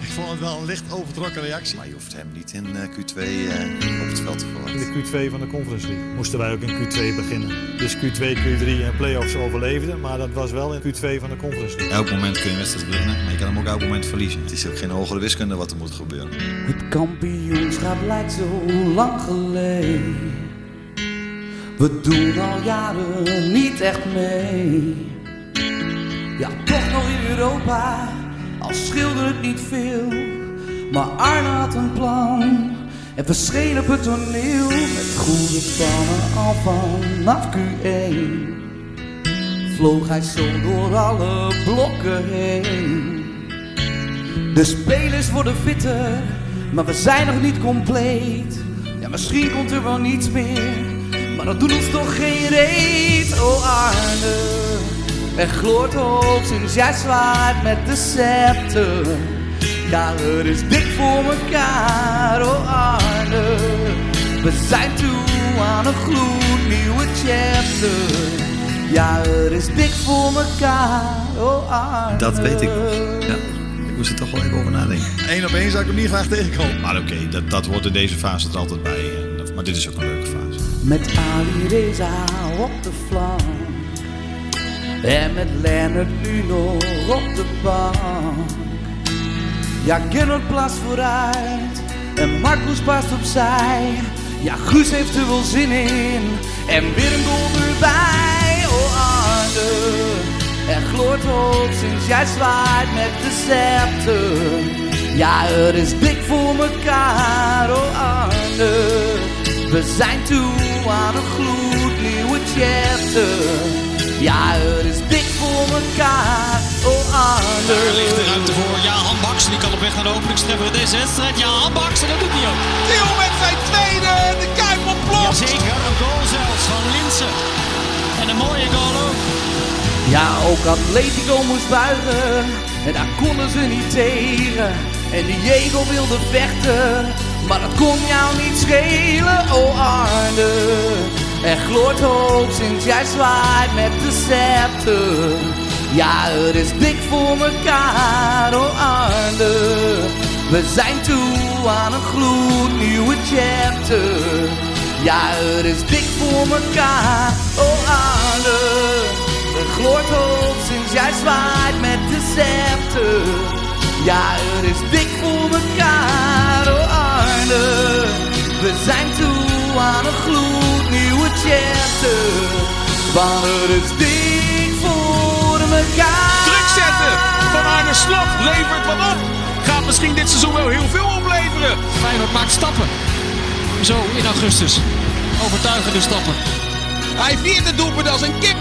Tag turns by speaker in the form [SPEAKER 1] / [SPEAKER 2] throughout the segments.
[SPEAKER 1] Ik vond het wel een licht overtrokken reactie.
[SPEAKER 2] Maar je hoeft hem niet in eh, Q2 eh, op het veld te
[SPEAKER 3] In
[SPEAKER 2] verwachten.
[SPEAKER 3] de Q2 van de Conference League moesten wij ook in Q2 beginnen. Dus Q2, Q3 en playoffs overleefden, maar dat was wel in Q2 van de Conference League.
[SPEAKER 4] Elk moment kun je een wedstrijd winnen, maar je kan hem ook elk moment verliezen.
[SPEAKER 2] Het is ook geen hogere wiskunde wat er moet gebeuren.
[SPEAKER 5] Het kampioenschap lijkt zo lang geleden. We doen al jaren niet echt mee. Ja, toch nog in Europa, al scheelde het niet veel. Maar Arne had een plan en verscheen op het toneel. Met goede plannen al vanaf Q1. Vloog hij zo door alle blokken heen. De spelers worden fitter, maar we zijn nog niet compleet. Ja, misschien komt er wel niets meer, maar dat doet ons toch geen reet. Oh Arne, er gloort hoop sinds jij zwaait met de scepter. Ja, er is dik voor elkaar, oh Arne. We zijn toe aan een gloednieuwe chapter. Ja, er is dik voor elkaar, oh Arne.
[SPEAKER 2] Dat weet ik nog. Ja, ik moest er toch wel even over nadenken.
[SPEAKER 1] Eén op één zou ik hem niet graag tegenkomen.
[SPEAKER 4] Maar oké, dat, dat hoort in deze fase er altijd bij. En dat- maar dit is ook een leuke fase.
[SPEAKER 5] Met Ali Reza op de flank. En met Lennart nu nog op de bank. Ja, Gernot plaatst vooruit. En Marcus past opzij. Ja, Guus heeft er wel zin in. En weer een goal erbij. Oh, Arne. Er gloort hoop sinds jij zwaait met de scepter. Ja, er is dik voor mekaar. Oh, Arne. We zijn toe aan een gloednieuwe chapter. Ja, het is dik voor elkaar. Oh,
[SPEAKER 6] Daar
[SPEAKER 5] Arne.
[SPEAKER 6] ligt de ruimte voor Jahan Baks. Die kan op weg naar de openingstreffer in deze wedstrijd. Jahan Baks, en dat doet hij ook.
[SPEAKER 7] Theo met zijn tweede, de Kuip ontploft.
[SPEAKER 6] Jazeker, een goal zelfs van Linsen. En een mooie goal ook.
[SPEAKER 5] Ja, ook Atletico moest buigen. En daar konden ze niet tegen. En Diego wilde vechten. Maar dat kon jou niet schelen, oh Arne. Er gloort hoop sinds jij zwaait met de scepter. Ja, het is dik voor mekaar, oh Arne. We zijn toe aan een gloednieuwe chapter. Ja, het is dik voor mekaar, oh Arne. Er gloort hoop sinds jij zwaait met de scepter. Ja, er is dik voor mekaar, oh Arne. We zijn toe aan een gloednieuwe chapter. Want er is dik voor mekaar.
[SPEAKER 7] Druk zetten van Arne Slot levert wat op. Gaat misschien dit seizoen wel heel veel opleveren.
[SPEAKER 6] Feyenoord maakt stappen. Zo in augustus. Overtuigende stappen.
[SPEAKER 7] Hij viert het doelpunt als een kip.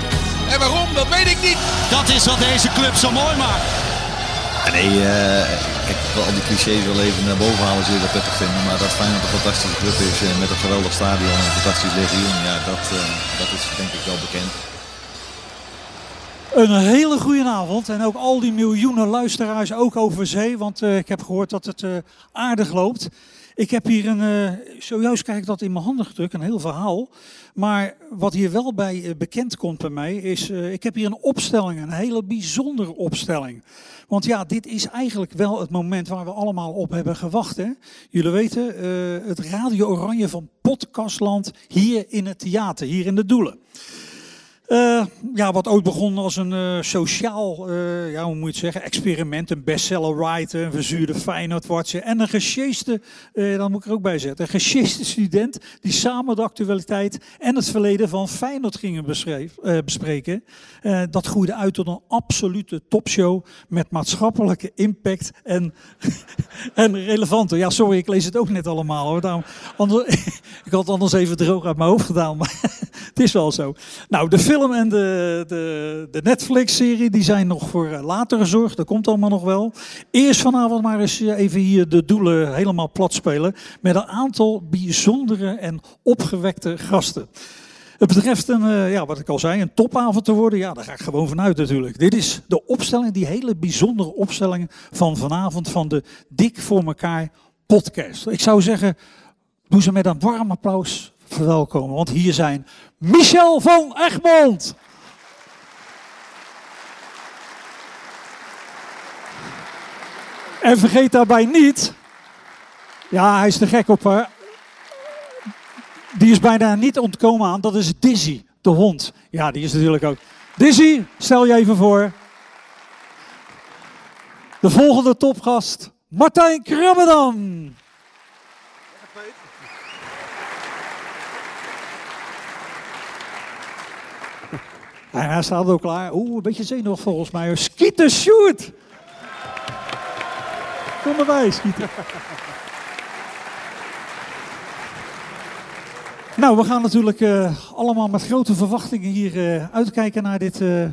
[SPEAKER 7] En waarom, dat weet ik niet.
[SPEAKER 6] Dat is wat deze club zo mooi maakt.
[SPEAKER 2] Ja, nee, eh, kijk, ik wil al die clichés wel even naar boven halen, zul je dat prettig vinden. Maar dat Feyenoord een fantastische club is eh, met een geweldig stadion en een fantastisch legioen, ja, dat, eh, dat is denk ik wel bekend.
[SPEAKER 3] Een hele goede avond en ook al die miljoenen luisteraars ook over zee, want eh, ik heb gehoord dat het eh, aardig loopt. Ik heb hier een, eh, zojuist krijg ik dat in mijn handen gedrukt, een heel verhaal. Maar wat hier wel bij eh, bekend komt bij mij is, eh, ik heb hier een opstelling, een hele bijzondere opstelling. Want ja, dit is eigenlijk wel het moment waar we allemaal op hebben gewacht. Hè? Jullie weten, eh, het Radio Oranje van Podcastland hier in het theater, hier in de Doelen. Eh, ja, wat ooit begon als een eh, sociaal, eh, ja, hoe moet je het zeggen, experiment. Een bestseller writer, een verzuurde Feyenoordwartje en een gesjeeste, eh dan moet ik er ook bij zetten, een gesjeeste student die samen de actualiteit en het verleden van Feyenoord gingen beschreef- eh, bespreken. Eh, dat groeide uit tot een absolute topshow met maatschappelijke impact en, en relevante. Ja, sorry, ik lees het ook net allemaal hoor. Daarom, anders, ik had het anders even droog uit mijn hoofd gedaan, maar het is wel zo. Nou, de film en de, de, de Netflix-serie die zijn nog voor eh, later gezorgd. Dat komt allemaal nog wel. Eerst vanavond maar eens eh, even hier de doelen helemaal plat spelen. Met een aantal bijzondere en opgewekte gasten. Het betreft een, eh, ja, wat ik al zei, een topavond te worden. Ja, daar ga ik gewoon vanuit natuurlijk. Dit is de opstelling, die hele bijzondere opstelling van vanavond van de Dik voor elkaar podcast. Ik zou zeggen, doe ze met een warm applaus verwelkomen. Want hier zijn Michel van Egmond. En vergeet daarbij niet, ja, hij is te gek op eh, haar. Die is bijna niet ontkomen aan. Dat is Dizzy, de hond. Ja, die is natuurlijk ook. Dizzy, stel je even voor. De volgende topgast, Martijn Krabbedam. En hij staat ook klaar. Oeh, een beetje zenuwig volgens mij. Schieten, shoot! Kom erbij, schieten. Nou, we gaan natuurlijk eh, allemaal met grote verwachtingen hier eh, uitkijken naar dit eh,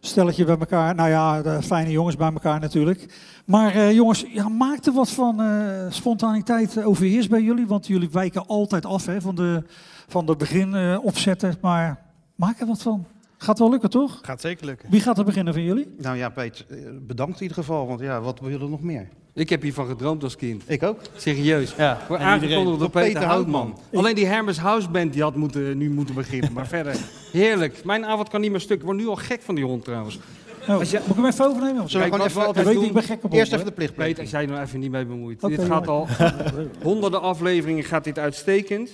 [SPEAKER 3] stelletje bij elkaar. Nou ja, de fijne jongens bij elkaar natuurlijk. Maar eh, jongens, ja, maakt er wat van eh, spontaniteit overheerst bij jullie? Want jullie wijken altijd af hè, van de, van de begin eh, opzetten. Maar maak er wat van. Gaat wel lukken, toch?
[SPEAKER 8] Gaat zeker lukken.
[SPEAKER 3] Wie gaat er beginnen van jullie?
[SPEAKER 8] Nou ja, Peet, eh, bedankt in ieder geval. Want ja, wat wil je nog meer?
[SPEAKER 9] Ik heb hiervan gedroomd als kind.
[SPEAKER 8] Ik ook.
[SPEAKER 9] Serieus.
[SPEAKER 8] Ja.
[SPEAKER 9] Voor aangekondigd door
[SPEAKER 8] Door
[SPEAKER 9] Peter,
[SPEAKER 8] Peter
[SPEAKER 9] Houtman.
[SPEAKER 8] Houtman.
[SPEAKER 9] Alleen die Hermes Houseband die had moeten, nu moeten beginnen. Maar verder, heerlijk. Mijn avond kan niet meer stuk. Ik word nu al gek van die hond trouwens.
[SPEAKER 3] Oh, Moet ik hem even overnemen?
[SPEAKER 8] Zullen we
[SPEAKER 9] Kijk, wat
[SPEAKER 8] gewoon
[SPEAKER 9] we altijd
[SPEAKER 8] even altijd
[SPEAKER 3] Weet
[SPEAKER 9] doen.
[SPEAKER 3] ik ben gek op
[SPEAKER 8] Eerst
[SPEAKER 3] honden,
[SPEAKER 8] even de plicht
[SPEAKER 9] Peter, als jij nou even niet mee bemoeit.
[SPEAKER 3] Oké,
[SPEAKER 9] dit gaat al
[SPEAKER 3] jongen.
[SPEAKER 9] honderden afleveringen gaat dit uitstekend.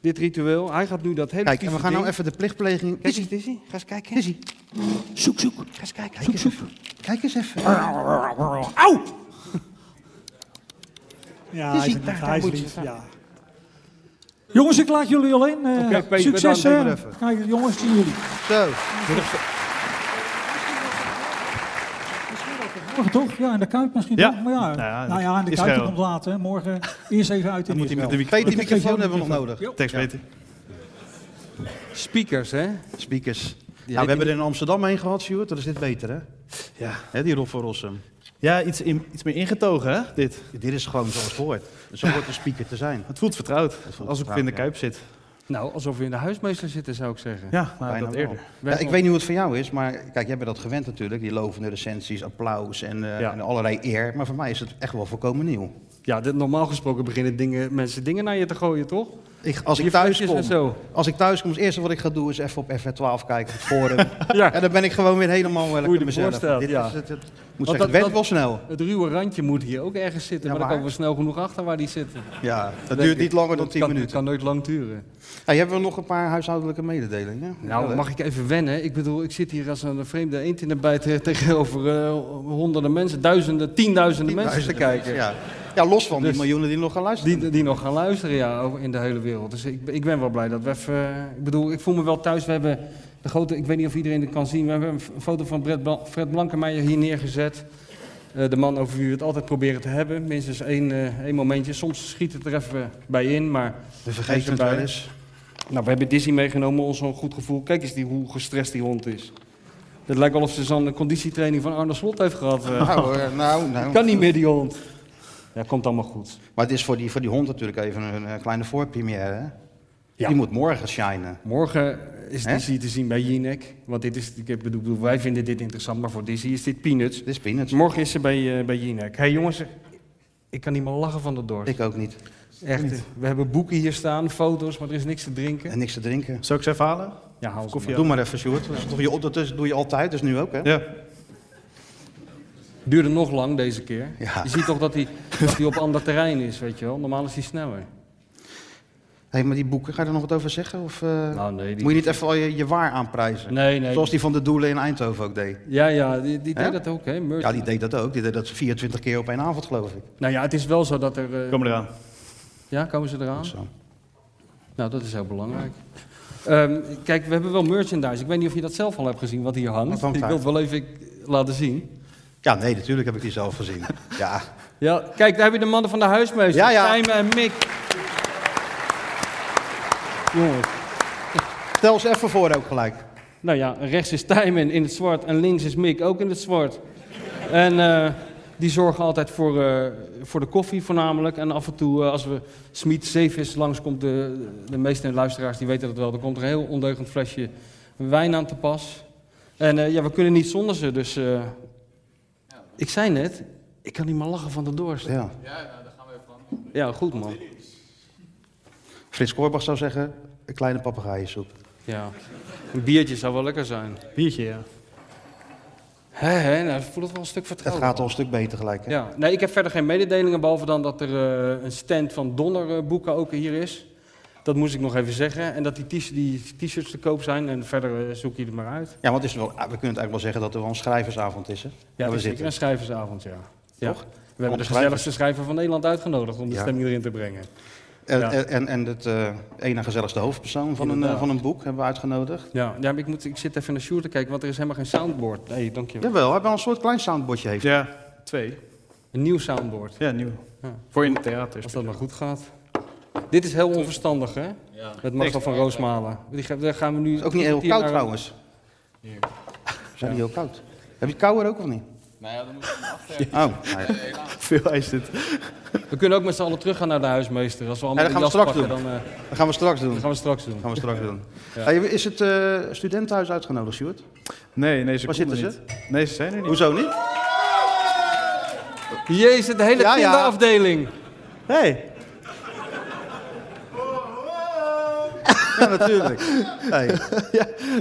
[SPEAKER 9] Dit ritueel. Hij gaat nu dat hele
[SPEAKER 8] Kijk, en we
[SPEAKER 9] vieze
[SPEAKER 8] gaan nou
[SPEAKER 9] ding-
[SPEAKER 8] even de plichtpleging.
[SPEAKER 9] Kijk eens, Dizzy. Ga eens kijken.
[SPEAKER 8] Dizzy,
[SPEAKER 3] Zoek, zoek.
[SPEAKER 8] ga eens kijken. Kijk eens even. Kijk eens even. Nou,
[SPEAKER 3] Auw! Ja, hij
[SPEAKER 8] Dus
[SPEAKER 3] is
[SPEAKER 8] die-
[SPEAKER 3] lief.
[SPEAKER 8] daar-
[SPEAKER 3] Hij is
[SPEAKER 8] daar moet je
[SPEAKER 3] lief, ja. Jongens, ik laat jullie alleen. eh,
[SPEAKER 9] Peter,
[SPEAKER 3] succes,
[SPEAKER 9] bedankt.
[SPEAKER 3] hè.
[SPEAKER 8] Doe maar even.
[SPEAKER 3] Kijk, jongens, zien jullie.
[SPEAKER 8] Zo.
[SPEAKER 3] Morgen toch? Ja, in de Kuip misschien.
[SPEAKER 1] Ja.
[SPEAKER 3] toch? Maar ja,
[SPEAKER 1] Nou ja,
[SPEAKER 3] nou ja, in de
[SPEAKER 1] is
[SPEAKER 3] Kuip die
[SPEAKER 1] geil.
[SPEAKER 3] komt later. hè. Morgen eerst even uit in
[SPEAKER 1] Moet hij met de microfoon?
[SPEAKER 3] Israël.
[SPEAKER 8] Peet, die microfoon hebben we nog nodig.
[SPEAKER 1] Tekst weten.
[SPEAKER 9] Speakers, hè?
[SPEAKER 8] Speakers.
[SPEAKER 9] heb
[SPEAKER 8] Nou,
[SPEAKER 9] je
[SPEAKER 8] we hebben er in Amsterdam heen gehad, Stuart. Dat is dit beter, hè?
[SPEAKER 1] Ja.
[SPEAKER 8] Hè, die Rob van Rossum.
[SPEAKER 1] Ja, iets, in- iets meer ingetogen, hè? Dit.
[SPEAKER 8] Dit is gewoon zoals het hoort. Zo hoort een speaker te zijn.
[SPEAKER 1] Het voelt vertrouwd.
[SPEAKER 8] voelt
[SPEAKER 1] als ik
[SPEAKER 8] vertrouwd,
[SPEAKER 1] in de
[SPEAKER 8] ja.
[SPEAKER 1] kuip zit.
[SPEAKER 9] Nou, alsof we in de huismeester zitten, zou ik zeggen.
[SPEAKER 1] Ja, maar
[SPEAKER 8] Bijna
[SPEAKER 1] dat
[SPEAKER 8] wel.
[SPEAKER 1] eerder.
[SPEAKER 8] Ja, ik weet niet hoe het voor jou is, maar kijk, jij bent dat gewend natuurlijk. Die lovende recensies, applaus en, eh,
[SPEAKER 1] Ja.
[SPEAKER 8] en allerlei eer. Maar voor mij is het echt wel volkomen nieuw.
[SPEAKER 9] Ja, dit- normaal gesproken beginnen dingen, mensen dingen naar je te gooien, toch?
[SPEAKER 8] Ik, als, ik
[SPEAKER 9] Die
[SPEAKER 8] thuis
[SPEAKER 9] flesjes
[SPEAKER 8] kom,
[SPEAKER 9] en zo.
[SPEAKER 8] als ik thuis kom, het eerste wat ik ga doen is Dus even op FR12 kijken, op het forum.
[SPEAKER 9] Ja.
[SPEAKER 8] En dan ben ik gewoon weer helemaal wel
[SPEAKER 9] je
[SPEAKER 8] lekker
[SPEAKER 9] ervoor
[SPEAKER 8] mezelf.
[SPEAKER 9] staat,
[SPEAKER 8] Dit
[SPEAKER 9] ja.
[SPEAKER 8] is, het, het- ik moet
[SPEAKER 9] Want dat-
[SPEAKER 8] zeggen, het werd
[SPEAKER 9] dat-
[SPEAKER 8] wel snel.
[SPEAKER 9] Het ruwe randje moet hier ook ergens zitten, maar
[SPEAKER 8] Ja,
[SPEAKER 9] dan
[SPEAKER 8] waar?
[SPEAKER 9] komen we snel genoeg achter waar die zitten.
[SPEAKER 8] Ja, dat
[SPEAKER 9] Denk
[SPEAKER 8] duurt
[SPEAKER 9] ik.
[SPEAKER 8] niet langer dan
[SPEAKER 9] Dat
[SPEAKER 8] 10
[SPEAKER 9] kan-
[SPEAKER 8] minuten.
[SPEAKER 9] Het kan nooit lang duren.
[SPEAKER 8] Hey, hebben we nog een paar huishoudelijke mededelingen?
[SPEAKER 9] Nou,
[SPEAKER 8] Wel,
[SPEAKER 9] mag ik even wennen? Ik bedoel, ik zit hier als een vreemde eend in de bijt eh, tegenover eh, honderden mensen, duizenden, tienduizenden mensen te kijken.
[SPEAKER 8] Ja. ja, los van
[SPEAKER 9] Dus-
[SPEAKER 8] die miljoenen die nog gaan luisteren.
[SPEAKER 9] Die, die nog gaan luisteren ja, over- in de hele wereld. Dus ik, ik ben wel blij dat we even... eh, Ik bedoel, ik voel me wel thuis. We hebben de grote... Ik weet niet of iedereen het kan zien. We hebben een f- een foto van Fred, Bla Fred Blankenmeijer hier neergezet. Eh, de man over wie we het altijd proberen te hebben. Minstens één, eh, één momentje. Soms schiet het er even bij in, maar...
[SPEAKER 8] we vergeten het
[SPEAKER 9] erbij.
[SPEAKER 8] wel eens.
[SPEAKER 9] Nou, we hebben Disney meegenomen, ons zo'n goed gevoel. Kijk eens die, hoe gestrest die hond is. Het lijkt wel of ze zo'n conditietraining van Arne Slot heeft gehad. eh.
[SPEAKER 8] Nou, hoor, nou, nou.
[SPEAKER 9] kan niet meer, die hond. Ja, komt allemaal goed.
[SPEAKER 8] Maar het is voor die, voor die hond natuurlijk even een, een kleine voorpremière. hè?
[SPEAKER 9] Ja.
[SPEAKER 8] Die moet morgen shinen.
[SPEAKER 9] Morgen is
[SPEAKER 8] Hè?
[SPEAKER 9] Dizzy te zien bij Jinek. Want dit is, ik bedoel, wij vinden dit interessant, maar voor Dizzy is dit peanuts.
[SPEAKER 8] Dit is peanuts.
[SPEAKER 9] Morgen is ze bij, eh, bij Jinek. hey, jongens, ik kan niet meer lachen van de dorst.
[SPEAKER 8] Ik ook niet.
[SPEAKER 9] Echt, eh, we hebben boeken hier staan, foto's, maar er is niks te drinken.
[SPEAKER 8] En niks te drinken.
[SPEAKER 1] Zou ik ze even halen?
[SPEAKER 9] Ja, haal ze
[SPEAKER 1] Koffie
[SPEAKER 9] maar.
[SPEAKER 8] Doe maar even, Sjoerd. Dat, is toch je, dat is- doe je altijd, dus nu ook, hè?
[SPEAKER 1] Ja.
[SPEAKER 9] Duurde nog lang deze keer.
[SPEAKER 8] Ja.
[SPEAKER 9] Je ziet toch dat hij dat hij op ander terrein is, weet je wel. Normaal is hij sneller.
[SPEAKER 8] Hé, maar die boeken, ga je er nog wat over zeggen? Of, eh,
[SPEAKER 9] Nou, nee, die-
[SPEAKER 8] Moet je niet even al je, je waar aanprijzen?
[SPEAKER 9] Nee, nee.
[SPEAKER 8] Zoals die van de Doelen in Eindhoven ook deed.
[SPEAKER 9] Ja, ja, die, die deed
[SPEAKER 8] Hè?
[SPEAKER 9] dat ook, hè? Merch.
[SPEAKER 8] Ja, die deed dat ook. Die deed dat 24 keer op één avond, geloof ik.
[SPEAKER 9] Nou ja, het is wel zo dat er... eh,
[SPEAKER 1] Kom eraan.
[SPEAKER 9] Ja, komen ze eraan?
[SPEAKER 8] Zo.
[SPEAKER 9] Nou, dat is heel belangrijk. Ehm, kijk, we hebben wel merchandise. Ik weet niet of je dat zelf al hebt gezien, wat hier hangt.
[SPEAKER 8] Wat hangt
[SPEAKER 9] ik wil
[SPEAKER 8] daar?
[SPEAKER 9] het wel even laten zien.
[SPEAKER 8] Ja, nee, natuurlijk heb ik die zelf gezien. Ja.
[SPEAKER 9] Ja, kijk, daar heb je de mannen van de huismeester.
[SPEAKER 8] Ja, ja.
[SPEAKER 9] Tijmen en Mick. Jongens.
[SPEAKER 8] Stel ze even voor ook gelijk.
[SPEAKER 9] Nou ja, rechts is Tijmen in het zwart en links is Mick ook in het zwart. En eh, die zorgen altijd voor, eh, voor de koffie voornamelijk. En af en toe, eh, als we Smit Zeevis langskomt, de, de meeste luisteraars die weten dat wel. Er komt er een heel ondeugend flesje wijn aan te pas. En eh, ja, we kunnen niet zonder ze. Dus eh, ik zei net, ik kan niet meer lachen van de dorst.
[SPEAKER 8] Ja.
[SPEAKER 9] Ja, goed man.
[SPEAKER 8] Frits Korbach zou zeggen, een kleine papegaaiensoep.
[SPEAKER 9] Ja. Een biertje zou wel lekker zijn.
[SPEAKER 10] Biertje, ja.
[SPEAKER 9] Hé, hé, nou, ik voel het wel een stuk
[SPEAKER 8] Het
[SPEAKER 9] vertrouwd.
[SPEAKER 8] gaat al een stuk beter gelijk. Hè?
[SPEAKER 9] Ja, nee, ik heb verder geen mededelingen, behalve dan dat er eh, een stand van Donner eh, boeken ook hier is. Dat moest ik nog even zeggen. En dat die t- die t-shirts te koop zijn. En verder eh, zoek je er maar uit.
[SPEAKER 8] Ja, want het is wel, ah, we kunnen het eigenlijk wel zeggen dat er wel een schrijversavond is. Hè?
[SPEAKER 9] Ja,
[SPEAKER 8] Waar
[SPEAKER 9] het
[SPEAKER 8] we
[SPEAKER 9] is zeker
[SPEAKER 8] zitten.
[SPEAKER 9] een schrijversavond, ja. ja.
[SPEAKER 8] Toch?
[SPEAKER 9] We hebben de
[SPEAKER 8] schrijvers.
[SPEAKER 9] gezelligste schrijver van Nederland uitgenodigd om de
[SPEAKER 8] Ja.
[SPEAKER 9] stemming erin te brengen.
[SPEAKER 8] En,
[SPEAKER 9] Ja.
[SPEAKER 8] en, en, en het eh ene gezelligste hoofdpersoon van een, eh,
[SPEAKER 9] Inderdaad.
[SPEAKER 8] van een boek hebben we uitgenodigd.
[SPEAKER 9] Ja, ja maar ik, moet, ik zit even naar Sjoerd te kijken, want er is helemaal geen soundboard. Nee, dankjewel.
[SPEAKER 8] Jawel, hij heeft wel een soort klein soundbordje heeft.
[SPEAKER 10] Ja, twee.
[SPEAKER 9] Een nieuw soundboard.
[SPEAKER 10] Ja, nieuw.
[SPEAKER 9] Ja.
[SPEAKER 10] Voor in het theater.
[SPEAKER 9] Als dat maar goed gaat. Dit is heel onverstandig, hè? Met Marcel van Roosmalen. Die ge- Daar gaan we nu...
[SPEAKER 8] Is ook niet heel
[SPEAKER 9] hier
[SPEAKER 8] koud
[SPEAKER 9] naar-
[SPEAKER 8] trouwens. Zijn die heel koud? Heb je het kouder ook of niet? Nou ja, dan moet je hem afwerken. Oh, nou ja.
[SPEAKER 10] Veel is dit.
[SPEAKER 9] We kunnen ook met z'n allen teruggaan naar de huismeester. Als we allemaal
[SPEAKER 8] Ja, dat
[SPEAKER 9] die
[SPEAKER 8] gaan we
[SPEAKER 9] jas
[SPEAKER 8] straks
[SPEAKER 9] pakken, dan eh,
[SPEAKER 8] dat gaan we straks doen.
[SPEAKER 9] dat gaan we straks doen.
[SPEAKER 8] gaan we straks doen.
[SPEAKER 9] Ja.
[SPEAKER 8] Hey, is het eh, studentenhuis uitgenodigd, Stuart?
[SPEAKER 10] Nee, nee, ze
[SPEAKER 8] Waar
[SPEAKER 10] konden
[SPEAKER 8] zitten
[SPEAKER 10] niet. Nee, ze zijn er niet.
[SPEAKER 8] Hoezo niet?
[SPEAKER 9] Jezus, de hele
[SPEAKER 8] Ja, ja.
[SPEAKER 9] kinderafdeling.
[SPEAKER 8] Hey. Ja, natuurlijk. Hey.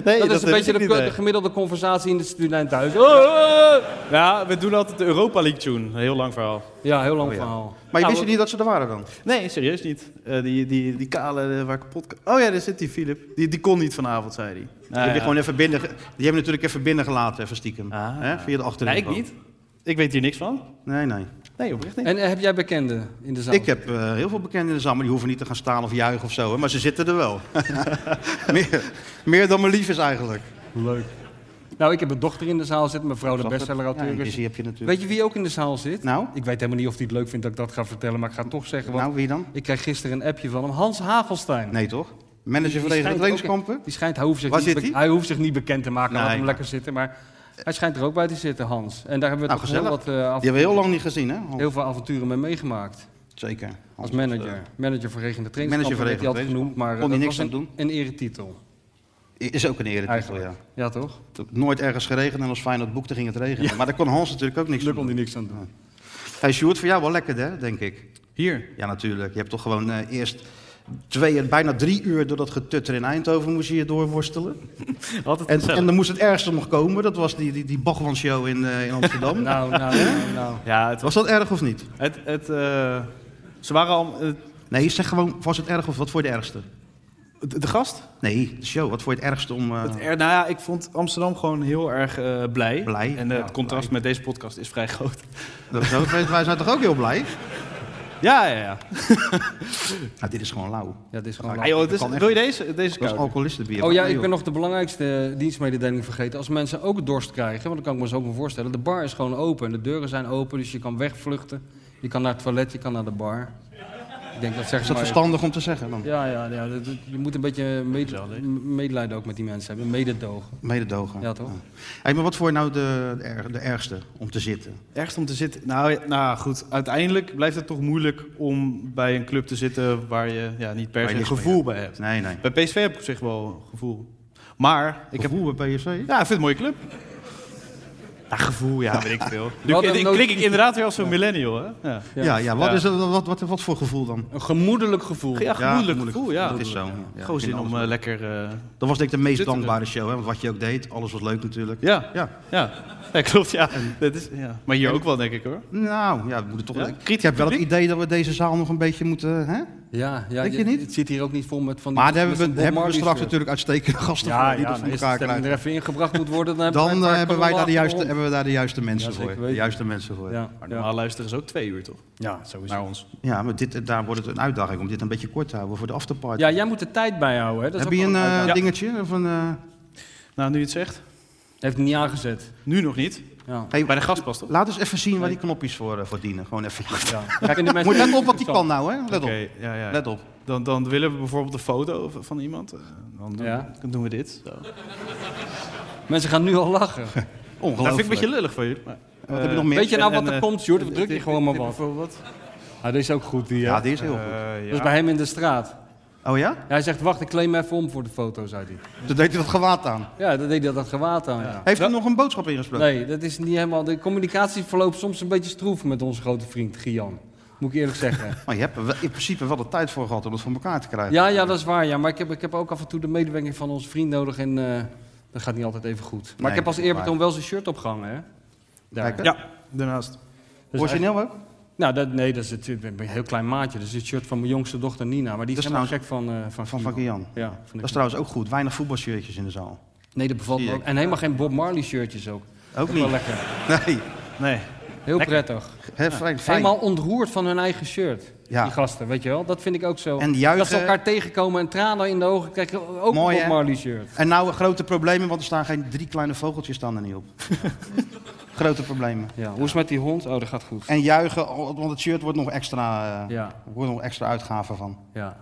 [SPEAKER 10] Nee,
[SPEAKER 9] dat, is een beetje de, de gemiddelde conversatie in het studentenhuis. Oh, oh, oh.
[SPEAKER 10] Ja, we doen altijd de Europa League tune. Een heel lang verhaal.
[SPEAKER 9] Ja, heel lang
[SPEAKER 8] Oh, ja.
[SPEAKER 9] verhaal.
[SPEAKER 8] Maar
[SPEAKER 10] Nou,
[SPEAKER 8] je wist je
[SPEAKER 10] we-
[SPEAKER 8] niet dat ze er waren dan?
[SPEAKER 10] Nee, serieus niet. Eh, die, die, die kale eh, waar ik podcast... Oh ja, daar zit die Filip. Die, die kon niet vanavond, zei hij. Nou,
[SPEAKER 8] die, heb je gewoon even binnen, ge- die hebben natuurlijk even binnengelaten, even stiekem.
[SPEAKER 10] Ah.
[SPEAKER 8] Hè? Via de achterin.
[SPEAKER 10] Nee, ik niet. Ik weet hier niks van.
[SPEAKER 8] Nee, nee.
[SPEAKER 10] Nee, oprecht niet.
[SPEAKER 9] En eh, heb jij bekenden in de zaal?
[SPEAKER 8] Ik heb eh, heel veel bekenden in de zaal, maar die hoeven niet te gaan staan of juichen of zo. Hè? Maar ze zitten er wel. meer, meer dan me lief is eigenlijk.
[SPEAKER 9] Leuk. Nou, ik heb een dochter in de zaal zitten, mijn vrouw de
[SPEAKER 8] Zag het? Ja,
[SPEAKER 9] bestsellerauteur.
[SPEAKER 8] en
[SPEAKER 9] is.
[SPEAKER 8] die heb je natuurlijk.
[SPEAKER 9] Weet je wie ook in de zaal zit?
[SPEAKER 8] Nou?
[SPEAKER 9] Ik weet helemaal niet of hij het leuk vindt dat ik dat ga vertellen, maar ik ga het toch zeggen. Want
[SPEAKER 8] nou, wie dan?
[SPEAKER 9] ik kreeg gisteren een appje van hem. Hans Hagelstein.
[SPEAKER 8] Nee, toch? Manager
[SPEAKER 9] Die
[SPEAKER 8] van de
[SPEAKER 9] schijnt
[SPEAKER 8] trainingskampen?
[SPEAKER 9] ook- Die schijnt, hij hoeft, zich
[SPEAKER 8] Waar
[SPEAKER 9] niet
[SPEAKER 8] zit
[SPEAKER 9] bek-
[SPEAKER 8] die?
[SPEAKER 9] hij hoeft zich niet bekend te maken, laat
[SPEAKER 8] Nee,
[SPEAKER 9] hem
[SPEAKER 8] maar-
[SPEAKER 9] lekker zitten. Maar hij schijnt er ook bij te zitten, Hans. En daar hebben we
[SPEAKER 8] Nou,
[SPEAKER 9] toch heel,
[SPEAKER 8] gezellig.
[SPEAKER 9] wat, eh, avonturen-
[SPEAKER 8] Die hebben we heel lang niet gezien, hè? Hans?
[SPEAKER 9] heel veel avonturen mee meegemaakt.
[SPEAKER 8] Zeker.
[SPEAKER 9] Als
[SPEAKER 8] Hans.
[SPEAKER 9] manager. Manager van Regende Trainers.
[SPEAKER 8] Manager van
[SPEAKER 9] werd hij
[SPEAKER 8] Regende
[SPEAKER 9] altijd genoemd, maar eh,
[SPEAKER 8] Kon hij
[SPEAKER 9] dat
[SPEAKER 8] niks
[SPEAKER 9] was
[SPEAKER 8] aan
[SPEAKER 9] een, een eretitel.
[SPEAKER 8] Is ook een eretitel, ja.
[SPEAKER 9] Eigenlijk. Ja, toch?
[SPEAKER 8] Nooit ergens geregend en als Feyenoord boekte ging het regenen. Maar daar kon Hans natuurlijk ook niks
[SPEAKER 9] Daar
[SPEAKER 8] aan
[SPEAKER 9] kon
[SPEAKER 8] doen.
[SPEAKER 9] hij niks aan doen.
[SPEAKER 8] Hey, Sjoerd, voor jou wel lekker, hè, denk ik.
[SPEAKER 10] Hier.
[SPEAKER 8] Ja, natuurlijk. Je hebt toch gewoon eh, eerst twee, bijna drie uur door dat getutter in Eindhoven moest je je doorworstelen.
[SPEAKER 10] Altijd
[SPEAKER 8] En,
[SPEAKER 10] gezellig.
[SPEAKER 8] en dan moest het ergste nog komen. Dat was die, die, die Bachman-show in, eh, in Amsterdam.
[SPEAKER 9] Nou, nou, nou. nou.
[SPEAKER 10] Ja, het was...
[SPEAKER 8] Was dat erg of niet?
[SPEAKER 10] Het, het, eh, ze waren al... eh,
[SPEAKER 8] Nee, zeg gewoon, was het erg of wat voor je het ergste?
[SPEAKER 10] de, de gast?
[SPEAKER 8] Nee, de show. Wat voor je het ergste om... eh,
[SPEAKER 10] Het er, nou ja, ik vond Amsterdam gewoon heel erg eh, blij.
[SPEAKER 8] Blij?
[SPEAKER 10] En eh, het contrast met deze podcast is vrij groot.
[SPEAKER 8] dat was ook- wij zijn toch ook heel blij?
[SPEAKER 10] Ja, ja, ja.
[SPEAKER 8] Nou, dit is gewoon lauw.
[SPEAKER 9] Ja, dit is gewoon
[SPEAKER 10] Ah, joh, het is,
[SPEAKER 8] kan echt-
[SPEAKER 10] wil je deze? Deze
[SPEAKER 8] Dat is
[SPEAKER 10] kouder?
[SPEAKER 8] alcoholistenbier.
[SPEAKER 9] Oh ja,
[SPEAKER 8] Nee,
[SPEAKER 9] ik ben
[SPEAKER 8] joh.
[SPEAKER 9] nog de belangrijkste eh, dienstmededeling vergeten. Als mensen ook dorst krijgen, want dat kan ik me zo ook wel voorstellen. De bar is gewoon open en de deuren zijn open, dus je kan wegvluchten. Je kan naar het toilet, je kan naar de bar. Ik denk dat
[SPEAKER 8] Is
[SPEAKER 9] zeggen
[SPEAKER 8] dat
[SPEAKER 9] maar...
[SPEAKER 8] verstandig om te zeggen dan?
[SPEAKER 9] Ja, ja, ja. dat- dat- Je moet een beetje mede- m- medelijden ook met die mensen hebben. Mededogen.
[SPEAKER 8] Mededogen.
[SPEAKER 9] Ja, toch?
[SPEAKER 8] Hey, maar wat voor nou de, de, erg- de ergste om te zitten?
[SPEAKER 10] Ergst om te zitten. Nou, ja, nou goed, uiteindelijk blijft het toch moeilijk om bij een club te zitten waar je ja, niet per
[SPEAKER 8] Waar je
[SPEAKER 10] se een
[SPEAKER 8] niks mee
[SPEAKER 10] gevoel bij hebt.
[SPEAKER 8] Nee, nee.
[SPEAKER 10] Bij PSV heb ik op zich wel gevoel. Maar ik heb.
[SPEAKER 8] Gevoel bij PSV?
[SPEAKER 10] Ja, ik vind het een mooie club. Ja, gevoel, ja, weet ik veel. Nu
[SPEAKER 9] Wat een
[SPEAKER 10] klik-
[SPEAKER 9] nood-
[SPEAKER 10] klik ik inderdaad weer als zo'n millennial, hè? Ja,
[SPEAKER 8] Ja, ja, wat,
[SPEAKER 10] Ja.
[SPEAKER 8] Is dat, wat, wat, wat voor gevoel dan?
[SPEAKER 9] Een gemoedelijk gevoel.
[SPEAKER 10] ja gemoedelijk gevoel, ja.
[SPEAKER 8] Dat is zo. Ja,
[SPEAKER 10] Gewoon
[SPEAKER 8] ik
[SPEAKER 10] zin
[SPEAKER 8] vind
[SPEAKER 10] om
[SPEAKER 8] alles-
[SPEAKER 10] eh, lekker... eh,
[SPEAKER 8] Dat was denk ik de meest
[SPEAKER 10] zitten er.
[SPEAKER 8] dankbare show, hè? want wat je ook deed, alles was leuk natuurlijk.
[SPEAKER 10] ja, ja,
[SPEAKER 8] Ja.
[SPEAKER 10] ja. klopt, ja. Dat is, ja. Maar hier ook wel, denk ik, hoor.
[SPEAKER 8] Nou, ja, we moeten toch...
[SPEAKER 10] Ja?
[SPEAKER 8] Ik, ik heb wel het idee dat we deze zaal nog een beetje moeten... Hè?
[SPEAKER 9] Ja, ja.
[SPEAKER 8] Denk je
[SPEAKER 9] het-
[SPEAKER 8] niet?
[SPEAKER 9] Het zit hier ook niet vol met van die
[SPEAKER 8] Maar daar
[SPEAKER 9] met
[SPEAKER 8] hebben we,
[SPEAKER 9] zo'n Bob
[SPEAKER 8] hebben we
[SPEAKER 9] Marley
[SPEAKER 8] straks
[SPEAKER 9] shirt.
[SPEAKER 8] natuurlijk uitstekende gasten
[SPEAKER 9] Ja,
[SPEAKER 8] voor die
[SPEAKER 9] ja.
[SPEAKER 8] dat voor
[SPEAKER 9] nee, Als de
[SPEAKER 8] elkaar
[SPEAKER 9] stemming
[SPEAKER 8] krijgen.
[SPEAKER 9] er even ingebracht moet worden, dan hebben
[SPEAKER 8] Dan
[SPEAKER 9] we een
[SPEAKER 8] eh,
[SPEAKER 9] paar
[SPEAKER 8] hebben, wij daar de
[SPEAKER 9] kanalen
[SPEAKER 8] juiste,
[SPEAKER 9] achterom.
[SPEAKER 8] hebben we daar de juiste mensen
[SPEAKER 9] zeker
[SPEAKER 8] voor. De
[SPEAKER 9] weten.
[SPEAKER 8] juiste mensen voor. Ja,
[SPEAKER 9] Ja,
[SPEAKER 10] Maar normaal
[SPEAKER 9] ja.
[SPEAKER 10] luisteren is ook twee uur, toch?
[SPEAKER 9] ja, sowieso.
[SPEAKER 10] Naar ons.
[SPEAKER 8] maar dit, daar wordt het een uitdaging om dit een beetje kort te houden voor de afterparty.
[SPEAKER 9] Ja, jij moet de tijd bijhouden. Hè? Dat is
[SPEAKER 8] Heb
[SPEAKER 9] ook
[SPEAKER 8] je een
[SPEAKER 9] wel
[SPEAKER 8] eh,
[SPEAKER 9] uitdaging.
[SPEAKER 8] dingetje? Of een, eh,
[SPEAKER 10] Nou, nu je het zegt.
[SPEAKER 9] Heeft hem niet aangezet.
[SPEAKER 10] Nu nog niet.
[SPEAKER 9] Ja.
[SPEAKER 8] hey,
[SPEAKER 10] Bij de gast pas, toch?
[SPEAKER 8] Laat eens even zien waar die knopjes voor, eh, voor dienen. Gewoon eventjes.
[SPEAKER 9] Kijk, en de mensen-
[SPEAKER 8] Moet let op wat die kan nou, hè? Let op.
[SPEAKER 10] Oké, ja, ja.
[SPEAKER 8] Let op.
[SPEAKER 10] Dan, dan willen we bijvoorbeeld een foto v- van iemand. Eh, Dan doen,
[SPEAKER 9] Ja.
[SPEAKER 10] dan doen we dit. Zo.
[SPEAKER 9] Mensen gaan nu al lachen.
[SPEAKER 10] Dat
[SPEAKER 8] Ongelooflijk.
[SPEAKER 10] vind ik een beetje lullig van jullie. Maar...
[SPEAKER 8] Wat heb je nog meer?
[SPEAKER 9] Weet je nou
[SPEAKER 8] En,
[SPEAKER 9] wat er
[SPEAKER 8] eh,
[SPEAKER 9] komt, Sjoerd? Of
[SPEAKER 8] dit-
[SPEAKER 9] druk je
[SPEAKER 8] dit-
[SPEAKER 9] gewoon maar
[SPEAKER 8] dit
[SPEAKER 9] wat.
[SPEAKER 8] bijvoorbeeld?
[SPEAKER 9] Ah, die is ook goed. Die, hè?
[SPEAKER 8] Ja, die is heel goed.
[SPEAKER 9] Dat is Dus bij hem in de straat.
[SPEAKER 8] Oh ja?
[SPEAKER 9] Hij zegt, wacht, ik kleem me even om voor de foto, zei hij.
[SPEAKER 8] Toen deed hij dat gewaad aan.
[SPEAKER 9] Ja, dat deed hij dat gewaad aan. ja.
[SPEAKER 8] Heeft u nog een boodschap ingesproken?
[SPEAKER 9] Nee, dat is niet helemaal... De communicatie verloopt soms een beetje stroef met onze grote vriend Gian. Moet ik eerlijk zeggen.
[SPEAKER 8] Maar je hebt er wel- in principe wel de tijd voor gehad om het voor elkaar te krijgen.
[SPEAKER 9] Ja, ja, dat is waar. Ja. Maar ik heb, ik heb ook af en toe de medewerking van onze vriend nodig. En eh, dat gaat niet altijd even goed. Maar
[SPEAKER 8] Nee,
[SPEAKER 9] ik heb als
[SPEAKER 8] dat is
[SPEAKER 9] eerbetoon
[SPEAKER 8] waar.
[SPEAKER 9] wel zijn shirt opgehangen, hè? Daar.
[SPEAKER 8] Kijk, hè?
[SPEAKER 9] Ja.
[SPEAKER 10] daarnaast.
[SPEAKER 9] Dus
[SPEAKER 8] Origineel ook?
[SPEAKER 9] Nou, dat, nee, dat is het, ik ben een heel klein maatje. Dat is het shirt van mijn jongste dochter Nina. Maar die is
[SPEAKER 8] Dat is
[SPEAKER 9] helemaal gek van, eh van,
[SPEAKER 8] Van Van Jan.
[SPEAKER 9] Ja, van
[SPEAKER 8] Dat is trouwens ook goed. Weinig voetbalshirtjes in de zaal.
[SPEAKER 9] Nee, dat bevalt
[SPEAKER 8] Zie
[SPEAKER 9] me ook.
[SPEAKER 8] ik.
[SPEAKER 9] En helemaal geen Bob Marley shirtjes ook.
[SPEAKER 8] Ook
[SPEAKER 9] Dat is
[SPEAKER 8] niet.
[SPEAKER 9] wel lekker.
[SPEAKER 8] Nee.
[SPEAKER 10] Nee.
[SPEAKER 9] Heel
[SPEAKER 8] Lekker.
[SPEAKER 9] prettig.
[SPEAKER 8] Hè, fijn, fijn.
[SPEAKER 9] Helemaal ontroerd van hun eigen shirt.
[SPEAKER 8] Ja.
[SPEAKER 9] Die gasten, weet je wel. Dat vind ik ook zo.
[SPEAKER 8] En juichen.
[SPEAKER 9] Dat ze elkaar tegenkomen en tranen in de ogen krijgen. Ook
[SPEAKER 8] Mooi,
[SPEAKER 9] een Bob
[SPEAKER 8] hè?
[SPEAKER 9] Marley shirt.
[SPEAKER 8] En nou grote problemen, want er staan geen drie kleine vogeltjes staan er niet op. grote problemen.
[SPEAKER 9] Ja, hoe is het met die hond? Oh, dat gaat goed.
[SPEAKER 8] En juichen, oh, want het shirt wordt nog extra, eh,
[SPEAKER 9] Ja.
[SPEAKER 8] wordt nog extra uitgave van.
[SPEAKER 9] Ja.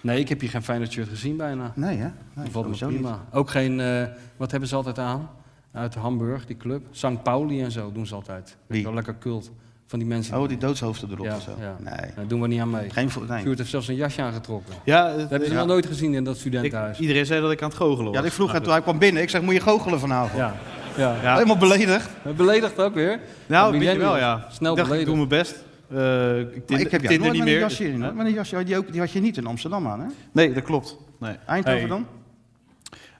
[SPEAKER 9] Nee, ik heb hier geen Feyenoord shirt gezien bijna.
[SPEAKER 8] Nee, hè?
[SPEAKER 9] Dat
[SPEAKER 8] Nee,
[SPEAKER 9] valt me
[SPEAKER 8] sowieso
[SPEAKER 9] prima.
[SPEAKER 8] niet.
[SPEAKER 9] Ook geen, eh, wat hebben ze altijd aan? Uit Hamburg, die club. St. Pauli en zo doen ze altijd.
[SPEAKER 8] Wie?
[SPEAKER 9] Wel lekker cult. Van die mensen.
[SPEAKER 8] Oh, die doodshoofden erop
[SPEAKER 9] Ja,
[SPEAKER 8] en zo.
[SPEAKER 9] ja.
[SPEAKER 8] Nee.
[SPEAKER 9] Daar doen we niet aan mee.
[SPEAKER 8] Geen vo- nee.
[SPEAKER 9] Sjoerd heeft zelfs een jasje aangetrokken.
[SPEAKER 10] Ja, eh,
[SPEAKER 9] dat hebben ze
[SPEAKER 10] ja.
[SPEAKER 9] nog nooit gezien in dat studentenhuis.
[SPEAKER 10] Iedereen zei dat ik aan het goochelen was.
[SPEAKER 8] Ja, ik vroeg
[SPEAKER 10] Maar
[SPEAKER 8] het toen hij kwam binnen. Ik zeg, moet je goochelen vanavond?
[SPEAKER 9] Ja. Ja.
[SPEAKER 10] Nou, Ja.
[SPEAKER 8] Helemaal beledigd.
[SPEAKER 9] Beledigd ook weer.
[SPEAKER 10] Nou,
[SPEAKER 9] Van
[SPEAKER 10] weet je wel,
[SPEAKER 9] millennials.
[SPEAKER 10] ja.
[SPEAKER 9] Snel
[SPEAKER 10] ik dacht, ik
[SPEAKER 9] beledigd.
[SPEAKER 10] doe mijn best. Eh, ik,
[SPEAKER 8] Maar
[SPEAKER 10] tin-
[SPEAKER 8] ik
[SPEAKER 10] tin er
[SPEAKER 8] heb jou nooit
[SPEAKER 10] niet
[SPEAKER 8] met een
[SPEAKER 10] meer.
[SPEAKER 8] jasje in. hoor. Met een jasje, die, ook, die had je niet in Amsterdam aan, hè?
[SPEAKER 10] Nee, dat klopt. Nee.
[SPEAKER 8] Eindhoven
[SPEAKER 10] Hey.
[SPEAKER 8] dan?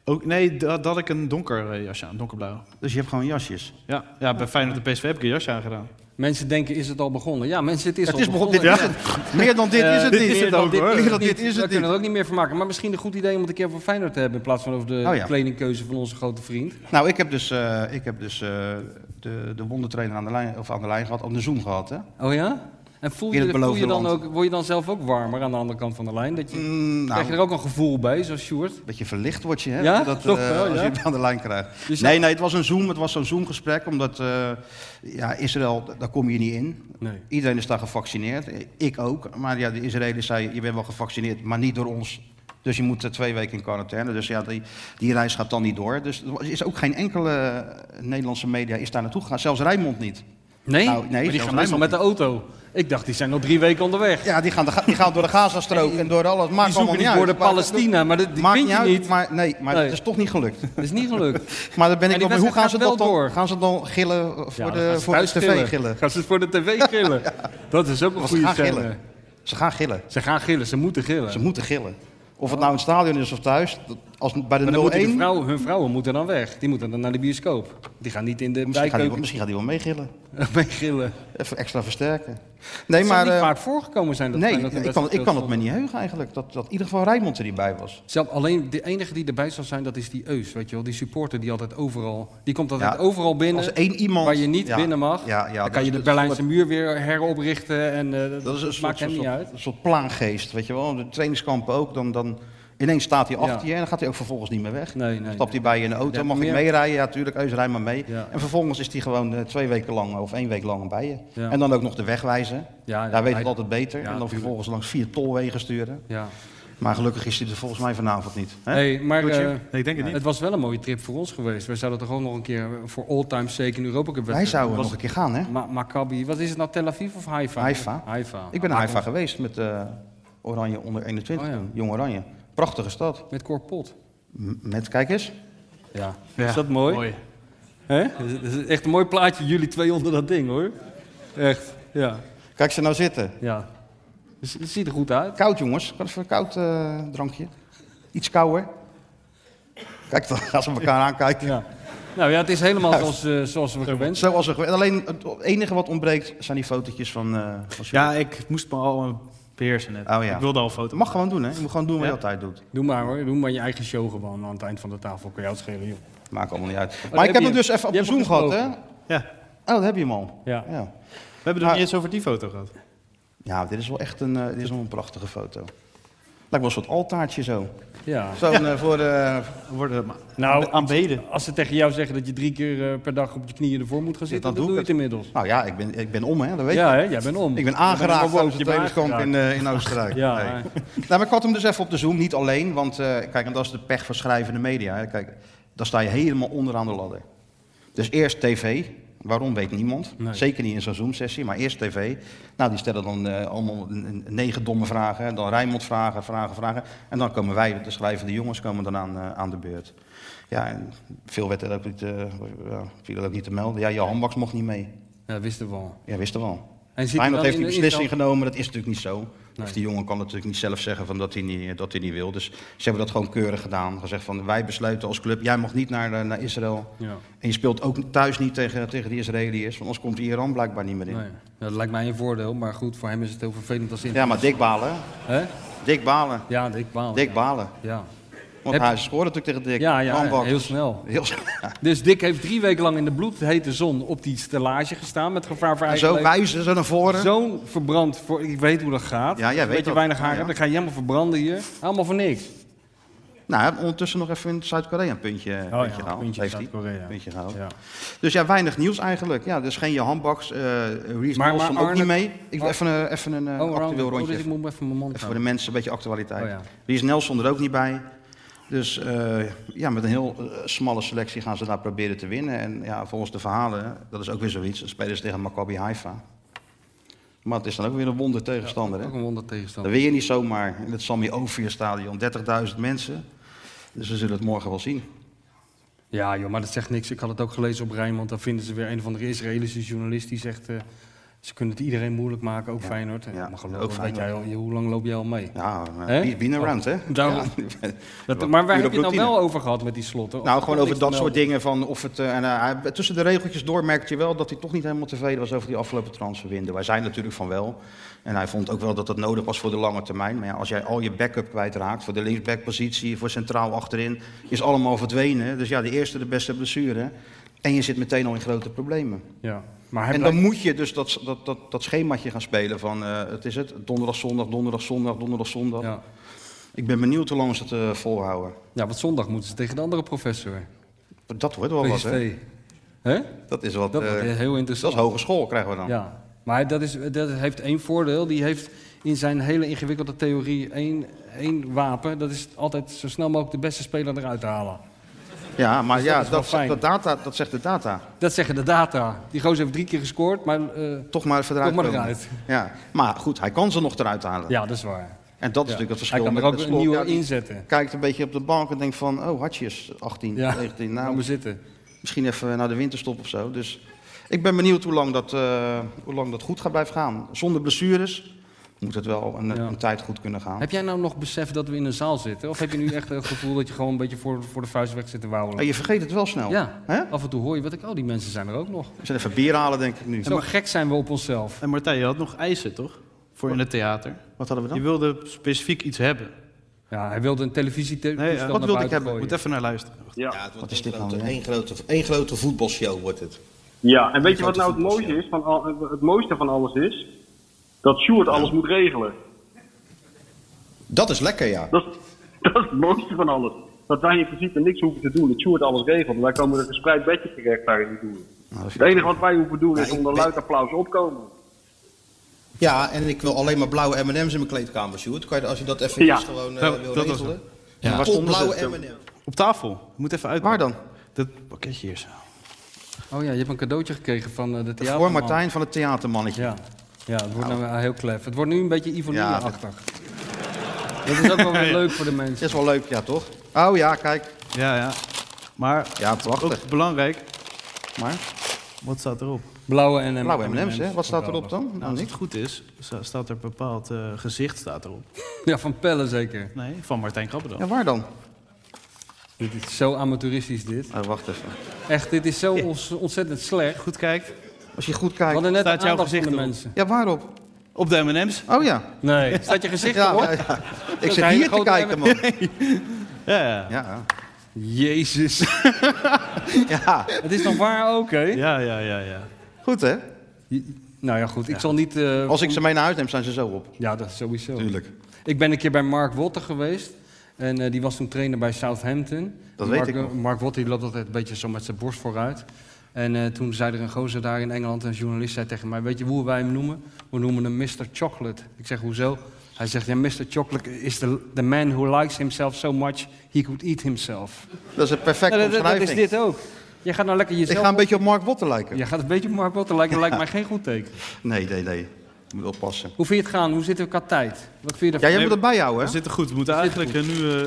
[SPEAKER 10] Ook, nee, dat had ik een donker eh, jasje aan, donkerblauw.
[SPEAKER 8] Dus je hebt gewoon jasjes.
[SPEAKER 10] Ja, ja bij Feyenoord en PSV heb ik een jasje aangedaan.
[SPEAKER 9] Mensen denken, is het al begonnen? Ja, mensen, het is
[SPEAKER 8] Het
[SPEAKER 9] al
[SPEAKER 8] is begonnen.
[SPEAKER 9] begonnen.
[SPEAKER 8] Dit is het. Meer dan dit
[SPEAKER 10] Eh,
[SPEAKER 8] is het
[SPEAKER 10] dit
[SPEAKER 8] niet.
[SPEAKER 10] is het
[SPEAKER 8] Meer dan
[SPEAKER 10] ook,
[SPEAKER 8] dit
[SPEAKER 10] hoor.
[SPEAKER 8] Meer dan
[SPEAKER 9] Niet,
[SPEAKER 8] dit is
[SPEAKER 9] we
[SPEAKER 8] het
[SPEAKER 9] kunnen
[SPEAKER 8] niet.
[SPEAKER 9] er ook niet meer van maken. Maar misschien een goed idee om het een keer voor Feyenoord te hebben... in plaats van over de
[SPEAKER 8] Oh ja.
[SPEAKER 9] kledingkeuze van onze grote vriend.
[SPEAKER 8] Nou, ik heb dus, eh, ik heb dus eh, de, de wondertrainer aan de, lijn, of aan de lijn gehad, aan de Zoom gehad, hè?
[SPEAKER 9] Oh ja? En voel
[SPEAKER 8] In
[SPEAKER 9] je,
[SPEAKER 8] het
[SPEAKER 9] voel je
[SPEAKER 8] beloofde
[SPEAKER 9] dan
[SPEAKER 8] land.
[SPEAKER 9] ook, word je dan zelf ook warmer aan de andere kant van de lijn? Dat je,
[SPEAKER 8] Mm, nou,
[SPEAKER 9] krijg je er ook een gevoel bij, zoals Sjoerd?
[SPEAKER 8] een beetje verlicht word je, hè?
[SPEAKER 9] Ja?
[SPEAKER 8] dat,
[SPEAKER 9] Toch
[SPEAKER 8] eh,
[SPEAKER 9] wel,
[SPEAKER 8] als
[SPEAKER 9] ja.
[SPEAKER 8] je het aan de lijn krijgt.
[SPEAKER 9] Dus
[SPEAKER 8] nee, nou, nee, het was een Zoom. Het was zo'n Zoom-gesprek, omdat eh, ja, Israël, d- daar kom je niet in.
[SPEAKER 9] Nee.
[SPEAKER 8] Iedereen is daar gevaccineerd. eh, Ik ook. Maar ja, de Israëli's zeiden, je bent wel gevaccineerd, maar niet door ons. Dus je moet eh, twee weken in quarantaine. Dus ja, die, die reis gaat dan niet door. Dus er is ook geen enkele eh, Nederlandse media is daar naartoe gegaan. Zelfs Rijnmond niet.
[SPEAKER 9] Nee?
[SPEAKER 8] Nou, nee,
[SPEAKER 9] maar die
[SPEAKER 8] zelfs
[SPEAKER 9] gaan meestal
[SPEAKER 8] helemaal
[SPEAKER 9] met de auto. Ik dacht, die zijn al drie weken onderweg.
[SPEAKER 8] Ja, die gaan, de, ga- die gaan door de Gazastrook en door alles. Oh, Maakt
[SPEAKER 9] die zoeken
[SPEAKER 8] allemaal niet
[SPEAKER 9] niet
[SPEAKER 8] uit.
[SPEAKER 9] voor de
[SPEAKER 8] Maar-
[SPEAKER 9] Palestina, maar dat, die
[SPEAKER 8] Maakt
[SPEAKER 9] vind
[SPEAKER 8] niet
[SPEAKER 9] je
[SPEAKER 8] uit,
[SPEAKER 9] niet.
[SPEAKER 8] maar nee, maar
[SPEAKER 9] Nee.
[SPEAKER 8] het is toch niet gelukt.
[SPEAKER 9] Dat is niet gelukt.
[SPEAKER 8] Maar dan ben
[SPEAKER 9] En
[SPEAKER 8] ik
[SPEAKER 9] die
[SPEAKER 8] wel benieuwd, hoe
[SPEAKER 9] wedstrijd
[SPEAKER 8] gaan ze
[SPEAKER 9] gaat
[SPEAKER 8] dat
[SPEAKER 9] wel
[SPEAKER 8] dan?
[SPEAKER 9] door.
[SPEAKER 8] Gaan ze dan gillen eh, voor
[SPEAKER 9] Ja, dan gaan
[SPEAKER 8] de,
[SPEAKER 9] ze
[SPEAKER 8] voor de
[SPEAKER 9] thuis
[SPEAKER 8] tv gillen?
[SPEAKER 9] Gaan ze voor de tv gillen. Dat is ook een
[SPEAKER 8] Want ze
[SPEAKER 9] goede
[SPEAKER 8] gaan
[SPEAKER 9] scène.
[SPEAKER 8] gillen. Ze gaan gillen.
[SPEAKER 9] Ze gaan gillen, ze moeten gillen.
[SPEAKER 8] Ze moeten gillen. Of het nou in het stadion is of thuis, dat- als bij de
[SPEAKER 9] maar dan moeten
[SPEAKER 8] 0-1,
[SPEAKER 9] die vrouwen, hun vrouwen moeten dan weg. Die moeten dan naar de bioscoop. Die gaan niet in de
[SPEAKER 8] misschien, gaat die, wel-
[SPEAKER 9] bijkeuken
[SPEAKER 8] misschien gaat die wel meegillen.
[SPEAKER 9] mee gillen.
[SPEAKER 8] Even extra versterken. Nee,
[SPEAKER 9] Het
[SPEAKER 8] maar
[SPEAKER 9] zal niet
[SPEAKER 8] eh,
[SPEAKER 9] vaak voorgekomen zijn. Dat
[SPEAKER 8] nee,
[SPEAKER 9] Feyenoord een
[SPEAKER 8] ik kan, ik
[SPEAKER 9] wedstrijd
[SPEAKER 8] kan het me
[SPEAKER 9] speelt
[SPEAKER 8] niet heugen eigenlijk, dat, dat in ieder geval Rijnmond er niet bij was.
[SPEAKER 9] Zelf, alleen de enige die erbij zal zijn, dat is die Eus. Weet je wel? Die supporter die altijd overal. Die komt altijd
[SPEAKER 8] Ja,
[SPEAKER 9] overal binnen.
[SPEAKER 8] als één iemand-
[SPEAKER 9] Waar je niet
[SPEAKER 8] ja,
[SPEAKER 9] binnen mag.
[SPEAKER 8] ja, ja,
[SPEAKER 9] dan
[SPEAKER 8] dat
[SPEAKER 9] kan
[SPEAKER 8] is-
[SPEAKER 9] je de
[SPEAKER 8] dat is-
[SPEAKER 9] Berlijnse muur weer heroprichten. En, eh, dat
[SPEAKER 8] Dat is een soort,
[SPEAKER 9] maakt hem
[SPEAKER 8] soort,
[SPEAKER 9] niet uit.
[SPEAKER 8] soort, soort plaangeest, weet je wel. De trainingskampen ook, dan, dan ineens staat hij achter
[SPEAKER 9] Ja.
[SPEAKER 8] je en dan gaat hij ook vervolgens niet meer weg. Dus
[SPEAKER 9] Nee, nee.
[SPEAKER 8] Stapt hij bij je in de auto,
[SPEAKER 9] Ja,
[SPEAKER 8] mag ik
[SPEAKER 9] meer-
[SPEAKER 8] meerijden? Ja, tuurlijk, Eus, rij maar mee.
[SPEAKER 9] Ja.
[SPEAKER 8] En vervolgens is hij gewoon eh, twee weken lang of één week lang bij je.
[SPEAKER 9] Ja.
[SPEAKER 8] En dan ook nog de weg wijzen.
[SPEAKER 9] Ja, ja,
[SPEAKER 8] Daar weet
[SPEAKER 9] hij-
[SPEAKER 8] het altijd beter.
[SPEAKER 9] Ja,
[SPEAKER 8] en dan
[SPEAKER 9] tuurlijk.
[SPEAKER 8] vervolgens langs vier tolwegen sturen.
[SPEAKER 9] Ja.
[SPEAKER 8] Maar gelukkig is hij er volgens mij vanavond niet. Hè?
[SPEAKER 9] Hey, maar
[SPEAKER 8] Doetje?
[SPEAKER 9] eh,
[SPEAKER 10] Nee, ik denk het niet.
[SPEAKER 9] het was wel een mooie trip voor ons geweest. Wij zouden toch ook nog een keer voor all time zeker in Europa Cup
[SPEAKER 8] Wij
[SPEAKER 9] wedstrijd.
[SPEAKER 8] zouden
[SPEAKER 9] Was
[SPEAKER 8] nog een keer gaan, hè?
[SPEAKER 9] het Ma- Maccabi, wat is het nou, Tel Aviv of Haifa?
[SPEAKER 8] Haifa.
[SPEAKER 9] Haifa.
[SPEAKER 8] Ik ben naar
[SPEAKER 9] Ah,
[SPEAKER 8] Haifa geweest met eh, Oranje onder 21,
[SPEAKER 9] Oh, ja.
[SPEAKER 8] toen, Jong Oranje. Prachtige stad.
[SPEAKER 9] Met Corpot.
[SPEAKER 8] M- met, kijk eens.
[SPEAKER 9] Ja.
[SPEAKER 10] Ja,
[SPEAKER 9] Is dat mooi?
[SPEAKER 10] mooi.
[SPEAKER 9] Hè? Dat is echt een mooi plaatje, jullie twee onder dat ding hoor. Echt, ja.
[SPEAKER 8] Kijk ze nou zitten.
[SPEAKER 9] ja. Dus het ziet er goed uit.
[SPEAKER 8] Koud, jongens. Wat even een koud eh, drankje. Iets kouder. Kijk, dan gaan ze elkaar aankijken.
[SPEAKER 9] Ja. Nou ja, het is helemaal zoals, eh, zoals we gewenst
[SPEAKER 8] Zoals er, gewe- alleen het enige wat ontbreekt zijn die fotootjes van. eh van
[SPEAKER 10] Ja, ik moest me al eh, beheersen net.
[SPEAKER 8] Oh, ja.
[SPEAKER 10] Ik wilde al een
[SPEAKER 8] dat
[SPEAKER 10] foto.
[SPEAKER 8] mag gewoon doen, hè? Je moet gewoon doen wat je
[SPEAKER 10] Ja.
[SPEAKER 8] altijd doet.
[SPEAKER 9] Doe maar hoor, doe maar je eigen show gewoon nou, aan het eind van de tafel. Kan jou het schelen, joh. Oh,
[SPEAKER 8] Maakt allemaal niet uit.
[SPEAKER 9] heb
[SPEAKER 8] Maar ik heb
[SPEAKER 9] je
[SPEAKER 8] hem
[SPEAKER 9] hem.
[SPEAKER 8] dus even op
[SPEAKER 9] Je
[SPEAKER 8] de
[SPEAKER 9] hebt hem
[SPEAKER 8] Zoom gehad, hè?
[SPEAKER 10] Ja,
[SPEAKER 8] Oh, dat heb je hem al.
[SPEAKER 9] Ja.
[SPEAKER 8] Ja,
[SPEAKER 10] we hebben het
[SPEAKER 8] Maar-
[SPEAKER 10] niet eens over die foto gehad.
[SPEAKER 8] Ja, dit is wel echt een, eh, dit is wel een prachtige foto. Lijkt wel een soort altaartje zo.
[SPEAKER 9] Ja.
[SPEAKER 8] Zo'n eh, voor de.
[SPEAKER 10] We worden maar
[SPEAKER 9] Nou,
[SPEAKER 10] aanbeden.
[SPEAKER 9] Als ze tegen jou zeggen dat je drie keer eh, per dag op je knieën ervoor moet gaan zitten,
[SPEAKER 8] dat
[SPEAKER 9] dan
[SPEAKER 8] doe
[SPEAKER 9] doe je
[SPEAKER 8] ik
[SPEAKER 9] het inmiddels.
[SPEAKER 8] Nou ja, ik ben, ik ben om, hè? Dat weet je.
[SPEAKER 9] Ja, hè? jij bent om.
[SPEAKER 8] Ik ben
[SPEAKER 9] Je
[SPEAKER 8] aangeraakt
[SPEAKER 9] bent
[SPEAKER 8] tijdens
[SPEAKER 9] omhoog,
[SPEAKER 8] de
[SPEAKER 9] je bent
[SPEAKER 8] trainingskamp in,
[SPEAKER 9] aangeraakt.
[SPEAKER 8] eh, in Oostenrijk.
[SPEAKER 9] Ja,
[SPEAKER 8] Nee.
[SPEAKER 9] hè.
[SPEAKER 8] Nou, maar ik had hem dus even op de Zoom, niet alleen. Want eh, kijk, en dat is de pech van schrijvende media. Hè. Kijk, dan sta je helemaal onderaan de ladder. Dus eerst tv, Waarom weet niemand. Zeker niet in zo'n Zoom-sessie, maar eerst tv. Nou, die stellen dan eh, allemaal n- n- negen domme vragen. Dan Rijnmond vragen, vragen, vragen. En dan komen wij, de schrijvende jongens, komen dan aan, eh, aan de beurt. Ja, en veel werd er ook niet, eh, ja, viel er ook niet te melden. Ja, Johan Baks mocht niet mee.
[SPEAKER 9] Ja, wisten we al.
[SPEAKER 8] Ja, wisten we al.
[SPEAKER 9] En zit hij
[SPEAKER 8] Feyenoord
[SPEAKER 9] dan
[SPEAKER 8] heeft
[SPEAKER 9] in
[SPEAKER 8] die
[SPEAKER 9] de-
[SPEAKER 8] beslissing
[SPEAKER 9] in de-
[SPEAKER 8] genomen, dat is natuurlijk niet zo. Of
[SPEAKER 9] Nee.
[SPEAKER 8] die jongen kan natuurlijk niet zelf zeggen van dat, hij niet, dat hij niet wil. Dus ze hebben dat gewoon keurig gedaan. Gezegd van wij besluiten als club, jij mag niet naar, eh, naar Israël.
[SPEAKER 9] Ja.
[SPEAKER 8] En je speelt ook thuis niet tegen, tegen die Israëliërs, want anders komt Iran blijkbaar niet meer in.
[SPEAKER 9] Nee. Dat lijkt mij een voordeel, maar goed, voor hem is het heel vervelend als in.
[SPEAKER 8] Ja, maar Dick Balen.
[SPEAKER 9] Hè?
[SPEAKER 8] Dick Balen.
[SPEAKER 9] Ja, Dick Balen.
[SPEAKER 8] Dick Balen.
[SPEAKER 9] Ja.
[SPEAKER 8] Want
[SPEAKER 9] Heb-
[SPEAKER 8] hij scoorde natuurlijk tegen Dick.
[SPEAKER 9] Ja, ja,
[SPEAKER 8] Handbak.
[SPEAKER 9] heel snel.
[SPEAKER 8] Heel snel.
[SPEAKER 9] Dus Dick heeft drie weken lang in de bloedhete zon op die stellage gestaan met gevaar voor
[SPEAKER 8] En
[SPEAKER 9] eigen
[SPEAKER 8] zo
[SPEAKER 9] leven.
[SPEAKER 8] wijzen ze naar voren.
[SPEAKER 9] Zo'n verbrand, voor, ik weet hoe dat gaat.
[SPEAKER 8] Ja, jij
[SPEAKER 9] Een
[SPEAKER 8] weet
[SPEAKER 9] beetje
[SPEAKER 8] dat.
[SPEAKER 9] weinig
[SPEAKER 8] Ja,
[SPEAKER 9] haar
[SPEAKER 8] ja.
[SPEAKER 9] hebben, dan ga je helemaal verbranden hier. Allemaal voor niks.
[SPEAKER 8] Nou, ondertussen nog even in Zuid-Korea een puntje,
[SPEAKER 9] Oh ja,
[SPEAKER 8] puntje gehaald.
[SPEAKER 9] puntje
[SPEAKER 8] heeft hij.
[SPEAKER 9] Zuid-Korea.
[SPEAKER 8] Puntje gehaald.
[SPEAKER 9] Ja.
[SPEAKER 8] Dus ja, weinig nieuws eigenlijk. Ja, dus geen Johan Baks, eh Reece
[SPEAKER 9] Maar-
[SPEAKER 8] Nelson
[SPEAKER 9] maar
[SPEAKER 8] ook niet
[SPEAKER 9] Arne-
[SPEAKER 8] mee. Ik doe
[SPEAKER 9] Ar-
[SPEAKER 8] even, een- even een eh,
[SPEAKER 9] oh,
[SPEAKER 8] actueel
[SPEAKER 9] Arne- oh,
[SPEAKER 8] rondje.
[SPEAKER 9] dus ik moet even mijn mond
[SPEAKER 8] Even voor de
[SPEAKER 9] houden.
[SPEAKER 8] mensen een beetje actualiteit.
[SPEAKER 9] Oh, ja.
[SPEAKER 8] Reece Nelson er ook niet bij. Dus eh, ja, met een heel eh, smalle selectie gaan ze daar proberen te winnen. En ja, volgens de verhalen, dat is ook weer zoiets, dan spelen ze tegen Maccabi Haifa. Maar het is dan ook weer een wonder tegenstander, hè?
[SPEAKER 9] Ook een wonder
[SPEAKER 8] Dat
[SPEAKER 9] tegenstander.
[SPEAKER 8] wil je niet zomaar in het Sammy Ovier stadion. 30.000 mensen. Dus we zullen het morgen wel zien.
[SPEAKER 9] Ja, joh, maar dat zegt niks. Ik had het ook gelezen op Rijnmond. Daar vinden ze weer een van de Israëlische journalist die zegt... eh, ze kunnen het iedereen moeilijk maken, ook Feyenoord. Ja, maar geloof,
[SPEAKER 8] ook
[SPEAKER 9] ook weet
[SPEAKER 8] Feyenoord.
[SPEAKER 9] jij al, je- hoe lang loop jij al mee?
[SPEAKER 8] Ja,
[SPEAKER 9] Hè?
[SPEAKER 8] eh, been around, hè?
[SPEAKER 9] Daarom.
[SPEAKER 8] Ja.
[SPEAKER 9] Dat, maar waar heb je het nou
[SPEAKER 8] European
[SPEAKER 9] wel over gehad met die slotten?
[SPEAKER 8] Nou, gewoon over dat soort dingen. Van of het, eh, en, eh, hij- tussen de regeltjes door merkte je wel dat hij toch niet helemaal tevreden was over die afgelopen transferwindow. Wij zijn natuurlijk van wel. En hij vond ook wel dat dat nodig was voor de lange termijn. Maar ja, als jij al je backup kwijtraakt, voor de linksbackpositie, voor centraal achterin, is allemaal verdwenen. Dus ja, de eerste, de beste blessure. En je zit meteen al in grote problemen.
[SPEAKER 9] Ja, maar hij
[SPEAKER 8] en
[SPEAKER 9] blijft-
[SPEAKER 8] dan moet je dus dat, dat, dat, dat schemaatje gaan spelen van, eh, het is het, donderdag, zondag, donderdag, zondag, donderdag, zondag.
[SPEAKER 9] Ja.
[SPEAKER 8] Ik ben benieuwd hoe lang ze het eh, volhouden.
[SPEAKER 9] Ja, want zondag moeten ze tegen de andere professor.
[SPEAKER 8] Dat wordt wel wat, hè?
[SPEAKER 9] PSV. Hè?
[SPEAKER 8] Dat is wat...
[SPEAKER 9] Dat
[SPEAKER 8] eh,
[SPEAKER 9] wordt heel interessant.
[SPEAKER 8] Dat is hogeschool krijgen we dan.
[SPEAKER 9] Ja, maar dat, is, dat heeft één voordeel. Die heeft in zijn hele ingewikkelde theorie één, één wapen. Dat is altijd zo snel mogelijk de beste speler eruit te halen.
[SPEAKER 8] Ja, maar
[SPEAKER 9] Dus dat
[SPEAKER 8] ja,
[SPEAKER 9] is
[SPEAKER 8] dat,
[SPEAKER 9] wel
[SPEAKER 8] zegt-
[SPEAKER 9] fijn.
[SPEAKER 8] dat, data, dat zegt de data.
[SPEAKER 9] Dat zeggen de data. Die gozer heeft drie keer gescoord, maar... eh,
[SPEAKER 8] Toch maar even eruit
[SPEAKER 9] Toch maar
[SPEAKER 8] komen.
[SPEAKER 9] eruit.
[SPEAKER 8] Ja. Maar goed, hij kan ze nog eruit halen.
[SPEAKER 9] ja, dat is waar.
[SPEAKER 8] En dat is
[SPEAKER 9] Ja.
[SPEAKER 8] natuurlijk het verschil.
[SPEAKER 9] Hij kan
[SPEAKER 8] met
[SPEAKER 9] er ook
[SPEAKER 8] het
[SPEAKER 9] een
[SPEAKER 8] slot.
[SPEAKER 9] nieuwe
[SPEAKER 8] Ja, die
[SPEAKER 9] inzetten.
[SPEAKER 8] Kijkt een beetje op de bank en denkt van, oh, hartjes, 18,
[SPEAKER 9] Ja,
[SPEAKER 8] 19.
[SPEAKER 9] Laat
[SPEAKER 8] Nou,
[SPEAKER 9] maar zitten.
[SPEAKER 8] misschien even naar de winterstop of zo. Dus ik ben benieuwd hoe lang dat, eh, hoe lang dat goed gaat blijven gaan. Zonder blessures moet het wel een, een tijd goed kunnen gaan.
[SPEAKER 9] Heb jij nou nog besef dat we in een zaal zitten? Of heb je nu echt het gevoel dat je gewoon een beetje voor, voor de vuist weg zit te
[SPEAKER 8] Oh,
[SPEAKER 9] wauwelen?
[SPEAKER 8] je vergeet het wel snel.
[SPEAKER 9] Ja,
[SPEAKER 8] Hè?
[SPEAKER 9] af en toe hoor je wat ik... Oh, die mensen zijn er ook nog.
[SPEAKER 8] We zullen even bier halen, denk ik nu.
[SPEAKER 9] Zo gek zijn we op onszelf.
[SPEAKER 10] En Martijn, je had nog eisen, toch? Voor in het theater.
[SPEAKER 8] Wat hadden we
[SPEAKER 10] Je
[SPEAKER 8] dan?
[SPEAKER 10] wilde specifiek iets hebben.
[SPEAKER 9] Ja, hij wilde een televisietoestel
[SPEAKER 10] Nee, eh,
[SPEAKER 9] naar
[SPEAKER 10] wat wilde ik
[SPEAKER 9] buiten
[SPEAKER 10] hebben?
[SPEAKER 9] gooien.
[SPEAKER 10] Moet even naar luisteren.
[SPEAKER 11] Ja.
[SPEAKER 8] Wat is dit nou? Eén grote, één grote voetbalshow wordt het.
[SPEAKER 11] ja, en weet je wat
[SPEAKER 8] grote
[SPEAKER 11] nou het mooiste is? Van al, het mooiste van alles is dat Sjoerd alles moet regelen.
[SPEAKER 8] Dat is lekker, ja.
[SPEAKER 11] Dat, dat is het mooiste van alles. Dat wij in principe niks hoeven te doen. Dat Sjoerd alles regelt. Wij komen er een gespreid bedje terecht daar in die
[SPEAKER 8] Nou,
[SPEAKER 11] doelen. Het enige wat wij hoeven doen is onder luid applaus opkomen.
[SPEAKER 8] Ja, en ik wil alleen maar blauwe M&M's in mijn kleedkamer, Sjoerd. Kan je, als je dat even
[SPEAKER 11] Ja.
[SPEAKER 8] gewoon eh,
[SPEAKER 10] Nou,
[SPEAKER 8] wil
[SPEAKER 10] dat was
[SPEAKER 8] regelen.
[SPEAKER 10] Ja. Waar
[SPEAKER 8] Top
[SPEAKER 10] stonden ze?
[SPEAKER 8] blauwe M&M's.
[SPEAKER 10] Op tafel. Moet even uit.
[SPEAKER 8] Waar dan?
[SPEAKER 10] Dat pakketje hier zo.
[SPEAKER 9] Oh ja, je hebt een cadeautje gekregen van eh, de theater.
[SPEAKER 8] Voor Martijn van het theatermannetje.
[SPEAKER 9] Ja, ja het wordt nou eh, heel klef. Het wordt nu een beetje Ivonie-achtig. dat... is ook wel weer leuk voor de
[SPEAKER 8] Dat
[SPEAKER 9] mensen.
[SPEAKER 8] is wel leuk, ja toch? Oh ja, kijk.
[SPEAKER 10] Ja, ja. Maar
[SPEAKER 8] Ja, prachtig.
[SPEAKER 10] ook belangrijk,
[SPEAKER 8] Maar
[SPEAKER 10] wat staat erop?
[SPEAKER 9] Blauwe en
[SPEAKER 8] blauwe M&M's, hè? Wat staat erop dan?
[SPEAKER 10] Nou,
[SPEAKER 8] Nou,
[SPEAKER 10] als het
[SPEAKER 8] niks.
[SPEAKER 10] goed is, sta- staat er bepaald eh, gezicht staat erop.
[SPEAKER 9] Ja, van Pelle zeker.
[SPEAKER 10] Nee, van Martijn Krabbedal.
[SPEAKER 8] Ja, waar dan?
[SPEAKER 9] Dit is zo amateuristisch dit.
[SPEAKER 8] Oh, wacht even.
[SPEAKER 9] Echt, dit is zo ons- ontzettend slecht.
[SPEAKER 10] Goed kijkt.
[SPEAKER 8] Als je goed
[SPEAKER 9] We
[SPEAKER 8] kijkt.
[SPEAKER 9] hadden net
[SPEAKER 10] Staat
[SPEAKER 9] een
[SPEAKER 10] jouw
[SPEAKER 9] aandacht
[SPEAKER 10] gezicht
[SPEAKER 9] van de
[SPEAKER 10] erop?
[SPEAKER 9] mensen.
[SPEAKER 8] Ja, waarop?
[SPEAKER 10] Op de M&M's.
[SPEAKER 8] Oh ja.
[SPEAKER 9] Nee, staat je gezicht
[SPEAKER 8] Ja,
[SPEAKER 9] erop?
[SPEAKER 8] ja, ja. Ik
[SPEAKER 9] is
[SPEAKER 8] zit
[SPEAKER 9] een
[SPEAKER 8] hier te
[SPEAKER 9] grote M&M.
[SPEAKER 8] kijken, man.
[SPEAKER 10] Ja, ja.
[SPEAKER 8] Ja,
[SPEAKER 9] Jezus.
[SPEAKER 8] ja.
[SPEAKER 9] Het is nog waar ook, hè?
[SPEAKER 10] Ja, ja, ja, ja.
[SPEAKER 8] Goed, hè?
[SPEAKER 9] Je- Nou ja, goed. Ik zal niet... eh,
[SPEAKER 8] Als ik ze mee naar huis neem, zijn ze zo op.
[SPEAKER 9] Ja, dat sowieso.
[SPEAKER 8] Tuurlijk.
[SPEAKER 9] Ik ben een keer bij Mark Wotter geweest. En eh, die was toen trainer bij Southampton.
[SPEAKER 8] Dat
[SPEAKER 9] Mark, eh,
[SPEAKER 8] weet ik nog.
[SPEAKER 9] Mark Wotter die loopt altijd een beetje zo met zijn borst vooruit. En eh, toen zei er een gozer daar in Engeland, een journalist, zei tegen mij... Weet je hoe wij hem noemen? We noemen hem Mr. Chocolate. Ik zeg, hoezo? Hij zegt, ja, Mr. Chocolate is the, the man who likes himself so much... he could eat himself.
[SPEAKER 8] Dat is een perfecte
[SPEAKER 9] Nou, dat, dat- dat
[SPEAKER 8] omschrijving.
[SPEAKER 9] is dit ook. Jij gaat nou lekker jezelf...
[SPEAKER 8] Ik ga een
[SPEAKER 9] op-
[SPEAKER 8] beetje op Mark Botten lijken.
[SPEAKER 9] Jij gaat een beetje op Mark Botten lijken, dat lijkt mij geen goed teken.
[SPEAKER 8] Nee, nee, nee. Ik moet oppassen.
[SPEAKER 9] Hoe vind je het gaan? Hoe zit het qua tijd? Wat vind je
[SPEAKER 8] Ja,
[SPEAKER 9] daarvan?
[SPEAKER 8] jij moet het bijhouden,
[SPEAKER 10] We
[SPEAKER 8] hè?
[SPEAKER 10] zitten goed. We moeten eigenlijk eh, nu eh,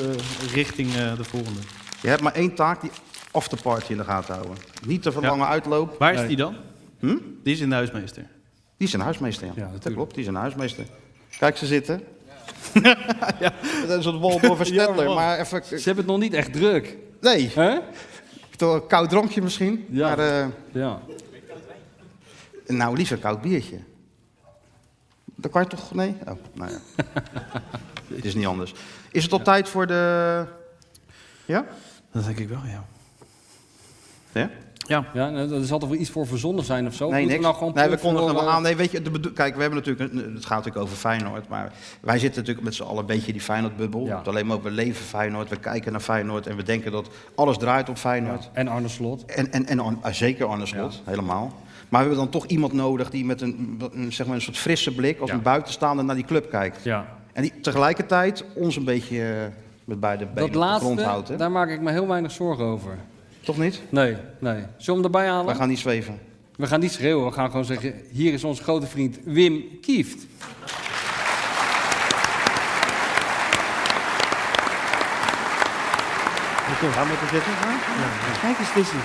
[SPEAKER 10] richting eh, de volgende.
[SPEAKER 8] Je hebt maar één taak, die afterparty in de gaten houden. Niet te verlangen uitloop.
[SPEAKER 10] Waar is
[SPEAKER 8] Nee.
[SPEAKER 10] die dan?
[SPEAKER 8] Hm?
[SPEAKER 10] Die is in de huismeester.
[SPEAKER 8] Die is een huismeester, ja. dat klopt, die is een huismeester. Kijk, ze zitten. Dat is een Waldorf en Stettler, maar even... Ze
[SPEAKER 9] hebben het nog niet echt druk.
[SPEAKER 8] Nee.
[SPEAKER 9] Hè?
[SPEAKER 8] Toch een koud drankje misschien?
[SPEAKER 9] Ja.
[SPEAKER 8] Maar, eh,
[SPEAKER 9] Ja.
[SPEAKER 8] nou, liever koud biertje. Dat kan je toch... Nee? Oh, nou ja. het is niet anders. Is het op tijd voor de... Ja?
[SPEAKER 10] Dat denk ik wel, ja.
[SPEAKER 8] Ja?
[SPEAKER 10] Ja.
[SPEAKER 9] ja nou, dat zal toch wel iets voor verzonnen zijn of zo?
[SPEAKER 8] Nee,
[SPEAKER 9] Moeten we nou
[SPEAKER 8] niks.
[SPEAKER 9] gewoon
[SPEAKER 8] nee, we
[SPEAKER 9] puur
[SPEAKER 8] kondigen
[SPEAKER 9] voor,
[SPEAKER 8] wel
[SPEAKER 9] eh,
[SPEAKER 8] aan. Nee, weet je, de bedo- kijk, we hebben natuurlijk, een- het gaat natuurlijk over Feyenoord, maar wij zitten natuurlijk met z'n allen een beetje in die Feyenoord-bubbel.
[SPEAKER 9] Ja.
[SPEAKER 8] Want Alleen maar we leven Feyenoord, we kijken naar Feyenoord en we denken dat alles draait om Feyenoord.
[SPEAKER 9] En Arne Slot.
[SPEAKER 8] En, en, en Arne- ah, zeker Arne Slot, helemaal. Maar we hebben dan toch iemand nodig die met een, een, zeg maar een soort frisse blik, als een buitenstaander, naar die club kijkt.
[SPEAKER 9] Ja.
[SPEAKER 8] En die tegelijkertijd ons een beetje eh, met beide benen
[SPEAKER 9] Dat
[SPEAKER 8] op de grond houdt.
[SPEAKER 9] laatste,
[SPEAKER 8] hè?
[SPEAKER 9] daar maak ik me heel weinig zorgen over.
[SPEAKER 8] Toch niet?
[SPEAKER 9] Nee, nee. Zullen we hem erbij halen?
[SPEAKER 8] We gaan niet zweven.
[SPEAKER 9] We gaan niet schreeuwen, we gaan gewoon zeggen... hier is onze grote vriend Wim Kieft.
[SPEAKER 12] Gaan we zitten? Kijk eens, Dizzy.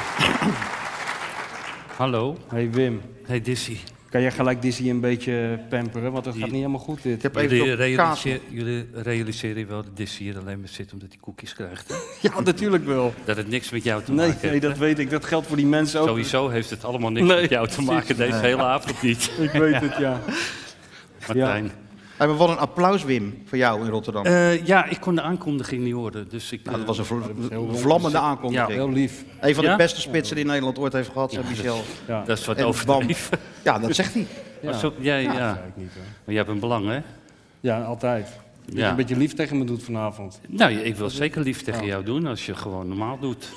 [SPEAKER 12] Hallo.
[SPEAKER 9] Hey Wim.
[SPEAKER 12] Hey Dizzy.
[SPEAKER 9] Kan jij gelijk Dizzy een beetje pamperen? Want dat gaat niet helemaal goed dit.
[SPEAKER 12] jullie, realiseer, jullie realiseren wel dat Dizzy hier alleen maar zit omdat hij koekjes krijgt. hè?
[SPEAKER 9] Ja, natuurlijk wel.
[SPEAKER 12] Dat het niks met jou te
[SPEAKER 9] Nee,
[SPEAKER 12] maken
[SPEAKER 9] nee,
[SPEAKER 12] heeft.
[SPEAKER 9] dat weet ik. Dat geldt voor die mensen ook.
[SPEAKER 12] Sowieso heeft het allemaal niks
[SPEAKER 9] Nee,
[SPEAKER 12] met jou te
[SPEAKER 9] precies.
[SPEAKER 12] maken deze
[SPEAKER 9] Nee.
[SPEAKER 12] hele avond niet.
[SPEAKER 9] Ik weet het, ja.
[SPEAKER 12] Martijn.
[SPEAKER 8] Hey, maar wat een applaus, Wim, voor jou in Rotterdam.
[SPEAKER 12] Eh, ja, ik kon de aankondiging niet horen. Dus ik,
[SPEAKER 8] Nou, dat was een vl-
[SPEAKER 12] eh,
[SPEAKER 8] vlammende aankondiging.
[SPEAKER 12] Ja,
[SPEAKER 8] heel
[SPEAKER 9] lief.
[SPEAKER 8] Een van de
[SPEAKER 12] Ja?
[SPEAKER 8] beste spitsen die Nederland ooit heeft gehad, zei
[SPEAKER 12] Ja,
[SPEAKER 8] Michel.
[SPEAKER 12] dat- ja. dat is wat
[SPEAKER 8] En bam.
[SPEAKER 12] overdreven.
[SPEAKER 8] Ja, dat zegt hij.
[SPEAKER 12] Maar zo- jij, ja.
[SPEAKER 9] dat zei ik niet, hoor.
[SPEAKER 12] Maar jij hebt een belang, hè?
[SPEAKER 9] Ja, altijd. Dat je
[SPEAKER 12] Ja.
[SPEAKER 9] een beetje lief tegen me doet vanavond.
[SPEAKER 12] Nou, ik
[SPEAKER 9] Oh.
[SPEAKER 12] wil zeker lief tegen jou doen als je gewoon normaal doet.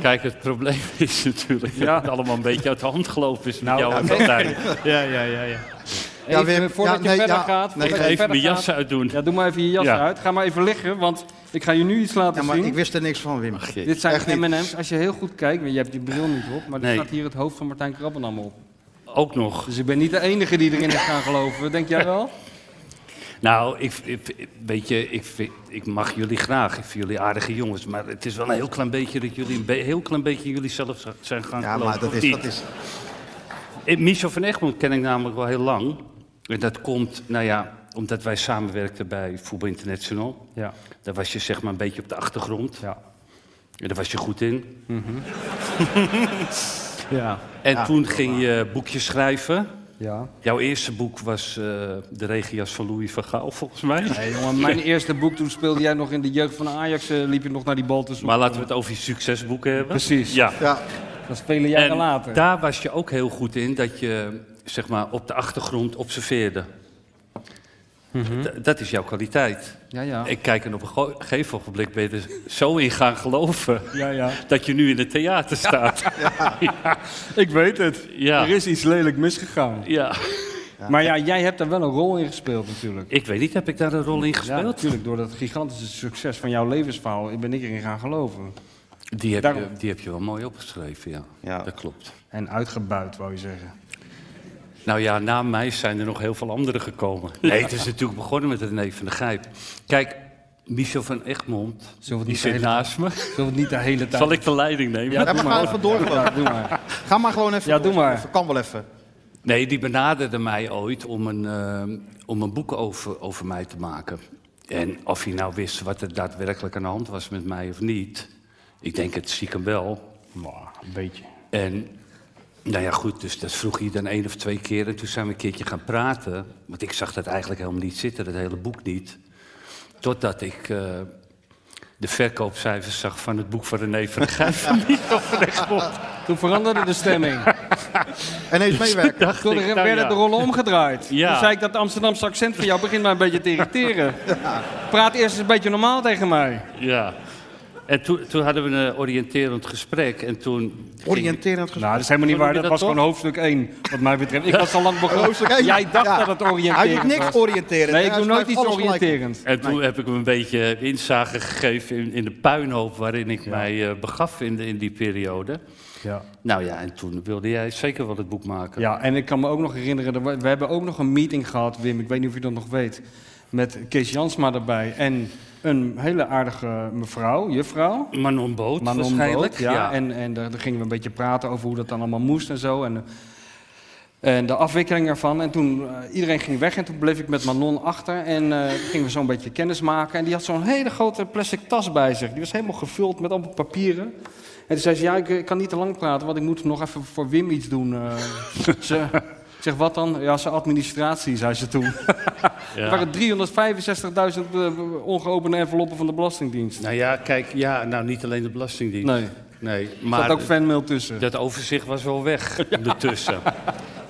[SPEAKER 12] Kijk, het probleem is natuurlijk dat het allemaal een beetje uit de hand gelopen is met jou en
[SPEAKER 9] Nou, ja.
[SPEAKER 12] Martijn.
[SPEAKER 10] Nou, Ja, ja, ja, ja.
[SPEAKER 9] Even,
[SPEAKER 12] Wim,
[SPEAKER 9] voordat
[SPEAKER 12] ja,
[SPEAKER 9] je
[SPEAKER 12] nee,
[SPEAKER 9] verder
[SPEAKER 12] ja,
[SPEAKER 9] gaat...
[SPEAKER 12] nee,
[SPEAKER 9] voordat je
[SPEAKER 12] ik even
[SPEAKER 9] verder
[SPEAKER 12] mijn
[SPEAKER 9] gaat-
[SPEAKER 12] jas uitdoen.
[SPEAKER 9] Ja, doe maar even je jas
[SPEAKER 12] Ja.
[SPEAKER 9] uit. Ga maar even liggen, want ik ga je nu iets laten
[SPEAKER 8] Ja, maar
[SPEAKER 9] zien.
[SPEAKER 8] ik wist er niks van, Wim.
[SPEAKER 9] Dit zijn
[SPEAKER 8] Echt niet.
[SPEAKER 9] M&M's. Als je heel goed kijkt, want je hebt die bril niet op, maar er
[SPEAKER 12] Nee.
[SPEAKER 9] staat hier het hoofd van Martijn Krabbenam op.
[SPEAKER 12] Ook nog.
[SPEAKER 9] Dus ik ben niet de enige die erin is gaan geloven. Denk jij wel?
[SPEAKER 12] Nou, ik, ik- ik- weet je, ik, vind- ik mag jullie graag. Ik vind jullie aardige jongens. Maar het is wel een heel klein beetje dat jullie een be- heel klein beetje jullie zelf z- zijn gaan
[SPEAKER 8] Ja,
[SPEAKER 12] geloven,
[SPEAKER 8] maar dat
[SPEAKER 12] of
[SPEAKER 8] is,
[SPEAKER 12] niet?
[SPEAKER 8] dat is...
[SPEAKER 12] Eh, Michel van Egmond ken ik namelijk wel heel lang. En dat komt, nou ja, omdat wij samenwerkten bij Voetbal International.
[SPEAKER 9] Ja.
[SPEAKER 12] Daar was je zeg maar een beetje op de achtergrond.
[SPEAKER 9] Ja. Mhm.
[SPEAKER 12] En daar was je goed in.
[SPEAKER 9] Ja.
[SPEAKER 12] En
[SPEAKER 9] Ja.
[SPEAKER 12] toen ging je boekjes schrijven.
[SPEAKER 9] Ja.
[SPEAKER 12] Jouw eerste boek was eh, De regenjas van Louis van Gaal, volgens mij.
[SPEAKER 9] Nee, jongen, mijn eerste boek, toen speelde jij nog in de jeugd van Ajax, eh, liep je nog naar die bal te zoeken.
[SPEAKER 12] Maar laten we het over je succesboeken hebben.
[SPEAKER 9] Precies.
[SPEAKER 12] Ja.
[SPEAKER 9] Dat spelen jaren
[SPEAKER 12] en
[SPEAKER 9] later.
[SPEAKER 12] daar was je ook heel goed in, dat je zeg maar, op de achtergrond observeerde. D- dat is jouw kwaliteit.
[SPEAKER 9] Mhm. Ja, ja.
[SPEAKER 12] Ik kijk en op een go- gegeven ogenblik ben je er zo in gaan geloven...
[SPEAKER 9] Ja, ja.
[SPEAKER 12] dat je nu in het theater staat.
[SPEAKER 9] Ik weet het.
[SPEAKER 12] Ja.
[SPEAKER 9] Er is iets lelijk misgegaan.
[SPEAKER 12] Ja.
[SPEAKER 9] Maar ja, jij hebt daar wel een rol in gespeeld natuurlijk.
[SPEAKER 12] Ik weet niet, heb ik daar een rol in gespeeld?
[SPEAKER 9] Ja, natuurlijk. Door dat gigantische succes van jouw levensverhaal ben ik erin gaan geloven.
[SPEAKER 12] Die heb,
[SPEAKER 9] Daarom-
[SPEAKER 12] je, die heb je wel mooi opgeschreven, ja.
[SPEAKER 8] ja.
[SPEAKER 12] Dat klopt.
[SPEAKER 9] En uitgebuit, wou je zeggen.
[SPEAKER 12] Nou ja, na mij zijn er nog heel veel anderen gekomen. Nee, het is natuurlijk begonnen met René van de Gijp. Kijk, Michel van Egmond,
[SPEAKER 9] Zullen we
[SPEAKER 12] die
[SPEAKER 9] het niet
[SPEAKER 12] zit
[SPEAKER 9] de hele-
[SPEAKER 12] naast me.
[SPEAKER 9] Zullen we het niet de hele tijd...
[SPEAKER 12] Zal ik de leiding nemen?
[SPEAKER 9] Ja,
[SPEAKER 8] Ja,
[SPEAKER 9] doe
[SPEAKER 8] maar
[SPEAKER 9] maar.
[SPEAKER 8] ga even door.
[SPEAKER 9] Ja, doe maar.
[SPEAKER 8] Ga maar gewoon even
[SPEAKER 9] Ja, doe
[SPEAKER 8] door.
[SPEAKER 9] maar.
[SPEAKER 8] Kan wel even.
[SPEAKER 12] Nee, die benaderde mij ooit om een, eh, om een boek over, over mij te maken. En of hij nou wist wat er daadwerkelijk aan de hand was met mij of niet. Ik denk het stiekem wel.
[SPEAKER 9] Nou, een beetje.
[SPEAKER 12] En nou ja, goed, dus dat vroeg hij dan één of twee keer. En toen zijn we een keertje gaan praten. Want ik zag dat eigenlijk helemaal niet zitten, dat hele boek niet. Totdat ik eh, de verkoopcijfers zag van het boek van René van der Gijp.
[SPEAKER 9] Toen veranderde de stemming.
[SPEAKER 8] En eens meewerken.
[SPEAKER 12] Dacht
[SPEAKER 9] Toen
[SPEAKER 12] ik,
[SPEAKER 9] er-
[SPEAKER 12] nou
[SPEAKER 9] werden
[SPEAKER 12] ja.
[SPEAKER 9] de rollen omgedraaid.
[SPEAKER 12] Ja.
[SPEAKER 9] Toen zei ik dat Amsterdamse accent van jou begint mij een beetje te irriteren. Praat eerst eens een beetje normaal tegen mij.
[SPEAKER 12] Ja. En toen, toen hadden we een eh, oriënterend gesprek. En toen
[SPEAKER 8] Oriënterend gesprek?
[SPEAKER 9] Nou, dat is helemaal niet
[SPEAKER 12] Zo noem
[SPEAKER 9] waar.
[SPEAKER 12] je
[SPEAKER 9] Dat, was
[SPEAKER 12] toch?
[SPEAKER 9] gewoon hoofdstuk 1, wat mij betreft. Ik was al lang begonnen.
[SPEAKER 12] Hoofdstuk één?
[SPEAKER 9] Jij dacht
[SPEAKER 12] Ja.
[SPEAKER 9] dat het oriënterend was.
[SPEAKER 12] Hij doet niks
[SPEAKER 8] oriënterend,
[SPEAKER 9] Nee, ik
[SPEAKER 8] hè?
[SPEAKER 9] doe
[SPEAKER 8] Hij
[SPEAKER 9] nooit
[SPEAKER 8] schrijft
[SPEAKER 9] iets
[SPEAKER 8] alles gelijk op.
[SPEAKER 9] oriënterend.
[SPEAKER 12] En toen heb ik hem een beetje inzage gegeven in, in de puinhoop waarin ik mij eh, begaf in, de- in die periode.
[SPEAKER 9] Ja.
[SPEAKER 12] Nou ja, en toen wilde jij zeker wel het boek maken.
[SPEAKER 9] Ja, en ik kan me ook nog herinneren, er wa- we hebben ook nog een meeting gehad, Wim, ik weet niet of je dat nog weet, met Kees Jansma erbij en een hele aardige mevrouw, juffrouw.
[SPEAKER 12] Manon Boot
[SPEAKER 9] Manon
[SPEAKER 12] waarschijnlijk,
[SPEAKER 9] Boot, ja.
[SPEAKER 12] ja.
[SPEAKER 9] En, en daar, daar gingen we een beetje praten over hoe dat dan allemaal moest en zo. En, en de afwikkeling ervan. En toen eh, iedereen ging weg en toen bleef ik met Manon achter. En eh, gingen we zo'n beetje kennis maken. En die had zo'n hele grote plastic tas bij zich. Die was helemaal gevuld met allemaal papieren. En toen zei ze, ja, ik, eh, kan niet te lang praten, want ik moet nog even voor Wim iets doen. eh. ze, ik zeg, wat dan? Ja, zijn administratie, zei ze toen.
[SPEAKER 12] Ja.
[SPEAKER 9] Er waren 365.000 eh, ongeopende enveloppen van de Belastingdienst.
[SPEAKER 12] Nou ja, kijk, ja, nou niet alleen de Belastingdienst.
[SPEAKER 9] Nee.
[SPEAKER 12] nee
[SPEAKER 9] Er
[SPEAKER 12] maar
[SPEAKER 9] zat ook fanmail tussen.
[SPEAKER 12] Dat overzicht was wel weg ertussen.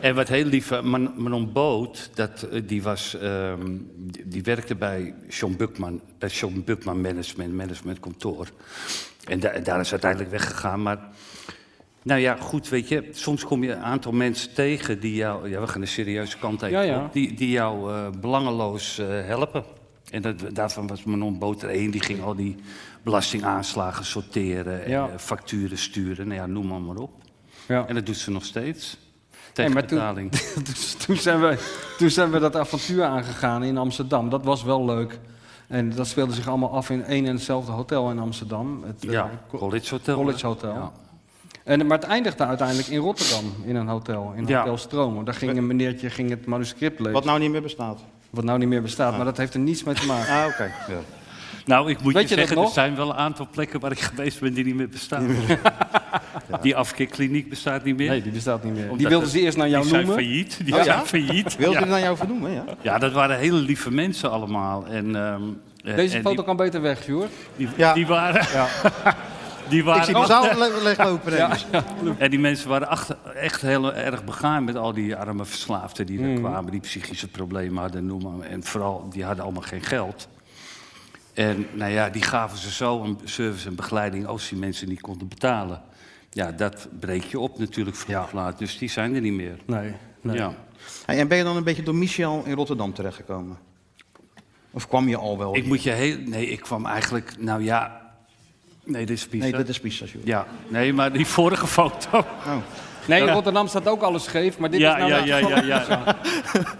[SPEAKER 12] En wat heel lief, eh, Man- Manon Boot, dat, eh, die, was, ehm, die, die werkte bij John Bukman, bij John Bukman Management, Management Kantoor. En da- daar is uiteindelijk weggegaan. Maar nou ja, goed, weet je, soms kom je een aantal mensen tegen die jou, ja, we gaan de serieuze kant even
[SPEAKER 9] Ja, ja.
[SPEAKER 12] op, die, die jou eh, belangeloos eh, helpen. En dat, daarvan was Manon Boter één, die ging al die belastingaanslagen sorteren en
[SPEAKER 9] Ja.
[SPEAKER 12] eh, facturen sturen, nou ja, noem maar, maar op.
[SPEAKER 9] Ja.
[SPEAKER 12] En dat doet ze nog steeds.
[SPEAKER 9] Nee,
[SPEAKER 12] Tegen
[SPEAKER 9] maar toen-
[SPEAKER 12] betaling.
[SPEAKER 9] Dus toen, zijn we, toen zijn we dat avontuur aangegaan in Amsterdam. Dat was wel leuk. En dat speelde zich allemaal af in één en hetzelfde hotel in Amsterdam. Het eh,
[SPEAKER 12] ja, College Hotel.
[SPEAKER 9] College
[SPEAKER 12] hè?
[SPEAKER 9] Hotel.
[SPEAKER 12] Ja.
[SPEAKER 9] En, maar het eindigde uiteindelijk in Rotterdam, in een hotel, in
[SPEAKER 8] Ja.
[SPEAKER 9] Hotel Stromen. Daar ging een meneertje ging het manuscript lezen,
[SPEAKER 8] Wat
[SPEAKER 9] wat,
[SPEAKER 8] nou niet meer bestaat.
[SPEAKER 9] nou niet meer bestaat. Maar dat heeft er niets mee te maken.
[SPEAKER 8] Ah, oké. Ja.
[SPEAKER 12] Nou, ik moet
[SPEAKER 9] Weet
[SPEAKER 12] je,
[SPEAKER 9] je dat
[SPEAKER 12] zeggen, er
[SPEAKER 9] nog?
[SPEAKER 12] zijn wel een aantal plekken waar ik geweest ben die niet meer bestaan. Die afkikkliniek bestaat niet meer.
[SPEAKER 9] Nee, die bestaat niet meer.
[SPEAKER 12] Omdat
[SPEAKER 9] die wilden
[SPEAKER 12] het-
[SPEAKER 9] ze eerst naar jou
[SPEAKER 12] die
[SPEAKER 9] noemen.
[SPEAKER 12] Zijn failliet. Die
[SPEAKER 9] Oh, ja?
[SPEAKER 12] zijn failliet.
[SPEAKER 8] Wilde
[SPEAKER 12] ja.
[SPEAKER 8] het naar jou vernoemen, ja?
[SPEAKER 12] Ja, dat waren hele lieve mensen allemaal. En, ehm, eh,
[SPEAKER 9] Deze
[SPEAKER 12] en
[SPEAKER 9] foto
[SPEAKER 12] die-
[SPEAKER 9] kan beter weg, Joer.
[SPEAKER 12] Die, die waren... Die
[SPEAKER 8] Ik
[SPEAKER 12] waren
[SPEAKER 8] zie de zaal le- leeglopen.
[SPEAKER 9] Ja.
[SPEAKER 8] ineens.
[SPEAKER 12] En die mensen waren achter- echt heel erg begaan met al die arme verslaafden die daar
[SPEAKER 8] Hmm.
[SPEAKER 12] kwamen, die psychische problemen hadden, noem maar. En vooral, die hadden allemaal geen geld. En nou ja, die gaven ze zo een service en begeleiding als die mensen niet konden betalen. Ja, dat breek je op natuurlijk vroeg of laat, dus die zijn er niet meer.
[SPEAKER 9] Nee, nee.
[SPEAKER 12] Ja.
[SPEAKER 8] Hey, en ben je dan een beetje door Michel in Rotterdam terechtgekomen? Of kwam je al wel?
[SPEAKER 12] Ik moet je heel... Nee, ik kwam eigenlijk... Nou ja... Nee, dit is pizza.
[SPEAKER 8] Nee, dat is Pisa, joh. Oh.
[SPEAKER 12] Ja, nee, maar die vorige foto...
[SPEAKER 9] Nee, in
[SPEAKER 12] Ja.
[SPEAKER 9] Rotterdam staat ook alles scheef, maar dit
[SPEAKER 12] ja,
[SPEAKER 9] is nou...
[SPEAKER 12] ja,
[SPEAKER 9] de-
[SPEAKER 12] ja, ja, ja.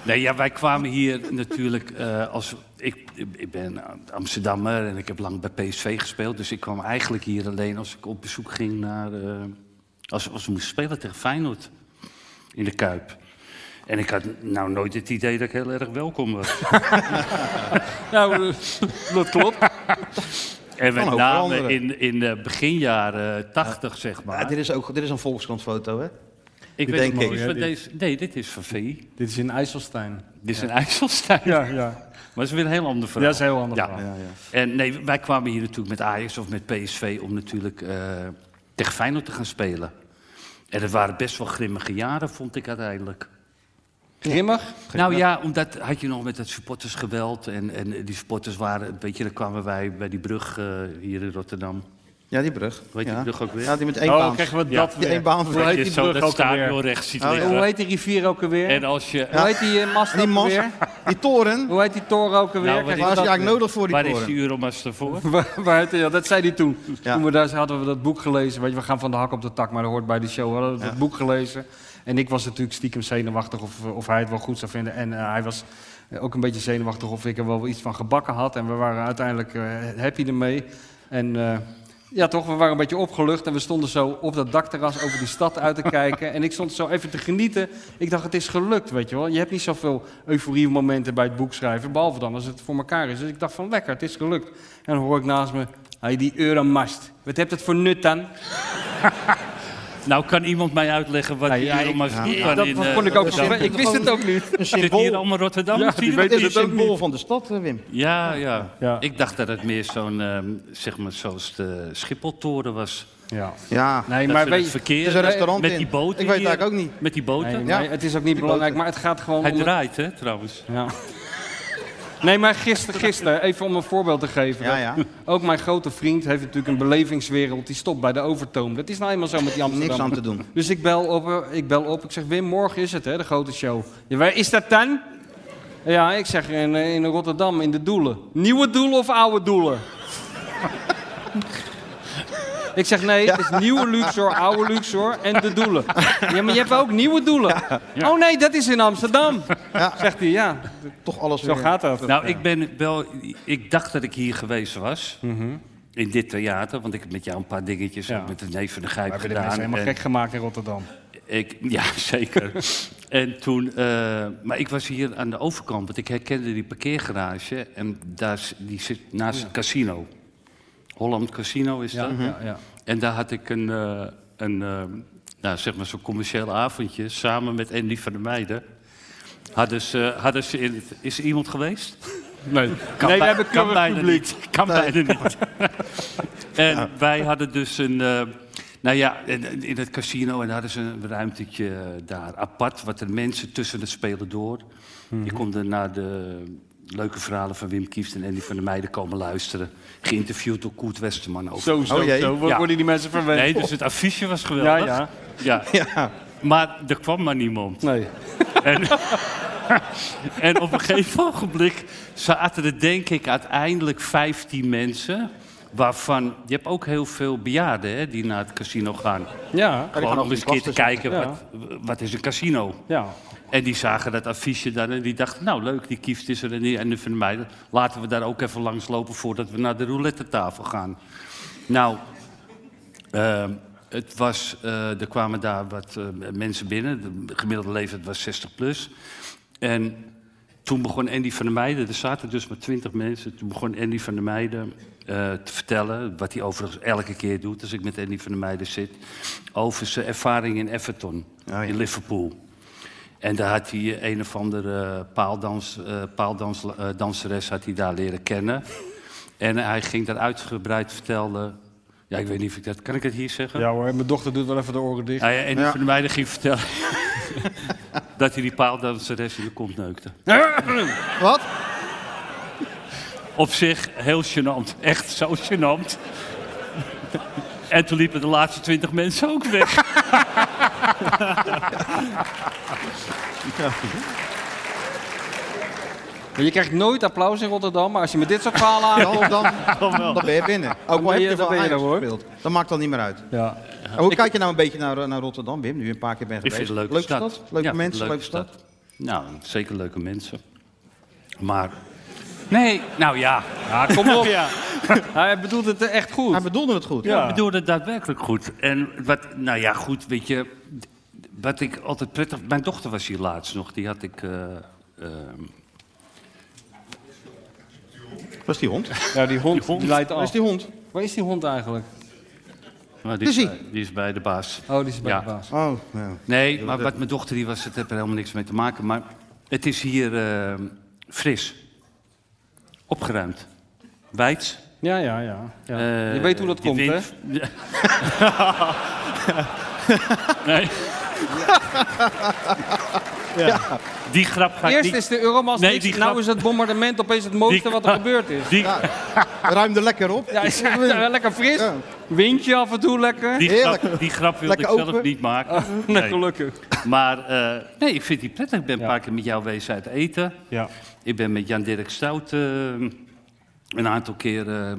[SPEAKER 12] Nee, ja, wij kwamen hier natuurlijk eh, als... Ik, ik ben Amsterdammer en ik heb lang bij PSV gespeeld. Dus ik kwam eigenlijk hier alleen als ik op bezoek ging naar... eh, als, als we moesten spelen tegen Feyenoord in de Kuip. En ik had nou nooit het idee dat ik heel erg welkom was.
[SPEAKER 9] Nou, dat klopt.
[SPEAKER 12] En met
[SPEAKER 8] Kan ook
[SPEAKER 12] name
[SPEAKER 8] veranderen.
[SPEAKER 12] in, in de beginjaren tachtig, zeg maar.
[SPEAKER 8] Ja, dit is ook dit is een Volkskrantfoto, hè?
[SPEAKER 12] ik
[SPEAKER 8] dit
[SPEAKER 12] weet
[SPEAKER 8] denk
[SPEAKER 12] niet
[SPEAKER 8] ik.
[SPEAKER 12] precies
[SPEAKER 9] Mooi, hè,
[SPEAKER 12] wat
[SPEAKER 9] dit.
[SPEAKER 12] deze... Nee, dit is van VI.
[SPEAKER 9] Dit is in IJsselstein.
[SPEAKER 12] Dit is een IJsselstein.
[SPEAKER 9] Ja, ja.
[SPEAKER 12] Maar dat is weer een heel ander
[SPEAKER 9] Ja,
[SPEAKER 12] verhaal.
[SPEAKER 9] dat is een heel ander
[SPEAKER 12] Ja.
[SPEAKER 9] verhaal.
[SPEAKER 12] En nee, wij kwamen hier natuurlijk met Ajax of met PSV om natuurlijk eh, tegen Feyenoord te gaan spelen. En het waren best wel grimmige jaren, vond ik uiteindelijk.
[SPEAKER 9] Grimmig?
[SPEAKER 12] Nou ja, omdat had je nog met dat supportersgeweld. En, en die supporters waren, weet je, dan kwamen wij bij die brug eh, hier in Rotterdam.
[SPEAKER 8] Ja, die brug.
[SPEAKER 12] Weet je
[SPEAKER 8] ja.
[SPEAKER 12] die brug ook weer?
[SPEAKER 8] Ja, die met één
[SPEAKER 9] Oh,
[SPEAKER 8] baan.
[SPEAKER 9] krijgen we
[SPEAKER 12] Ja.
[SPEAKER 9] dat
[SPEAKER 8] Die
[SPEAKER 9] weer.
[SPEAKER 8] één baan.
[SPEAKER 12] Dat
[SPEAKER 9] heet
[SPEAKER 12] je
[SPEAKER 9] die
[SPEAKER 12] zo
[SPEAKER 9] brug
[SPEAKER 12] dat
[SPEAKER 9] ook alweer?
[SPEAKER 12] stadion rechts ziet
[SPEAKER 8] Oh,
[SPEAKER 12] liggen.
[SPEAKER 9] Hoe heet die rivier ook alweer?
[SPEAKER 12] En als je...
[SPEAKER 9] Hoe heet die eh, mast
[SPEAKER 8] En die
[SPEAKER 9] ook
[SPEAKER 8] mast,
[SPEAKER 9] alweer?
[SPEAKER 8] die toren.
[SPEAKER 9] Hoe heet die toren ook alweer?
[SPEAKER 12] Nou, wat
[SPEAKER 9] Kijk,
[SPEAKER 12] is-
[SPEAKER 8] Waar is die
[SPEAKER 9] dat-
[SPEAKER 8] eigenlijk nodig voor die
[SPEAKER 12] Waar is die
[SPEAKER 8] toren?
[SPEAKER 12] Euromas daarvoor?
[SPEAKER 9] Waar- waar heet die- ja, dat zei hij toen.
[SPEAKER 8] Ja.
[SPEAKER 9] Toen we daar hadden we dat boek gelezen. Weet je, we gaan van de hak op de tak, maar dat hoort bij de show. We hadden dat boek gelezen. En ik was natuurlijk stiekem zenuwachtig of, eh, of hij het wel goed zou vinden. En eh, hij was eh, ook een beetje zenuwachtig of ik er wel iets van gebakken had. En we waren uiteindelijk eh, happy ermee. En eh, ja, toch, we waren een beetje opgelucht. En we stonden zo op dat dakterras over die stad uit te kijken. En ik stond zo even te genieten. Ik dacht, het is gelukt, weet je wel. Je hebt niet zoveel euforie-momenten bij het boek schrijven. Behalve dan als het voor elkaar is. Dus ik dacht van, lekker, het is gelukt. En dan hoor ik naast me, hey, die Euromast. Wat heeft dat voor nut dan?
[SPEAKER 12] Nou, kan iemand mij uitleggen wat
[SPEAKER 9] Nou,
[SPEAKER 12] die
[SPEAKER 9] ja, ik-
[SPEAKER 12] Euromas doet
[SPEAKER 9] dat
[SPEAKER 12] dan in... eh,
[SPEAKER 9] kon ik ook
[SPEAKER 12] Rotterdam?
[SPEAKER 9] zo. Ik wist het ook niet.
[SPEAKER 8] Een
[SPEAKER 12] Zit hier
[SPEAKER 8] symbool.
[SPEAKER 12] allemaal Rotterdam?
[SPEAKER 9] Ja, die weten
[SPEAKER 8] Het is
[SPEAKER 9] het
[SPEAKER 8] het
[SPEAKER 9] ook
[SPEAKER 8] symbool
[SPEAKER 9] niet.
[SPEAKER 8] van de stad, hè, Wim.
[SPEAKER 12] Ja, ja.
[SPEAKER 9] Ja.
[SPEAKER 12] Ik dacht dat het meer zo'n, ehm, zeg maar, zoals de Schipholtoren was.
[SPEAKER 9] Ja.
[SPEAKER 8] Ja.
[SPEAKER 9] Nee,
[SPEAKER 12] Dat
[SPEAKER 9] maar
[SPEAKER 12] ze
[SPEAKER 9] weet
[SPEAKER 12] het
[SPEAKER 9] je,
[SPEAKER 12] verkeer
[SPEAKER 8] Er is een restaurant
[SPEAKER 12] met
[SPEAKER 8] in.
[SPEAKER 12] die boten.
[SPEAKER 8] Ik weet het
[SPEAKER 12] hier-
[SPEAKER 8] eigenlijk ook niet.
[SPEAKER 12] Met die boten.
[SPEAKER 9] nee,
[SPEAKER 8] Ja.
[SPEAKER 9] nee, het is ook niet belangrijk, maar het gaat gewoon
[SPEAKER 12] Hij
[SPEAKER 9] om... het-
[SPEAKER 12] draait, hè, trouwens.
[SPEAKER 9] Ja. Nee, maar gisteren, gister, even om een voorbeeld te geven.
[SPEAKER 8] Ja,
[SPEAKER 9] dat-
[SPEAKER 8] ja.
[SPEAKER 9] Ook mijn grote vriend heeft natuurlijk een belevingswereld. Die stopt bij de Overtoom. Dat is nou eenmaal zo met die Amsterdam.
[SPEAKER 8] Niks aan te doen.
[SPEAKER 9] Dus ik bel op, eh, ik bel op. Ik zeg, Wim, morgen is het hè, de grote show. Ja, waar is dat dan? Ja, ik zeg, in, eh, in Rotterdam, in de Doelen. Nieuwe Doelen of oude Doelen? Ik zeg nee, het is nieuwe Luxor, oude Luxor en de doelen. Ja, maar je hebt ook nieuwe doelen. Oh nee, dat is in Amsterdam. Zegt hij, ja.
[SPEAKER 8] Toch alles
[SPEAKER 9] Zo gaat dat.
[SPEAKER 12] Nou, ik ben wel... Ik dacht dat ik hier geweest was.
[SPEAKER 9] Mhm.
[SPEAKER 12] In dit theater. Want ik heb met jou een paar dingetjes ook met de neef van de
[SPEAKER 9] We
[SPEAKER 12] grijp
[SPEAKER 9] hebben de
[SPEAKER 12] gedaan.
[SPEAKER 9] mensen helemaal
[SPEAKER 12] en-
[SPEAKER 9] gek gemaakt in Rotterdam.
[SPEAKER 12] Ik, ja, zeker. en toen, eh, maar ik was hier aan de overkant, want ik herkende die parkeergarage. En daar, is- die zit naast
[SPEAKER 9] Oh ja.
[SPEAKER 12] het casino. Holland Casino is
[SPEAKER 9] Ja,
[SPEAKER 12] dat.
[SPEAKER 9] ja, ja.
[SPEAKER 12] En daar had ik een, eh, een eh, nou, zeg maar zo'n commercieel avondje samen met Andy van der Meijden. Hadden ze, hadden ze in het- is er iemand geweest? Nee,
[SPEAKER 9] Nee, we hebben keurig publiek.
[SPEAKER 12] Kan
[SPEAKER 9] Nee.
[SPEAKER 12] bijna niet. En wij hadden dus een. eh, nou ja, in, in het casino en hadden ze een ruimtetje eh, daar apart. Wat de mensen tussen het spelen door.
[SPEAKER 10] Mhm.
[SPEAKER 12] Je kon er naar de leuke verhalen van Wim Kieft en Andy van der Meijden komen luisteren. Geïnterviewd door Koert Westerman ook.
[SPEAKER 10] Zo, zo, Oh jee. zo. Wo- worden die mensen verwend?
[SPEAKER 12] Nee, dus het affiche was geweldig.
[SPEAKER 10] Ja,
[SPEAKER 12] ja. Maar er kwam maar niemand.
[SPEAKER 9] Nee.
[SPEAKER 12] En, en op een gegeven ogenblik zaten er denk ik uiteindelijk 15 mensen. Waarvan, je hebt ook heel veel bejaarden hè, die naar het casino gaan.
[SPEAKER 9] Ja.
[SPEAKER 12] Gewoon om eens een keer te kijken,
[SPEAKER 9] Ja.
[SPEAKER 12] wat, wat is een casino?
[SPEAKER 9] Ja.
[SPEAKER 12] En die zagen dat affiche dan en die dachten, nou leuk, die kieft is er en, die, en de van mij. Laten we daar ook even langs lopen voordat we naar de roulette tafel gaan. Nou, Ehm, het was, eh, er kwamen daar wat eh, mensen binnen. De gemiddelde leeftijd was 60 plus. En toen begon Andy van der Meijden, er zaten dus maar 20 mensen. Toen begon Andy van der Meijden eh, te vertellen, wat hij overigens elke keer doet als ik met Andy van der Meijden zit, over zijn ervaring in Everton, in Liverpool. En daar had hij een of andere paaldans, eh, paaldanseres had hij daar leren kennen. En hij ging daar uitgebreid vertellen. Ja, ik weet niet of ik dat. Kan ik het hier zeggen?
[SPEAKER 9] Ja hoor, mijn dochter doet wel even de oren dicht.
[SPEAKER 12] Hij, en die van de meiden ging vertellen. dat hij die paaldanseres in de kont neukte.
[SPEAKER 1] Wat?
[SPEAKER 12] Op zich heel gênant. Echt zo gênant. en toen liepen de laatste twintig mensen ook weg.
[SPEAKER 9] Maar Je krijgt nooit applaus in Rotterdam, maar als je met dit soort verhalen
[SPEAKER 8] Dan,
[SPEAKER 9] aankomt...
[SPEAKER 8] dan, dan ben je binnen. Ook al
[SPEAKER 9] ben
[SPEAKER 8] heb
[SPEAKER 9] je-
[SPEAKER 8] je
[SPEAKER 9] dan
[SPEAKER 8] wel
[SPEAKER 9] ben je
[SPEAKER 8] Ajax
[SPEAKER 9] er, hoor.
[SPEAKER 8] gespeeld. Dat maakt dan niet meer uit.
[SPEAKER 9] Ja.
[SPEAKER 8] En Hoe kijk je nou een beetje naar, naar Rotterdam, Wim? Nu je een paar keer bent
[SPEAKER 12] Ik
[SPEAKER 8] geweest.
[SPEAKER 12] vind het een leuke,
[SPEAKER 8] Leuke
[SPEAKER 12] stad.
[SPEAKER 8] Leuke
[SPEAKER 12] Ja,
[SPEAKER 8] mensen, leuke, stad.
[SPEAKER 12] Nou, zeker leuke mensen. Maar... Nee, nou ja. ja kom op.
[SPEAKER 9] Ja. Hij bedoelde het echt goed.
[SPEAKER 8] Hij bedoelde het goed.
[SPEAKER 12] Ja, ik bedoel het daadwerkelijk goed. En wat, nou ja, goed, weet je, wat ik altijd prettig. Mijn dochter was hier laatst nog, die had ik. eh, ehm,
[SPEAKER 8] Was die hond?
[SPEAKER 9] Ja, die hond, die, leidt af.
[SPEAKER 8] Waar is die hond?
[SPEAKER 9] Waar is die hond eigenlijk?
[SPEAKER 12] maar die,
[SPEAKER 9] Is
[SPEAKER 12] is
[SPEAKER 9] hij?
[SPEAKER 12] bij, die is bij de baas.
[SPEAKER 9] Dus Oh, die is bij
[SPEAKER 12] Ja.
[SPEAKER 9] de baas.
[SPEAKER 8] Oh, ja.
[SPEAKER 12] Nee, maar wat mijn dochter die was, het heeft er helemaal niks mee te maken. Maar het is hier ehm, fris, opgeruimd, wijds.
[SPEAKER 9] Ja, ja, ja. ja.
[SPEAKER 12] Eh,
[SPEAKER 9] je weet hoe dat
[SPEAKER 12] die
[SPEAKER 9] komt,
[SPEAKER 12] wind- nee.
[SPEAKER 9] hè?
[SPEAKER 12] Die grap ga ik
[SPEAKER 9] Eerst
[SPEAKER 12] niet...
[SPEAKER 9] is de Euromast
[SPEAKER 12] Nee,
[SPEAKER 9] niks,
[SPEAKER 12] die
[SPEAKER 9] nou
[SPEAKER 12] grap-
[SPEAKER 9] is het bombardement opeens het mooiste
[SPEAKER 12] Die-
[SPEAKER 9] wat er gebeurd is.
[SPEAKER 12] Die,
[SPEAKER 8] Ruim er lekker op.
[SPEAKER 9] Ja, is het wel lekker fris. Windje af en toe lekker.
[SPEAKER 12] Die grap, die grap wilde
[SPEAKER 9] Lekker
[SPEAKER 12] ik zelf
[SPEAKER 9] open.
[SPEAKER 12] niet maken.
[SPEAKER 9] Oh, nee, gelukkig.
[SPEAKER 12] Maar eh, nee, ik vind die prettig. Ik ben een paar keer met jou geweest uit eten.
[SPEAKER 9] Ja.
[SPEAKER 12] Ik ben met Jan-Dirk Stout eh, een aantal keer... eh,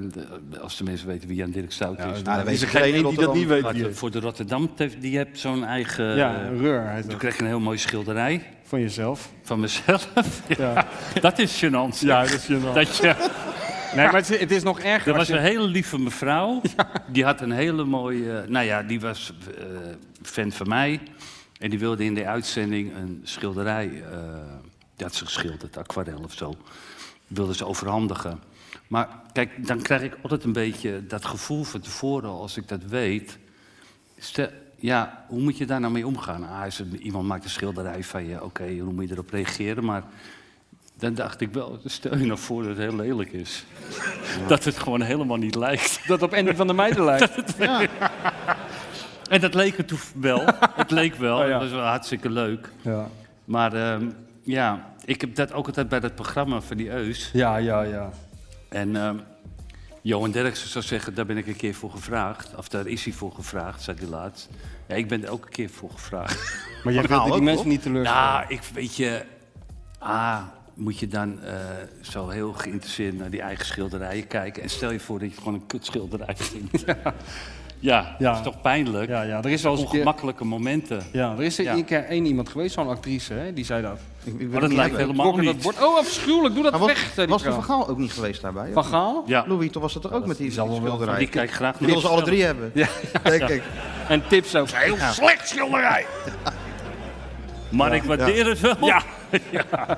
[SPEAKER 12] de- als de mensen weten wie Jan-Dirk Stout
[SPEAKER 9] nou,
[SPEAKER 12] is. Nou,
[SPEAKER 8] dat weet
[SPEAKER 12] is
[SPEAKER 8] iedereen in Rotterdam.
[SPEAKER 12] Maar de- Voor de Rotterdam, te- die hebt zo'n eigen...
[SPEAKER 9] Ja,
[SPEAKER 12] eh,
[SPEAKER 9] een reur heet
[SPEAKER 12] Toen
[SPEAKER 9] dat.
[SPEAKER 12] kreeg ik een heel mooie schilderij.
[SPEAKER 9] Van jezelf.
[SPEAKER 12] Van mezelf. Ja. Dat is gênant.
[SPEAKER 9] Ja, dat is gênant.
[SPEAKER 12] Dat je...
[SPEAKER 9] Nee, maar het is, het is nog erger.
[SPEAKER 12] Er
[SPEAKER 9] als
[SPEAKER 12] was
[SPEAKER 9] je-
[SPEAKER 12] een hele lieve mevrouw. Die had een hele mooie. Nou ja, die was eh, fan van mij. En die wilde in de uitzending een schilderij. eh, die had ze geschilderd, aquarel of zo. Wilde ze overhandigen. Maar kijk, dan krijg ik altijd een beetje dat gevoel van tevoren, als ik dat weet. Stel, ja, hoe moet je daar nou mee omgaan? Ah, is het- iemand maakt een schilderij van je, oké, hoe moet je erop reageren? Maar dan dacht ik wel, stel je nou voor dat het heel lelijk is. Dat het gewoon helemaal niet lijkt.
[SPEAKER 9] Dat op Andy van der Meijden lijkt.
[SPEAKER 12] En dat leek het toe wel. het leek wel. Het was wel hartstikke leuk.
[SPEAKER 9] Oh, Ja.
[SPEAKER 12] Maar ehm, Ja, ik heb dat ook altijd bij dat programma van die Eus.
[SPEAKER 9] Ja, ja, ja.
[SPEAKER 12] En ehm, Johan Derksen zou zeggen, daar ben ik een keer voor gevraagd. Of daar is hij voor gevraagd, zei hij laatst. Ja, ik ben er ook een keer voor gevraagd.
[SPEAKER 9] Maar jij
[SPEAKER 12] gaat
[SPEAKER 9] wilde die mensen niet teleurstellen.
[SPEAKER 12] Nou, ik weet je... Ah, moet je dan eh, zo heel geïnteresseerd naar die eigen schilderijen kijken. En stel je voor dat je gewoon een kutschilderij vindt. ja,
[SPEAKER 9] Ja.
[SPEAKER 12] dat is toch pijnlijk?
[SPEAKER 9] Ja, ja, er is wel eens een keer-
[SPEAKER 12] Ongemakkelijke momenten.
[SPEAKER 9] Ja, er is er één keer één iemand geweest, zo'n actrice, hè, die zei dat. Ik, ik
[SPEAKER 12] dat lijkt helemaal
[SPEAKER 9] Dat
[SPEAKER 12] niet.
[SPEAKER 9] bord. Oh, afschuwelijk, doe dat
[SPEAKER 8] Maar was-
[SPEAKER 9] weg, zei die
[SPEAKER 8] was de
[SPEAKER 9] vrouw.
[SPEAKER 8] Van Gaal ook niet geweest daarbij? of
[SPEAKER 9] Van
[SPEAKER 8] niet?
[SPEAKER 9] Gaal?
[SPEAKER 12] Ja.
[SPEAKER 8] Louis, toen was dat er ook met die schilderij.
[SPEAKER 12] Die kijkt graag
[SPEAKER 8] Die wil ze alle drie hebben.
[SPEAKER 9] Ja,
[SPEAKER 8] Denk
[SPEAKER 9] ja.
[SPEAKER 8] ik.
[SPEAKER 9] En tips ook. Heel
[SPEAKER 12] slecht schilderij. Maar ik waardeer het wel.
[SPEAKER 9] Ja.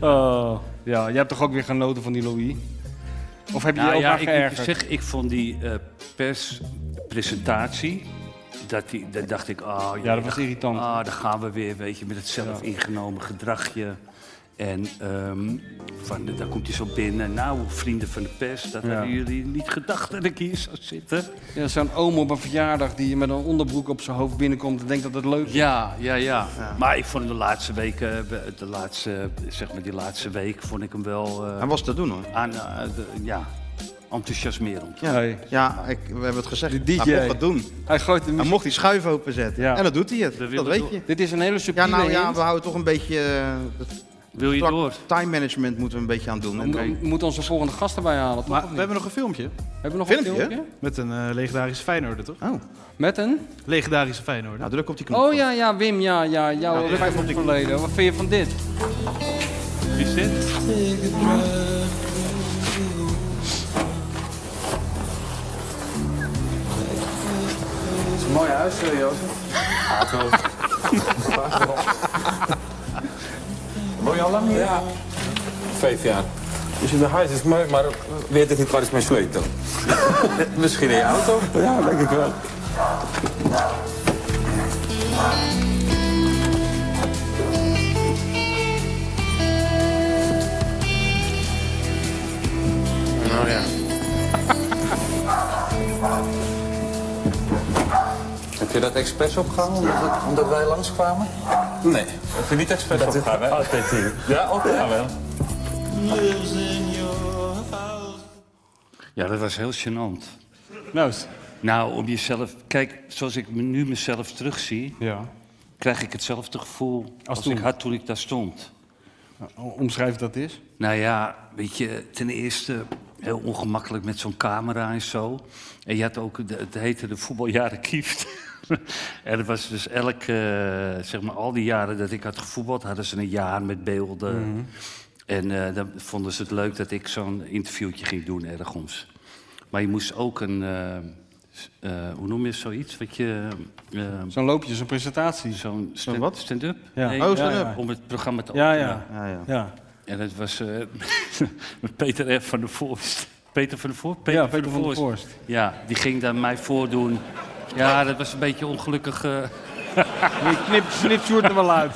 [SPEAKER 9] Oh, ja, jij hebt toch ook weer genoten van die Louis? Of heb je
[SPEAKER 12] Nou
[SPEAKER 9] je ook
[SPEAKER 12] ja,
[SPEAKER 9] maar
[SPEAKER 12] ik moet je
[SPEAKER 9] geërgerd?
[SPEAKER 12] zeggen, ik vond die eh, perspresentatie. Dat die, daar dacht ik, ah, jee,
[SPEAKER 9] dat was
[SPEAKER 12] daar-
[SPEAKER 9] irritant.
[SPEAKER 12] Ah, daar gaan we weer, weet je, met het zelf ingenomen gedragje. En ehm, van, daar komt hij zo binnen. Nou, vrienden van de pers, dat
[SPEAKER 9] Ja.
[SPEAKER 12] hadden jullie niet gedacht dat ik hier zou zitten.
[SPEAKER 9] Ja, zo'n oom op een verjaardag die met een onderbroek op zijn hoofd binnenkomt en denkt dat het leuk is.
[SPEAKER 12] Ja, ja, ja, Maar ik vond hem de laatste weken, eh, de laatste, zeg maar die laatste week, vond ik hem wel... eh,
[SPEAKER 8] Hij was te doen hoor.
[SPEAKER 12] aan, eh, de- ja, enthousiasmerend.
[SPEAKER 8] Ja,
[SPEAKER 9] Hey.
[SPEAKER 8] ja ik, we hebben het gezegd.
[SPEAKER 9] Die
[SPEAKER 8] Hij
[SPEAKER 9] DJ.
[SPEAKER 8] mocht dat doen.
[SPEAKER 9] Hij gooit de
[SPEAKER 8] Hij
[SPEAKER 9] muziek.
[SPEAKER 8] mocht die schuif openzetten.
[SPEAKER 9] Ja.
[SPEAKER 8] En dat doet hij het.
[SPEAKER 12] We
[SPEAKER 8] dat
[SPEAKER 12] willen
[SPEAKER 8] weet
[SPEAKER 12] door.
[SPEAKER 8] je.
[SPEAKER 9] Dit is een hele
[SPEAKER 8] Ja,
[SPEAKER 9] subtiele
[SPEAKER 8] nou ja,
[SPEAKER 9] hint.
[SPEAKER 8] we houden toch een beetje... eh, dat
[SPEAKER 12] Wil je
[SPEAKER 8] vlak
[SPEAKER 12] door?
[SPEAKER 8] Time management moeten we een beetje aan doen.
[SPEAKER 9] We
[SPEAKER 8] En-
[SPEAKER 9] mo- we moeten onze volgende gast erbij halen, toch?
[SPEAKER 10] Maar
[SPEAKER 9] Of
[SPEAKER 10] we
[SPEAKER 9] niet?
[SPEAKER 10] hebben nog een filmpje
[SPEAKER 9] Hebben we nog
[SPEAKER 8] Filmpje?
[SPEAKER 9] een filmpje?
[SPEAKER 10] met een eh, legendarische Feyenoorder, toch?
[SPEAKER 8] Oh,
[SPEAKER 9] Met een?
[SPEAKER 10] Legendarische Feyenoorder.
[SPEAKER 8] nou druk op die knop.
[SPEAKER 9] Oh nou, ja, ja, Wim, ja, ja, jouw vijf van het verleden. Wat vind je van dit?
[SPEAKER 12] Wie is dit?
[SPEAKER 9] Mooi huis, eh, serieus.
[SPEAKER 13] Woon je al lang hier? Ja. Vijf jaar. Dus je huis is mooi, maar weet het niet waar is mijn sleutel? Misschien in je auto? Ja, denk ik wel. Nou ja. Heb je dat expres opgehangen omdat, omdat wij langskwamen? Nee. Heb je niet expres opgehangen? hè? Altijd hier. Ja, altijd wel.
[SPEAKER 12] Ja, dat was heel gênant.
[SPEAKER 9] Nou,
[SPEAKER 12] Nou, om jezelf... Kijk, zoals ik me- nu mezelf terugzie...
[SPEAKER 9] Ja.
[SPEAKER 12] krijg ik hetzelfde gevoel als,
[SPEAKER 9] toen.
[SPEAKER 12] ik had toen ik daar stond.
[SPEAKER 9] omschrijf dat is.
[SPEAKER 12] Nou ja, weet je, ten eerste heel ongemakkelijk met zo'n camera en zo. En je had ook, de- het heette de voetbaljaren kieft. en het was dus elk, eh, zeg maar al die jaren dat ik had gevoetbald... hadden ze een jaar met beelden.
[SPEAKER 9] Mhm.
[SPEAKER 12] En eh, dan vonden ze het leuk dat ik zo'n interviewtje ging doen ergens. Maar je moest ook een, eh, s- eh, hoe noem je zoiets? Wat je, eh,
[SPEAKER 9] Zo'n loopje, zo'n presentatie.
[SPEAKER 12] zo'n stand-
[SPEAKER 9] wat?
[SPEAKER 12] stand-up?
[SPEAKER 9] Ja.
[SPEAKER 12] Nee,
[SPEAKER 9] Oh, stand-up.
[SPEAKER 12] Om het programma te
[SPEAKER 9] Ja,
[SPEAKER 12] openen.
[SPEAKER 9] ja.
[SPEAKER 8] Ja, ja.
[SPEAKER 9] Ja,
[SPEAKER 12] En dat was eh, met Peter F. van der Voorst. Peter van der Voorst?
[SPEAKER 9] ja Peter van der Voorst.
[SPEAKER 12] Ja, die ging dan mij voordoen. Ja, dat was een beetje ongelukkig. eh,
[SPEAKER 9] Die knip, knip Sjoerd er wel uit.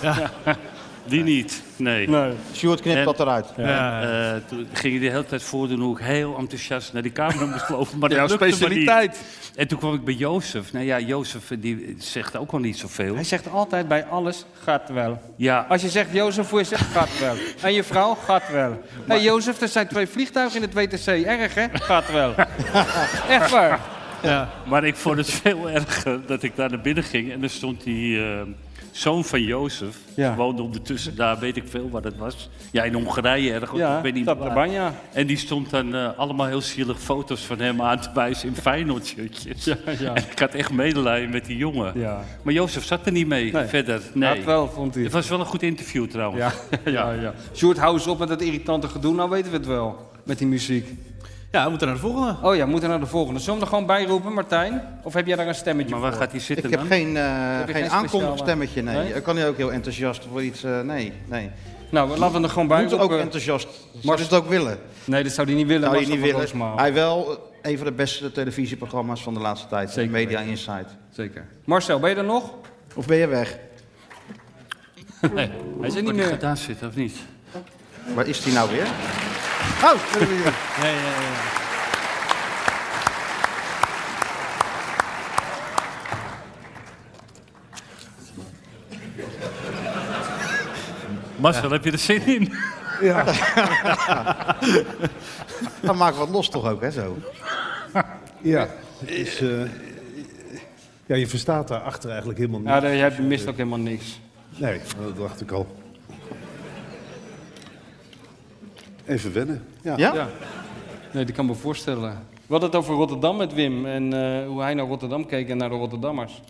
[SPEAKER 12] die niet, nee.
[SPEAKER 9] Nee.
[SPEAKER 8] Sjoerd knipt
[SPEAKER 12] En-
[SPEAKER 8] dat eruit.
[SPEAKER 12] En, eh, toen ging hij de hele tijd voordoen hoe ik heel enthousiast naar die camera moest lopen. Maar dat
[SPEAKER 9] Jouw
[SPEAKER 12] lukte maar niet.
[SPEAKER 9] specialiteit.
[SPEAKER 12] En toen kwam ik bij Jozef. Nou ja, Jozef eh, die zegt ook al niet zoveel.
[SPEAKER 9] Hij zegt altijd bij alles, gaat wel.
[SPEAKER 12] Ja,
[SPEAKER 9] Als je zegt Jozef voor je zegt, gaat wel. En je vrouw, gaat wel. Hé hey, Jozef, er zijn twee vliegtuigen in het WTC. Erg hè? Gaat wel. Echt waar.
[SPEAKER 12] Maar ik vond het veel erger dat ik daar naar binnen ging. En er stond die eh, zoon van Jozef.
[SPEAKER 9] Ja.
[SPEAKER 12] Woonde ondertussen daar, weet ik veel waar dat was. Ja, in Hongarije ergens.
[SPEAKER 9] Ja,
[SPEAKER 12] ik weet niet
[SPEAKER 9] dat
[SPEAKER 12] waar.
[SPEAKER 9] de banja.
[SPEAKER 12] En die stond dan eh, allemaal heel zielig foto's van hem aan te wijzen in Feyenoord shirtjes.
[SPEAKER 9] ja.
[SPEAKER 12] En ik had echt medelijden met die jongen.
[SPEAKER 9] Ja.
[SPEAKER 12] Maar Jozef zat er niet mee
[SPEAKER 9] Nee.
[SPEAKER 12] verder. Nee.
[SPEAKER 9] Gaat wel, vond hij.
[SPEAKER 12] Het was wel een goed interview trouwens.
[SPEAKER 9] Ja, ja, ja. Sjoerd, hou eens op met dat irritante gedoe. Nou weten we het wel. Met die muziek.
[SPEAKER 10] Ja, we moeten naar de volgende.
[SPEAKER 9] Oh ja, we moeten naar de volgende. Zullen we hem er gewoon bij roepen, Martijn? Of heb jij daar een stemmetje
[SPEAKER 12] Maar
[SPEAKER 9] voor?
[SPEAKER 12] waar gaat hij zitten
[SPEAKER 8] Ik heb
[SPEAKER 12] dan?
[SPEAKER 8] geen, eh
[SPEAKER 9] Heb je
[SPEAKER 8] geen
[SPEAKER 9] geen
[SPEAKER 8] aankondigstemmetje, nee.
[SPEAKER 9] speciale-
[SPEAKER 8] Ik kan hier ook heel enthousiast voor iets... eh, nee, nee.
[SPEAKER 9] Nou, laten we hem er gewoon bij
[SPEAKER 8] Moet ook
[SPEAKER 9] roepen.
[SPEAKER 8] enthousiast. Zou
[SPEAKER 9] Mars-
[SPEAKER 8] je het ook willen?
[SPEAKER 9] Nee, dat zou hij niet willen.
[SPEAKER 8] Zou je
[SPEAKER 9] Marcel
[SPEAKER 8] niet
[SPEAKER 9] van
[SPEAKER 8] willen?
[SPEAKER 9] Roosmalen.
[SPEAKER 8] Hij wel eh, een van de beste televisieprogramma's van de laatste tijd. eh,
[SPEAKER 9] Zeker
[SPEAKER 8] Media
[SPEAKER 9] weten.
[SPEAKER 8] Insight.
[SPEAKER 9] Zeker. Marcel, ben je er nog?
[SPEAKER 8] Of ben je weg?
[SPEAKER 12] Nee.
[SPEAKER 9] Hij zit niet
[SPEAKER 12] Maar die
[SPEAKER 9] meer.
[SPEAKER 12] gaat daar zitten, of niet?
[SPEAKER 8] Waar is die nou weer? Oh, daar ben je weer.
[SPEAKER 10] Ja, ja, ja.
[SPEAKER 12] Marcel, heb je er zin in?
[SPEAKER 8] Ja. Dan maken we wat los toch ook, hè, zo.
[SPEAKER 14] Ja, het is, eh, ja, je verstaat daarachter eigenlijk helemaal niks.
[SPEAKER 9] Ja, daar- jij mist ook helemaal niks.
[SPEAKER 14] Nee, dat dacht ik al. Even wennen. Ja.
[SPEAKER 9] Nee, dat kan me voorstellen. We hadden het over Rotterdam met Wim en eh, hoe hij naar Rotterdam keek en naar de Rotterdammers.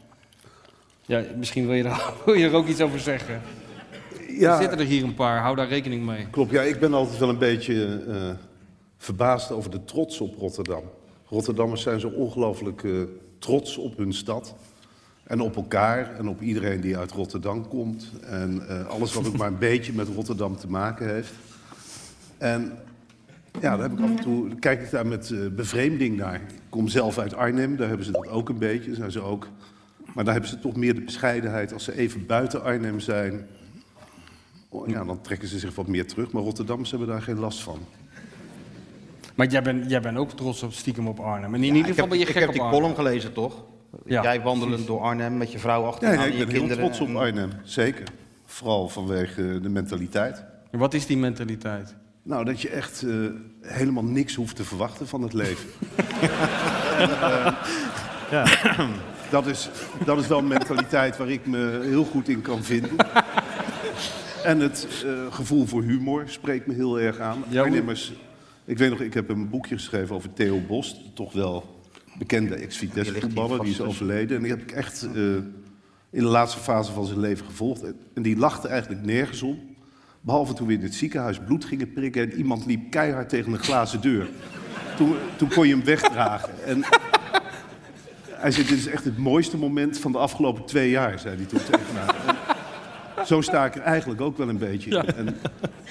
[SPEAKER 9] Ja, misschien wil je, daar, wil je er ook iets over zeggen.
[SPEAKER 14] Ja.
[SPEAKER 9] Er zitten er hier een paar, hou daar rekening mee.
[SPEAKER 14] Klopt, ja, ik ben altijd wel een beetje eh, verbaasd over de trots op Rotterdam. Rotterdammers zijn zo ongelooflijk eh, trots op hun stad. En op elkaar en op iedereen die uit Rotterdam komt. En eh, alles wat ook maar een beetje met Rotterdam te maken heeft. En ja, daar heb ik af en toe, kijk ik daar met eh, bevreemding naar. Ik kom zelf uit Arnhem, daar hebben ze dat ook een beetje. Zijn ze ook. Maar daar hebben ze toch meer de bescheidenheid als ze even buiten Arnhem zijn. Oh, Ja, dan trekken ze zich wat meer terug, maar Rotterdammers hebben daar geen last van.
[SPEAKER 9] Maar jij bent, jij bent ook trots op stiekem op Arnhem. En in ieder
[SPEAKER 8] ik
[SPEAKER 9] geval
[SPEAKER 8] heb,
[SPEAKER 9] ben je
[SPEAKER 8] ik
[SPEAKER 9] gek
[SPEAKER 8] heb
[SPEAKER 9] op
[SPEAKER 8] die
[SPEAKER 9] Arnhem.
[SPEAKER 8] column gelezen, toch?
[SPEAKER 9] Ja,
[SPEAKER 8] Jij wandelend
[SPEAKER 9] precies.
[SPEAKER 8] door Arnhem met je vrouw
[SPEAKER 14] Nee,
[SPEAKER 8] achteraan
[SPEAKER 14] nee,
[SPEAKER 8] en
[SPEAKER 14] ik
[SPEAKER 8] Nou, je
[SPEAKER 14] ben heel
[SPEAKER 8] kinderen. eh,
[SPEAKER 14] trots op Arnhem, zeker. Vooral vanwege eh, de mentaliteit.
[SPEAKER 9] Wat is die mentaliteit?
[SPEAKER 14] Nou, dat je echt eh, helemaal niks hoeft te verwachten van het leven. dat, is, dat is wel een mentaliteit waar ik me heel goed in kan vinden. En het eh, gevoel voor humor spreekt me heel erg aan. Arnhemmers, ik weet nog, ik heb een boekje geschreven over Theo Bos, toch wel bekende ex-Vitesse voetballer, die is overleden. En die heb ik echt eh, in de laatste fase van zijn leven gevolgd. En die lachte eigenlijk nergens om. Behalve toen we in het ziekenhuis bloed gingen prikken en iemand liep keihard tegen een glazen deur. Toen, toen kon je hem wegdragen. En hij zei, dit is echt het mooiste moment van de afgelopen twee jaar, zei hij toen tegen mij. En Zo sta ik er eigenlijk ook wel een beetje in. En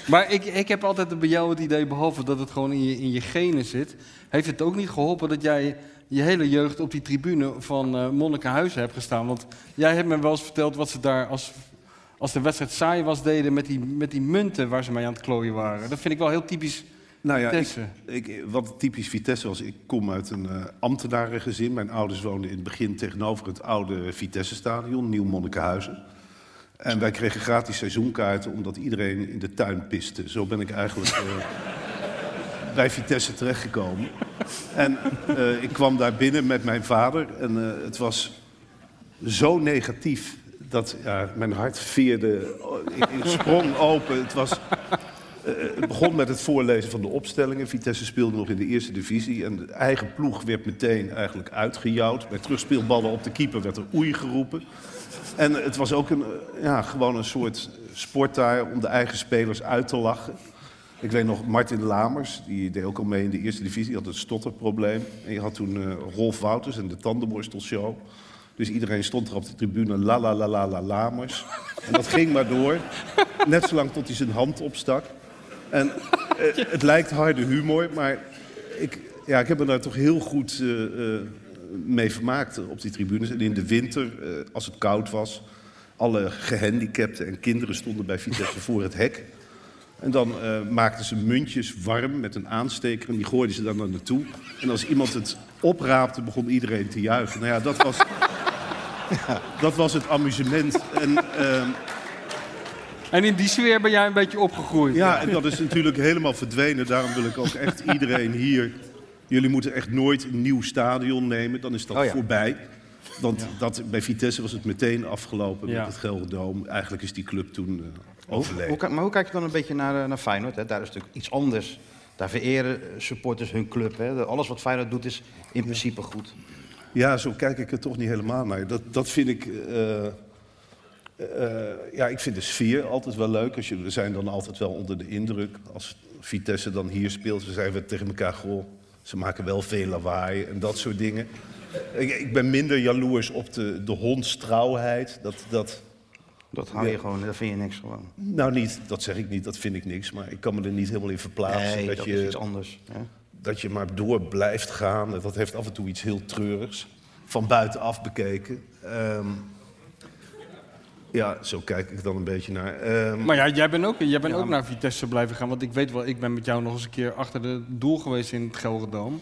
[SPEAKER 9] Maar ik, ik heb altijd bij jou het idee, behalve dat het gewoon in je, in je genen zit... heeft het ook niet geholpen dat jij je hele jeugd op die tribune van eh Monnikenhuizen hebt gestaan. Want jij hebt me wel eens verteld wat ze daar als, als de wedstrijd saai was deden... Met die, met die munten waar ze mee aan het klooien waren. Dat vind ik wel heel typisch
[SPEAKER 14] Nou ja, ik,
[SPEAKER 9] Vitesse.
[SPEAKER 14] ik, wat typisch Vitesse was, ik kom uit een eh, ambtenarengezin. Mijn ouders woonden in het begin tegenover het oude Vitesse-stadion, Nieuw Monnikenhuizen. En wij kregen gratis seizoenkaarten omdat iedereen in de tuin piste. Zo ben ik eigenlijk eh, bij Vitesse terechtgekomen. En eh, ik kwam daar binnen met mijn vader en eh, het was zo negatief dat ja, mijn hart veerde. Oh, Ik, ik sprong open. Het was eh, het begon met het voorlezen van de opstellingen. Vitesse speelde nog in de eerste divisie. En de eigen ploeg werd meteen eigenlijk uitgejouwd. Bij terugspeelballen op de keeper werd er oei geroepen. En het was ook een, eh, ja, gewoon een soort sport daar om de eigen spelers uit te lachen. Ik weet nog, Martin Lamers, die deed ook al mee in de eerste divisie. Die had een stotterprobleem. En je had toen eh, Rolf Wouters en de tandenborstelshow. Dus iedereen stond er op de tribune, la la la la la Lamers. En dat ging maar door. Net zolang tot hij zijn hand opstak. En eh, het lijkt harde humor, maar ik, ja, ik heb me daar toch heel goed eh, eh, mee vermaakt eh, op die tribunes. En in de winter, eh, als het koud was, alle gehandicapten en kinderen stonden bij Vitesse voor het hek. En dan eh, maakten ze muntjes warm met een aansteker en die gooiden ze dan naar naartoe. En als iemand het opraapte, begon iedereen te juichen. Nou ja, dat was, ja, dat was het amusement. En, ehm,
[SPEAKER 9] en in die sfeer ben jij een beetje opgegroeid.
[SPEAKER 14] Ja, en dat is natuurlijk helemaal verdwenen. Daarom wil ik ook echt iedereen hier... Jullie moeten echt nooit een nieuw stadion nemen. Dan is dat
[SPEAKER 8] Oh ja.
[SPEAKER 14] voorbij. Want dat, bij Vitesse was het meteen afgelopen
[SPEAKER 8] Ja.
[SPEAKER 14] met het Gelderdoom. Eigenlijk is die club toen eh,
[SPEAKER 8] Oh.
[SPEAKER 14] overleden.
[SPEAKER 8] Hoe, ki- maar hoe kijk je dan een beetje naar, eh, naar Feyenoord? Hè? Daar is natuurlijk iets anders. Daar vereren eh, supporters hun club. Hè? De- Alles wat Feyenoord doet is in principe goed.
[SPEAKER 14] Ja, zo kijk ik er toch niet helemaal naar. Dat, dat vind ik. eh, eh, ja, ik vind de sfeer altijd wel leuk. Als je, we zijn dan altijd wel onder de indruk. Als Vitesse dan hier speelt, dan zijn we tegen elkaar. Goh, ze maken wel veel lawaai en dat soort dingen. Ik, ik ben minder jaloers op de, de hondstrouwheid. Dat, dat,
[SPEAKER 8] Dat hou je gewoon, dat vind je niks gewoon.
[SPEAKER 14] Nou, niet, dat zeg ik niet, dat vind ik niks. Maar ik kan me er niet helemaal in verplaatsen.
[SPEAKER 8] Nee,
[SPEAKER 14] dat,
[SPEAKER 8] dat
[SPEAKER 14] je,
[SPEAKER 8] is iets anders, hè?
[SPEAKER 14] Dat je maar door blijft gaan. En Dat heeft af en toe iets heel treurigs. Van buitenaf bekeken. Ehm, ja, zo kijk ik dan een beetje naar. Ehm,
[SPEAKER 9] Maar ja, jij bent ook, jij bent
[SPEAKER 14] Ja,
[SPEAKER 9] ook naar Vitesse blijven gaan. Want ik weet wel, ik ben met jou nog eens een keer achter de doel geweest in het Gelderdoom.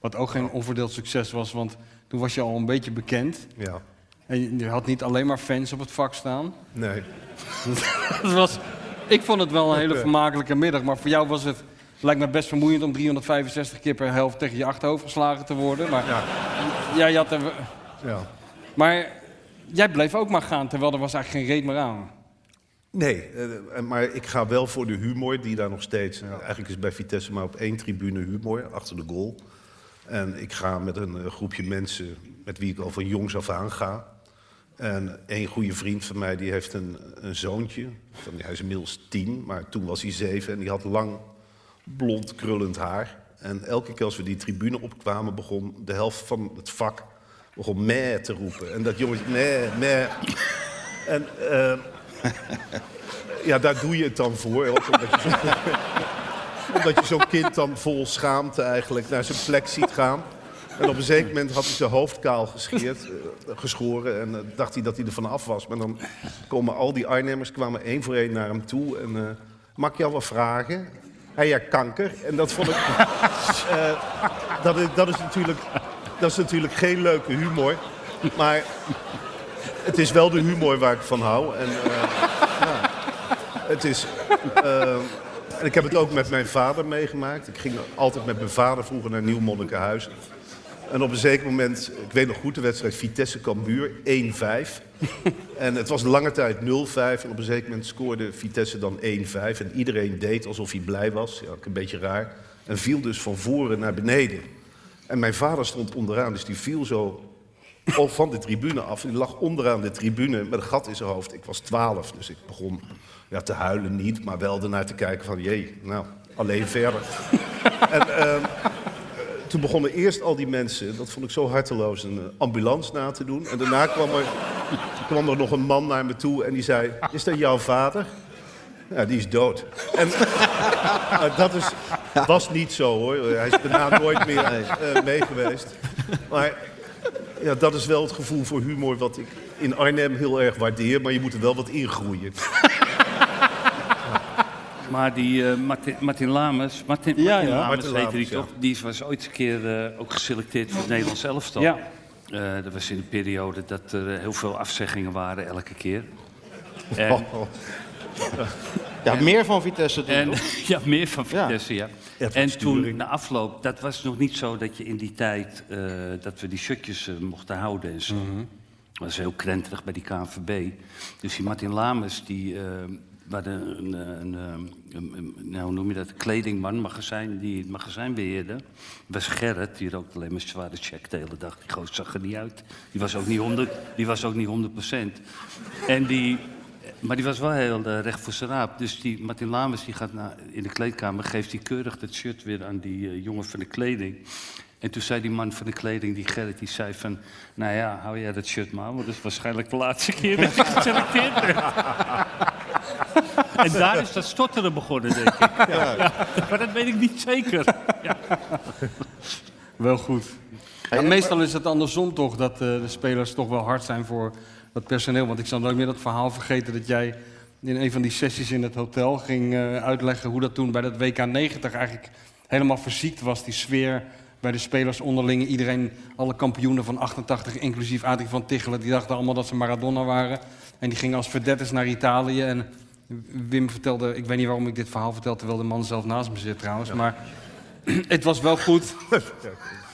[SPEAKER 9] Wat ook geen onverdeeld succes was, want toen was je al een beetje bekend.
[SPEAKER 14] Ja.
[SPEAKER 9] En je had niet alleen maar fans op het vak staan.
[SPEAKER 14] Nee.
[SPEAKER 9] dat was, ik vond het wel een hele vermakelijke middag. Maar voor jou was het, lijkt me best vermoeiend om 365 keer per helft tegen je achterhoofd geslagen te worden. Maar ja. jij had er...
[SPEAKER 14] Ja.
[SPEAKER 9] Maar jij bleef ook maar gaan, terwijl er was eigenlijk geen reet meer aan.
[SPEAKER 14] Nee, eh, maar ik ga wel voor de humor die daar nog steeds... Eigenlijk is bij Vitesse maar op één tribune humor, achter de goal. En ik ga met een eh, groepje mensen met wie ik al van jongs af aan ga. En één goede vriend van mij die heeft een, een zoontje. Van, hij is inmiddels tien, maar toen was hij zeven. En die had lang blond krullend haar. En elke keer als we die tribune opkwamen, begon de helft van het vak begon meh te roepen. En dat jongetje, meh, meh. En eh, ja, daar doe je het dan voor. Ook omdat je zo- omdat je zo'n kind dan vol schaamte eigenlijk naar zijn plek ziet gaan. En op een zeker moment had hij zijn hoofd kaal gescheerd, eh, geschoren. En eh, dacht hij dat hij er vanaf was. Maar dan komen al die Arnhemmers kwamen één voor één naar hem toe. En eh, mag ik jou wat vragen? Hij ja, kanker. En dat vond ik... eh, dat, is, dat, is natuurlijk, dat is natuurlijk geen leuke humor. Maar het is wel de humor waar ik van hou. En, eh, ja, het is. eh, en ik heb het ook met mijn vader meegemaakt. Ik ging altijd met mijn vader vroeger naar Nieuw Monnikenhuizen. En op een zeker moment, ik weet nog goed, de wedstrijd Vitesse Cambuur 1-5. en het was lange tijd 0-5. En op een zeker moment scoorde Vitesse dan 1-5. En iedereen deed alsof hij blij was. Ja, ook een beetje raar. En viel dus van voren naar beneden. En mijn vader stond onderaan, dus die viel zo al van de tribune af. Die lag onderaan de tribune met een gat in zijn hoofd. Ik was twaalf, dus ik begon ja, te huilen niet, maar wel ernaar te kijken van... jee, nou, alleen verder. en, ehm, toen begonnen eerst al die mensen, dat vond ik zo harteloos, een eh, ambulance na te doen. En daarna kwam er, kwam er nog een man naar me toe en die zei... is dat jouw vader? Ja, die is dood. En nou, dat is, was niet zo, hoor. Hij is daarna nooit meer eh, mee geweest. Maar ja, dat is wel het gevoel voor humor wat ik in Arnhem heel erg waardeer, maar je moet er wel wat in groeien.
[SPEAKER 12] Maar die eh, Martin, Martin Lames, Martin,
[SPEAKER 9] Ja,
[SPEAKER 12] Martin
[SPEAKER 9] ja.
[SPEAKER 12] Lames
[SPEAKER 9] Martin
[SPEAKER 12] heette die
[SPEAKER 9] Lames, ja.
[SPEAKER 12] toch? Die was ooit een keer eh, ook geselecteerd voor het Nederlands elftal.
[SPEAKER 9] Ja.
[SPEAKER 12] Eh, dat was in de periode dat er eh, heel veel afzeggingen waren elke keer.
[SPEAKER 14] Oh.
[SPEAKER 8] Ja, meer van Vitesse toen,
[SPEAKER 12] En,
[SPEAKER 8] toch?
[SPEAKER 12] ja, meer van Vitesse, ja.
[SPEAKER 8] Edwin
[SPEAKER 12] En toen
[SPEAKER 8] Sturing.
[SPEAKER 12] na afloop, dat was nog niet zo dat je in die tijd eh, dat we die shirtjes eh, mochten houden en zo. Dat was heel krenterig bij die KNVB. Dus die Martin Lames, die eh we hadden een, eh, een, eh, een- een- nou, hoe noem je dat, een kledingman, magazijn, die het magazijn beheerde. Dat was Gerrit, die rookte alleen maar zware check de hele dag. Die goot zag er niet uit. Die was ook niet 100, die was ook niet 100%. En die, maar die was wel heel eh, recht voor zijn raap. Dus die Martin Lames die gaat naar, in de kleedkamer, geeft die keurig dat shirt weer aan die eh, jongen van de kleding. En toen zei die man van de kleding, die Gerrit, die zei van... Nou ja, hou jij dat shirt maar, aan, want dat is waarschijnlijk de laatste keer dat je geselecteerd bent. en daar is dat stotteren begonnen, denk ik.
[SPEAKER 9] Ja.
[SPEAKER 12] Ja, Maar dat weet ik niet zeker. Ja.
[SPEAKER 9] Wel goed. Ja, meestal is het andersom toch, dat eh, de spelers toch wel hard zijn voor dat personeel. Want ik zal nooit meer dat verhaal vergeten dat jij in een van die sessies in het hotel ging eh, uitleggen hoe dat toen bij dat WK90 eigenlijk helemaal verziekt was, die sfeer bij de spelers onderling. Iedereen, alle kampioenen van 88, inclusief Adrie van Tichelen, die dachten allemaal dat ze Maradona waren. En die gingen als verdetters naar Italië. En Wim vertelde, ik weet niet waarom ik dit verhaal vertel, terwijl de man zelf naast me zit trouwens. Maar het was wel goed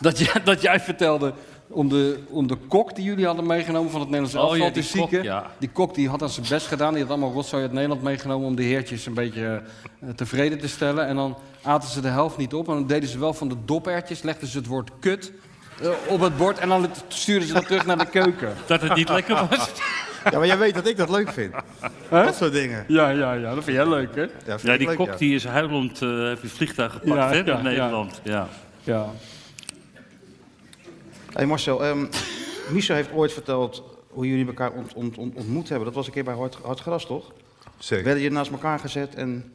[SPEAKER 9] dat, jij, dat jij vertelde om de, om de kok die jullie hadden meegenomen van het Nederlands
[SPEAKER 12] Oh ja,
[SPEAKER 9] elftal
[SPEAKER 12] die
[SPEAKER 9] te zieken.
[SPEAKER 12] kok, ja.
[SPEAKER 9] Die kok die had aan zijn best gedaan. Die had allemaal rotzooi uit Nederland meegenomen om de heertjes een beetje eh, tevreden te stellen. En dan aten ze de helft niet op. En dan deden ze wel van de dopertjes, legden ze het woord kut eh, op het bord. En dan het- stuurden ze dat terug naar de keuken.
[SPEAKER 12] Dat het niet lekker was.
[SPEAKER 9] Ja, maar jij weet dat ik dat leuk vind. Dat
[SPEAKER 8] soort dingen.
[SPEAKER 9] Ja, ja, ja, dat vind jij leuk, hè?
[SPEAKER 8] Ja,
[SPEAKER 12] Ja, die kok die is huilend, eh heeft een vliegtuig gepakt
[SPEAKER 9] Ja,
[SPEAKER 12] hè,
[SPEAKER 9] ja,
[SPEAKER 12] naar
[SPEAKER 9] ja.
[SPEAKER 12] Nederland. Ja.
[SPEAKER 9] Ja.
[SPEAKER 8] Hey Marcel, ehm Michel heeft ooit verteld hoe jullie elkaar ont- ont- ont- ontmoet hebben. Dat was een keer bij Hard, Hard Gras, toch?
[SPEAKER 14] Zeker.
[SPEAKER 8] Werden je naast elkaar gezet en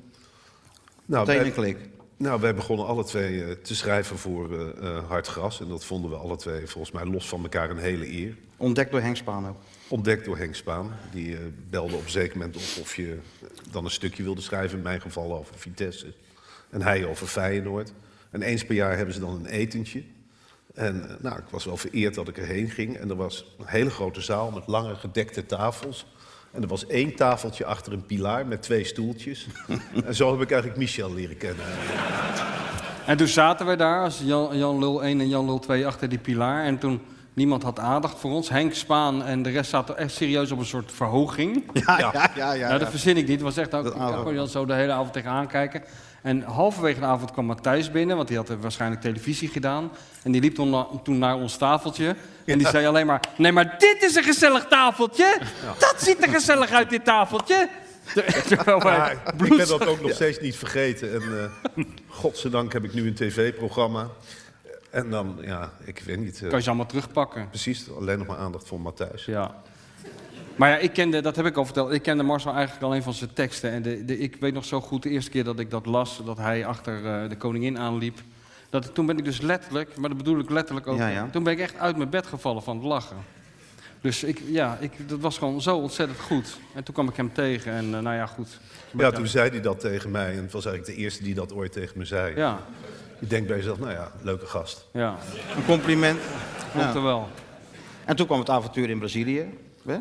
[SPEAKER 14] Nou,
[SPEAKER 8] meteen
[SPEAKER 14] wij-
[SPEAKER 8] een klik.
[SPEAKER 14] Nou, wij begonnen alle twee eh, te schrijven voor eh, eh, Hard Gras. En dat vonden we alle twee volgens mij los van elkaar een hele eer.
[SPEAKER 8] Ontdekt door Henk Spaan ook.
[SPEAKER 14] Ontdekt door Henk Spaan. Die eh, belde op een zeker moment op of je eh, dan een stukje wilde schrijven. In mijn geval over Vitesse. En hij over Feyenoord. En eens per jaar hebben ze dan een etentje. En eh, nou, ik was wel vereerd dat ik erheen ging. En er was een hele grote zaal met lange gedekte tafels. En er was één tafeltje achter een pilaar met twee stoeltjes. en zo heb ik eigenlijk Michel leren kennen.
[SPEAKER 9] En toen zaten we daar als Jan, Jan Lul 1 en Jan Lul 2 achter die pilaar. En toen niemand had aandacht voor ons. Henk Spaan en de rest zaten echt serieus op een soort verhoging.
[SPEAKER 8] Ja, ja, ja. ja,
[SPEAKER 9] nou, dat
[SPEAKER 8] ja.
[SPEAKER 9] verzin ik niet. Het was echt ook, ik
[SPEAKER 8] avond.
[SPEAKER 9] kon je dan zo de hele avond tegenaan kijken. En halverwege de avond kwam Matthijs binnen, want die had eh, waarschijnlijk televisie gedaan. En die liep toen, na- toen naar ons tafeltje. En die
[SPEAKER 10] Ja.
[SPEAKER 9] zei alleen maar: Nee, maar dit is een gezellig tafeltje. Dat ziet er gezellig uit, dit tafeltje. Terwijl wij
[SPEAKER 14] Maar ik ben
[SPEAKER 9] bloedzig-
[SPEAKER 14] dat ook nog
[SPEAKER 9] Ja.
[SPEAKER 14] steeds niet vergeten. En eh, godzijdank heb ik nu een tv-programma. En dan, ja, ik weet niet. eh,
[SPEAKER 9] Kan je ze allemaal terugpakken?
[SPEAKER 14] Precies, alleen nog maar aandacht voor Matthijs.
[SPEAKER 9] Ja. Maar ja, ik kende, dat heb ik al verteld, ik kende Marcel eigenlijk alleen van zijn teksten. En de, de- ik weet nog zo goed de eerste keer dat ik dat las, dat hij achter eh, de koningin aanliep. Dat, toen ben ik dus letterlijk, maar dat bedoel ik letterlijk ook,
[SPEAKER 8] Ja, ja.
[SPEAKER 9] toen ben ik echt uit mijn bed gevallen van het lachen. Dus ik, ja, ik, dat was gewoon zo ontzettend goed. En toen kwam ik hem tegen en eh, nou ja, goed.
[SPEAKER 14] Ja, toen zei hij dat tegen mij. En het was eigenlijk de eerste die dat ooit tegen me zei.
[SPEAKER 9] Ja.
[SPEAKER 14] Je denkt bij jezelf, nou ja, leuke gast.
[SPEAKER 9] Ja.
[SPEAKER 8] Een compliment.
[SPEAKER 9] Klopt er wel.
[SPEAKER 8] En toen kwam het avontuur in Brazilië. Hè?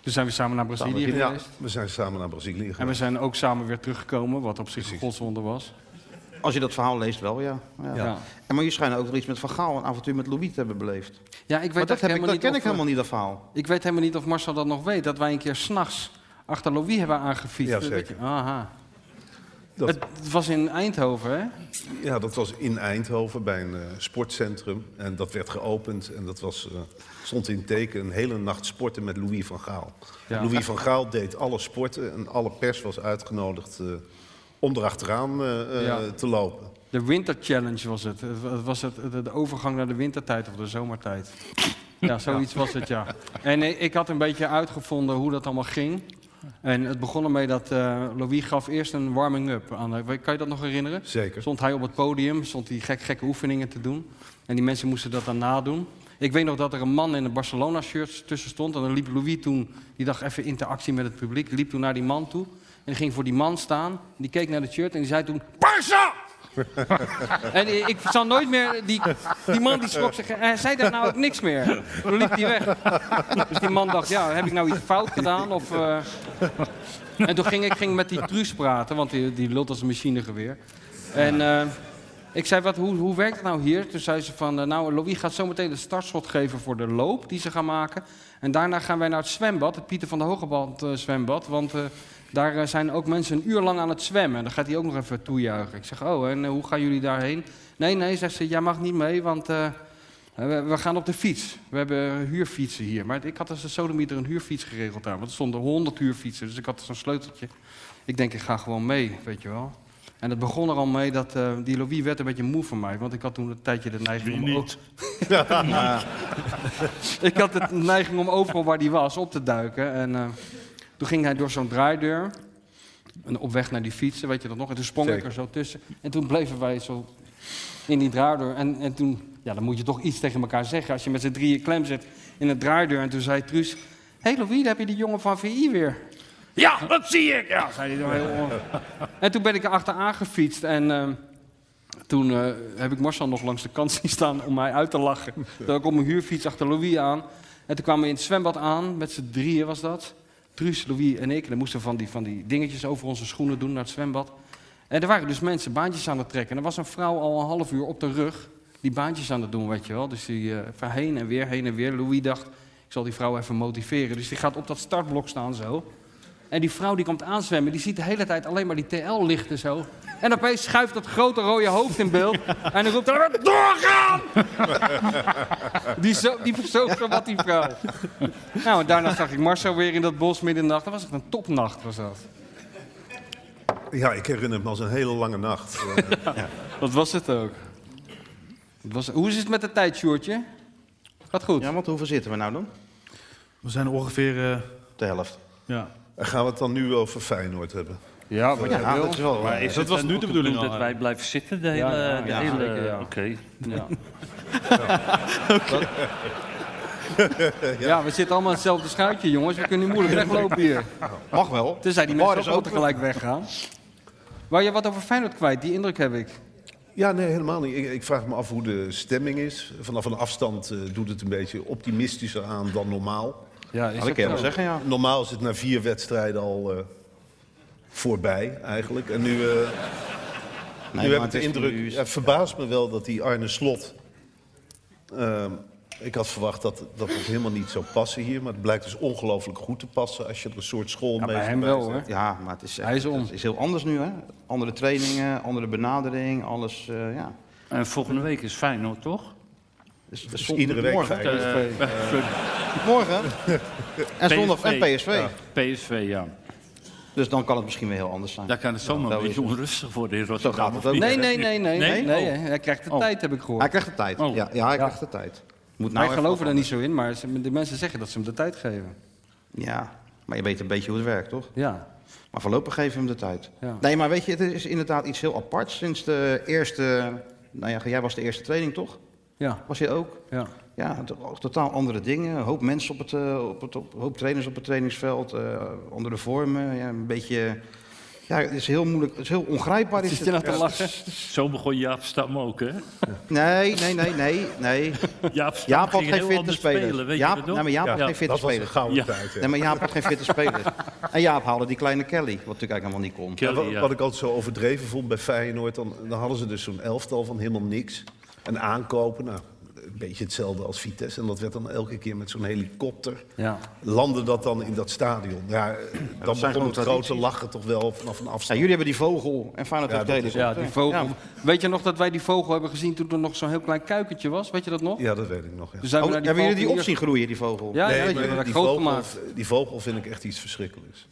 [SPEAKER 9] Toen zijn we samen naar Brazilië
[SPEAKER 8] Ja,
[SPEAKER 9] geweest.
[SPEAKER 14] we zijn samen naar Brazilië geweest.
[SPEAKER 9] En we zijn ook samen weer teruggekomen, wat op zich een godswonder was.
[SPEAKER 8] Als je dat verhaal leest wel, ja. ja.
[SPEAKER 9] Ja.
[SPEAKER 8] En maar je schijnt ook nog iets met Van Gaal, een avontuur met Louis te hebben beleefd.
[SPEAKER 9] Ja, ik weet
[SPEAKER 8] maar dat,
[SPEAKER 9] eigenlijk
[SPEAKER 8] heb ik,
[SPEAKER 9] helemaal
[SPEAKER 8] dat
[SPEAKER 9] niet
[SPEAKER 8] ken
[SPEAKER 9] of we-
[SPEAKER 8] ik helemaal niet, dat verhaal.
[SPEAKER 9] Ik weet helemaal niet of Marcel dat nog weet, dat wij een keer s'nachts achter Louis hebben aangefietst.
[SPEAKER 14] Ja,
[SPEAKER 9] Dat weet
[SPEAKER 14] zeker.
[SPEAKER 9] je- Aha.
[SPEAKER 14] Dat-
[SPEAKER 9] Het, het was in Eindhoven, hè?
[SPEAKER 14] Ja, dat was in Eindhoven bij een eh, sportcentrum. En dat werd geopend en dat was, eh, stond in teken een hele nacht sporten met Louis van Gaal.
[SPEAKER 9] Ja.
[SPEAKER 14] Louis van Gaal deed alle sporten en alle pers was uitgenodigd eh, om erachteraan eh, eh,
[SPEAKER 9] Ja.
[SPEAKER 14] te lopen.
[SPEAKER 9] De Winter Challenge was het. Het wa- het was het, de- de overgang naar de wintertijd of de zomertijd. Ja, zoiets was het, ja. En i- ik had een beetje uitgevonden hoe dat allemaal ging. En het begon ermee dat eh, Louis gaf eerst een warming-up aan. eh, Kan je dat nog herinneren?
[SPEAKER 14] Zeker.
[SPEAKER 9] Stond hij op het podium, stond hij gek, gekke oefeningen te doen. En die mensen moesten dat dan nadoen. Ik weet nog dat er een man in een Barcelona-shirt tussen stond. En dan liep Louis toen, die dacht even interactie met het publiek, liep toen naar die man toe. En ging voor die man staan. En die keek naar het shirt en die zei toen, Barça! En i- ik zal nooit meer... Die, die man die schrok
[SPEAKER 10] eh,
[SPEAKER 9] zich... en Hij zei daar nou ook niks meer. Toen liep hij weg. Dus die man dacht, ja, heb ik nou iets fout gedaan? Of, eh, En toen ging ik ging met die Truus praten, want die, die lult als een machinegeweer. En eh, ik zei, wat, hoe, hoe werkt het nou hier? Toen zei ze van, eh, nou, Louis gaat zo meteen de startschot geven voor de loop die ze gaan maken. En daarna gaan wij naar het zwembad, het Pieter van de Hogeband eh, zwembad. Want eh, daar eh, zijn ook mensen een uur lang aan het zwemmen. En dan gaat hij ook nog even toejuichen. Ik zeg, oh, en eh, hoe gaan jullie daarheen? Nee, nee, zegt ze, jij mag niet mee, want... eh, we, we gaan op de fiets. We hebben huurfietsen hier. Maar ik had als een sodemieter een huurfiets geregeld daar. Want er stonden 100 huurfietsen. Dus ik had zo'n sleuteltje. Ik denk, ik ga gewoon mee, weet je wel. En het begon er al mee dat eh, die Louis werd een beetje moe van mij. Want ik had toen een tijdje de neiging om... Niet. ik had de neiging om overal waar die was op te duiken. En eh, toen ging hij door zo'n draaideur. En op weg naar die fietsen, weet je dat nog? En toen sprong ik
[SPEAKER 14] Zeker.
[SPEAKER 9] er zo tussen. En toen bleven wij zo in die draaideur. En, en toen, ja, dan moet je toch iets tegen elkaar zeggen. Als je met z'n drieën klem zit in de draaideur. En toen zei Truus, hé hey Louis, daar heb je die jongen van VI weer. Ja, dat zie ik! Ja, zei hij dan heel... on- En toen ben ik erachteraan gefietst. En ehm, toen eh, heb ik Marcel nog langs de kant zien staan om mij uit te lachen. Toen had ik op mijn huurfiets achter Louis aan. En toen kwamen we in het zwembad aan, met z'n drieën was dat. Truus, Louis en ik. En dan moesten we van die, van die dingetjes over onze schoenen doen naar het zwembad. En er waren dus mensen baantjes aan het trekken. En er was een vrouw al een half uur op de rug die baantjes aan het doen, weet je wel. Dus die eh, van heen en weer, heen en weer. Louis dacht, ik zal die vrouw even motiveren. Dus die gaat op dat startblok staan zo. En die vrouw die komt aanzwemmen, die ziet de hele tijd alleen maar die TL-lichten zo. En opeens schuift dat grote rode hoofd in beeld. En dan roept hij, doorgaan! Die, zo, die verstookt van wat die vrouw. Nou, en daarna zag ik Marcel weer in dat bos midden in de nacht. Dat was echt een topnacht, was dat.
[SPEAKER 14] Ja, ik herinner me als een hele lange nacht. Eh,
[SPEAKER 9] Dat was het ook. Het was, hoe is het met de tijd, Sjoerdje? Gaat goed.
[SPEAKER 8] Ja, want hoeveel zitten we nou dan?
[SPEAKER 15] We zijn ongeveer... eh,
[SPEAKER 8] De helft.
[SPEAKER 15] ja.
[SPEAKER 14] En gaan we het dan nu over Feyenoord hebben?
[SPEAKER 9] Ja,
[SPEAKER 12] wat
[SPEAKER 14] je
[SPEAKER 12] jij wil.
[SPEAKER 14] Dat is wel...
[SPEAKER 12] Maar is dat was nu de bedoeling dat wij blijven zitten de hele...
[SPEAKER 14] eh. ja,
[SPEAKER 12] de
[SPEAKER 14] ja,
[SPEAKER 12] hele
[SPEAKER 14] zeker, ja.
[SPEAKER 12] Oké.
[SPEAKER 9] Ja.
[SPEAKER 12] Oké.
[SPEAKER 9] Ja. we zitten allemaal in hetzelfde schuitje, jongens. We kunnen niet moeilijk weglopen hier.
[SPEAKER 8] Mag wel.
[SPEAKER 9] Tenzij die
[SPEAKER 8] Bar
[SPEAKER 9] mensen
[SPEAKER 8] is
[SPEAKER 9] ook
[SPEAKER 8] open.
[SPEAKER 9] tegelijk weggaan. Wou je wat over Feyenoord kwijt? Die indruk heb ik.
[SPEAKER 14] Ja, nee, helemaal niet. Ik, ik vraag me af hoe de stemming is. Vanaf een afstand eh, doet het een beetje optimistischer aan dan normaal. Ja,
[SPEAKER 8] dat kan je wel zeggen, ja.
[SPEAKER 14] Normaal is het na vier wedstrijden al eh, voorbij eigenlijk. En nu, eh
[SPEAKER 8] maar
[SPEAKER 14] nu heb ik
[SPEAKER 8] het
[SPEAKER 14] de
[SPEAKER 8] is
[SPEAKER 14] indruk,
[SPEAKER 8] nu-
[SPEAKER 14] ja, het verbaast me wel dat die Arne Slot... ehm, ik had verwacht dat, dat het helemaal niet zou passen hier. Maar het blijkt dus ongelooflijk goed te passen als je er een soort school mee zet.
[SPEAKER 8] Ja, maar het is, hij is, is heel anders nu, hè? Andere trainingen, andere benadering, alles, eh, ja.
[SPEAKER 12] En volgende week is Feyenoord, toch?
[SPEAKER 8] Dus,
[SPEAKER 14] is iedere week
[SPEAKER 8] morgen.
[SPEAKER 12] Feyenoord.
[SPEAKER 8] PSV.
[SPEAKER 12] Eh,
[SPEAKER 8] morgen. en zondag en PSV.
[SPEAKER 12] PSV, ja.
[SPEAKER 8] Dus dan kan het misschien weer heel anders zijn.
[SPEAKER 12] Daar kan het zomaar
[SPEAKER 8] Ja, zo
[SPEAKER 12] een
[SPEAKER 8] is
[SPEAKER 12] beetje
[SPEAKER 8] het.
[SPEAKER 12] onrustig worden in
[SPEAKER 8] Zo
[SPEAKER 12] Rotterdam.
[SPEAKER 8] gaat het
[SPEAKER 12] of
[SPEAKER 8] ook.
[SPEAKER 12] niet?
[SPEAKER 9] Nee, nee, nee, nee. nee, nee,
[SPEAKER 12] Oh.
[SPEAKER 9] Hij krijgt de
[SPEAKER 12] Oh.
[SPEAKER 9] tijd, heb ik gehoord.
[SPEAKER 8] Hij krijgt de tijd. Ja, ja, hij krijgt de tijd. Moet nou
[SPEAKER 9] Wij
[SPEAKER 8] even
[SPEAKER 9] geloven er
[SPEAKER 8] wat
[SPEAKER 9] niet zo in, maar ze- de mensen zeggen dat ze hem de tijd geven.
[SPEAKER 8] Ja, maar je weet een beetje hoe het werkt, toch?
[SPEAKER 9] Ja.
[SPEAKER 8] Maar voorlopig geven we hem de tijd.
[SPEAKER 9] Ja.
[SPEAKER 8] Nee, maar weet je, het is inderdaad iets heel aparts. Sinds de eerste... Nou ja, jij was de eerste training, toch?
[SPEAKER 9] Ja.
[SPEAKER 8] Was je ook?
[SPEAKER 9] Ja.
[SPEAKER 8] Ja, to- totaal andere dingen. Een hoop mensen op het, eh, op het op, een hoop trainers op het trainingsveld. eh, andere vormen. Ja, een beetje... Ja, het is heel moeilijk. Het is heel ongrijpbaar. Is
[SPEAKER 12] Zit je nou
[SPEAKER 8] het.
[SPEAKER 12] te
[SPEAKER 8] Ja.
[SPEAKER 12] lachen? Zo begon Jaap Stam ook, hè?
[SPEAKER 8] Nee, nee, nee, nee, nee.
[SPEAKER 12] Jaap, Stam
[SPEAKER 8] Jaap had
[SPEAKER 12] ging
[SPEAKER 8] geen
[SPEAKER 12] heel
[SPEAKER 8] fitte
[SPEAKER 12] anders
[SPEAKER 8] spelers.
[SPEAKER 12] spelen, weet je
[SPEAKER 8] Jaap,
[SPEAKER 12] dat nog?
[SPEAKER 8] nee, maar Jaap
[SPEAKER 12] Ja.
[SPEAKER 8] had geen fitte
[SPEAKER 12] Dat was een
[SPEAKER 8] spelers.
[SPEAKER 12] gouden tijd, ja.
[SPEAKER 8] Nee, maar Jaap had geen fitte spelers. En Jaap haalde die kleine Kelly, wat natuurlijk eigenlijk helemaal niet kon.
[SPEAKER 14] Ja, wat, wat ik altijd zo overdreven vond bij Feyenoord, dan, dan hadden ze dus zo'n elftal van helemaal niks. En aankopen, nou, een beetje hetzelfde als Vitesse. En dat werd dan elke keer met zo'n helikopter.
[SPEAKER 9] Ja.
[SPEAKER 14] Landde dat dan in dat stadion? Ja, eh, dan
[SPEAKER 8] zijn
[SPEAKER 14] begon
[SPEAKER 8] gewoon
[SPEAKER 14] het grote
[SPEAKER 8] tradities.
[SPEAKER 14] lachen toch wel vanaf een
[SPEAKER 8] Ja,
[SPEAKER 14] afstand.
[SPEAKER 8] jullie hebben die vogel en Feyenoord
[SPEAKER 14] Ja,
[SPEAKER 8] heeft
[SPEAKER 14] dat
[SPEAKER 8] de hele
[SPEAKER 14] is-
[SPEAKER 8] groep,
[SPEAKER 9] Ja,
[SPEAKER 8] hè?
[SPEAKER 9] die vogel.
[SPEAKER 8] Ja.
[SPEAKER 9] Weet je nog dat wij die vogel hebben gezien toen er nog zo'n heel klein kuikentje was? Weet je dat nog?
[SPEAKER 14] Ja, dat weet ik nog. Ja.
[SPEAKER 9] Toen Dus zijn we
[SPEAKER 8] Oh,
[SPEAKER 9] naar die
[SPEAKER 8] hebben jullie die
[SPEAKER 9] vogel
[SPEAKER 8] op zien
[SPEAKER 9] hier-
[SPEAKER 8] groeien, die vogel?
[SPEAKER 9] Ja,
[SPEAKER 14] Nee,
[SPEAKER 9] ja, weet
[SPEAKER 14] maar
[SPEAKER 9] je, dat
[SPEAKER 14] die,
[SPEAKER 9] groot
[SPEAKER 14] vogel,
[SPEAKER 9] gemaakt.
[SPEAKER 14] die vogel vind ik echt iets verschrikkelijks.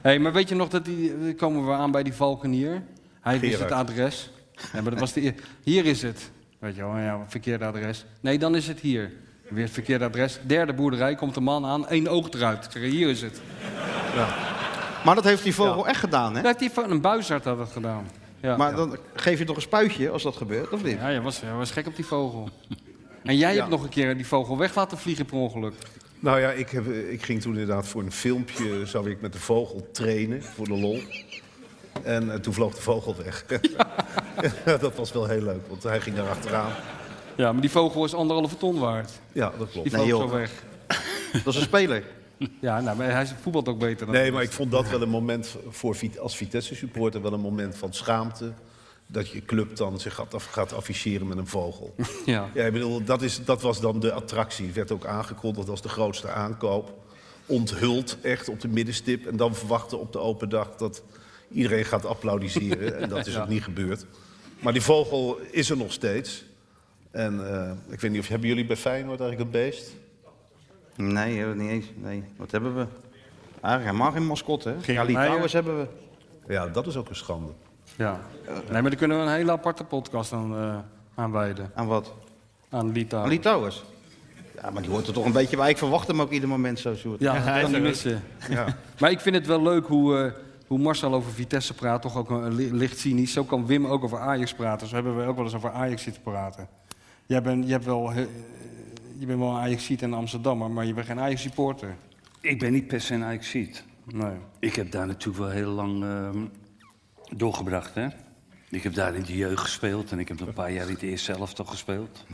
[SPEAKER 9] Hé, maar weet je nog dat die. eh, komen we aan bij die valkenier? Hij wist
[SPEAKER 14] Gerard.
[SPEAKER 9] het adres. Ja, maar dat was de, eer- hier is het. Weet je wel, ja, verkeerde adres. Nee, dan is het hier. Weer het verkeerde adres. Derde boerderij komt de man aan, één oog eruit. Ik zeg, Hier is het.
[SPEAKER 8] Maar dat heeft die vogel echt gedaan, hè?
[SPEAKER 9] Dat heeft die van een buizard had dat gedaan. Ja.
[SPEAKER 8] Maar dan geef je toch een spuitje als dat gebeurt, of niet?
[SPEAKER 9] Ja, je was, je was gek op die vogel. En jij hebt nog een keer die vogel weg laten vliegen per ongeluk.
[SPEAKER 14] Nou ja, ik, heb, eh, ik ging toen inderdaad voor een filmpje, zou ik met de vogel trainen, voor de lol. En eh, toen vloog de vogel weg. dat was wel heel leuk, want hij ging daar achteraan.
[SPEAKER 9] Ja, maar die vogel is anderhalve ton waard.
[SPEAKER 14] Ja, dat klopt.
[SPEAKER 9] Die vloog zo weg.
[SPEAKER 8] Dat is een speler.
[SPEAKER 9] Ja, nou, maar hij voetbalt ook beter dan
[SPEAKER 14] Nee, maar ik vond dat wel een moment voor Vit- als Vitesse-supporter wel een moment van schaamte. Dat je club dan zich gaat, af- gaat afficheren met een vogel.
[SPEAKER 9] Ja.
[SPEAKER 14] Ja, ik bedoel, dat, is, dat was dan de attractie. Werd ook aangekondigd als de grootste aankoop. Onthuld echt op de middenstip. En dan verwachten op de open dag dat iedereen gaat applaudisseren. En dat is
[SPEAKER 9] Ja.
[SPEAKER 14] ook niet gebeurd. Maar die vogel is er nog steeds. En eh, ik weet niet of hebben jullie bij Feyenoord eigenlijk een beest?
[SPEAKER 8] Nee, hebben we niet eens. Nee. Wat hebben we? Eigenlijk helemaal geen mascotte, hè?
[SPEAKER 14] Geen
[SPEAKER 8] ja, Litouwers
[SPEAKER 9] meier.
[SPEAKER 8] hebben we.
[SPEAKER 14] Ja, dat is ook een schande.
[SPEAKER 9] Ja. Nee, maar daar kunnen we een hele aparte podcast aan, eh aan wijden.
[SPEAKER 8] Aan wat?
[SPEAKER 9] Aan Lita.
[SPEAKER 8] Aan Litouwers. Ja, maar die hoort er toch een beetje bij. Ik verwacht hem ook ieder moment zo, Sjoerd.
[SPEAKER 9] Ja, dat kan niet missen.
[SPEAKER 14] Ja.
[SPEAKER 9] Maar ik vind het wel leuk hoe, eh, hoe Marcel over Vitesse praat, toch ook een li- licht cynisch. Zo kan Wim ook over Ajax praten. Zo hebben we ook wel eens over Ajax zitten praten. Jij bent, je hebt wel, he- eh, je bent wel een Ajaxiet en een Amsterdammer, maar je bent geen Ajax-supporter.
[SPEAKER 12] Ik ben niet per se een Ajaxiet.
[SPEAKER 9] Nee.
[SPEAKER 12] Ik heb daar natuurlijk wel heel lang ehm, doorgebracht, hè. Ik heb daar in de jeugd gespeeld en ik heb nog een paar jaar in het eerste elftal gespeeld.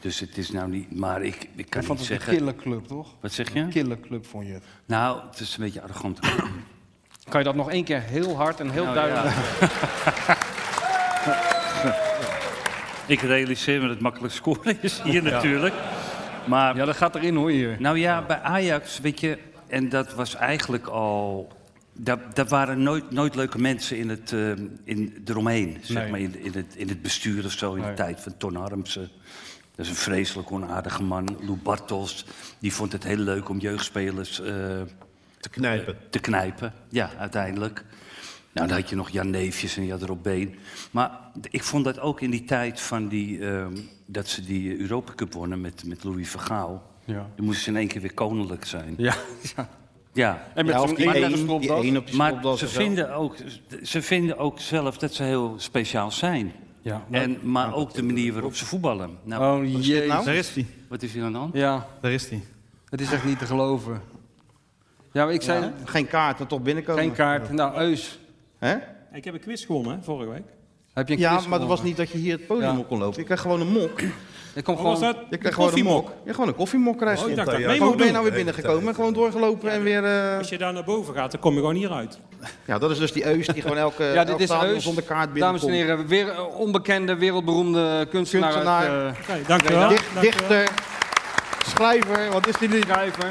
[SPEAKER 12] Dus het is nou niet... Maar ik, ik kan
[SPEAKER 9] Ik vond
[SPEAKER 12] niet
[SPEAKER 9] het
[SPEAKER 12] zeggen...
[SPEAKER 9] een killerclub, toch?
[SPEAKER 12] Wat zeg je?
[SPEAKER 9] Een killerclub vond je het.
[SPEAKER 12] Nou, het is een beetje arrogant.
[SPEAKER 9] Kan je dat nog één keer heel hard en heel
[SPEAKER 12] Nou,
[SPEAKER 9] duidelijk...
[SPEAKER 12] ik realiseer me dat het makkelijk scoren is hier natuurlijk. Maar,
[SPEAKER 9] ja, dat gaat erin hoor hier.
[SPEAKER 12] Nou ja, bij Ajax, weet je, en dat was eigenlijk al. Daar, daar waren nooit, nooit leuke mensen in het, eh, in, eromheen, zeg
[SPEAKER 9] Nee.
[SPEAKER 12] maar, in, in, het, in het bestuur of zo, in de
[SPEAKER 9] Nee.
[SPEAKER 12] tijd van Ton Harmsen. Dat is een vreselijk onaardige man. Lou Bartels, die vond het heel leuk om jeugdspelers eh,
[SPEAKER 14] te knijpen.
[SPEAKER 12] te knijpen, ja, uiteindelijk. Nou, dan had je nog Jan Neefjes en je had Rob Been. Maar d- ik vond dat ook in die tijd van die, ehm, dat ze die Europa Cup wonnen met, met Louis Vergaal.
[SPEAKER 9] Ja.
[SPEAKER 12] Dan moesten ze in één keer weer koninklijk zijn.
[SPEAKER 9] Ja,
[SPEAKER 12] Ja.
[SPEAKER 9] En met
[SPEAKER 8] Ja, of
[SPEAKER 9] zo'n
[SPEAKER 8] die
[SPEAKER 9] ene
[SPEAKER 8] één- die
[SPEAKER 9] stropdas.
[SPEAKER 8] één op die
[SPEAKER 12] Maar
[SPEAKER 8] stropdas
[SPEAKER 12] ze
[SPEAKER 8] of zo.
[SPEAKER 12] vinden, ook, ze vinden ook zelf dat ze heel speciaal zijn.
[SPEAKER 9] Ja,
[SPEAKER 12] en, maar ook de manier waarop ze voetballen. Nou,
[SPEAKER 9] Oh, jee.
[SPEAKER 10] Daar is hij.
[SPEAKER 12] Wat is hier aan de hand?
[SPEAKER 9] Ja,
[SPEAKER 10] Daar is hij.
[SPEAKER 9] het is echt niet te geloven. Ja, maar ik zei...
[SPEAKER 8] Geen kaart en toch binnenkomen.
[SPEAKER 9] Geen kaart. Nou, Eus.
[SPEAKER 8] Hè?
[SPEAKER 16] Ik heb een quiz gewonnen hè, vorige week.
[SPEAKER 9] Heb je een
[SPEAKER 8] ja,
[SPEAKER 9] quiz
[SPEAKER 8] maar dat was
[SPEAKER 9] gewonnen?
[SPEAKER 8] niet dat je hier het podium
[SPEAKER 9] Ja.
[SPEAKER 8] op kon lopen. Je kreeg gewoon een mok. Je
[SPEAKER 9] kon gewoon- was dat?
[SPEAKER 8] Je
[SPEAKER 9] Een
[SPEAKER 8] kreeg gewoon een
[SPEAKER 9] koffiemok?
[SPEAKER 8] mok. Ja, gewoon een koffiemok krijg je.
[SPEAKER 16] Oh, ik dacht dat mee moet
[SPEAKER 8] Hoe ben je
[SPEAKER 16] doen. Eh,
[SPEAKER 8] nou weer binnengekomen? En gewoon doorgelopen en weer... eh,
[SPEAKER 16] Als je daar naar boven gaat, dan kom je gewoon hier uit.
[SPEAKER 8] Ja, dat is dus die Eus die gewoon elke
[SPEAKER 16] Ja,
[SPEAKER 9] Ja,
[SPEAKER 8] elk
[SPEAKER 9] dit is
[SPEAKER 8] stadion
[SPEAKER 9] Heus.
[SPEAKER 8] zonder kaart binnenkomt.
[SPEAKER 9] Dames en heren, weer eh, onbekende, wereldberoemde kunstenaar.
[SPEAKER 8] Kunstenaar.
[SPEAKER 9] uit, eh,
[SPEAKER 8] Oké,
[SPEAKER 9] Breda.
[SPEAKER 8] Dich- dichter, schrijver, wat is die nu?
[SPEAKER 9] Schrijver.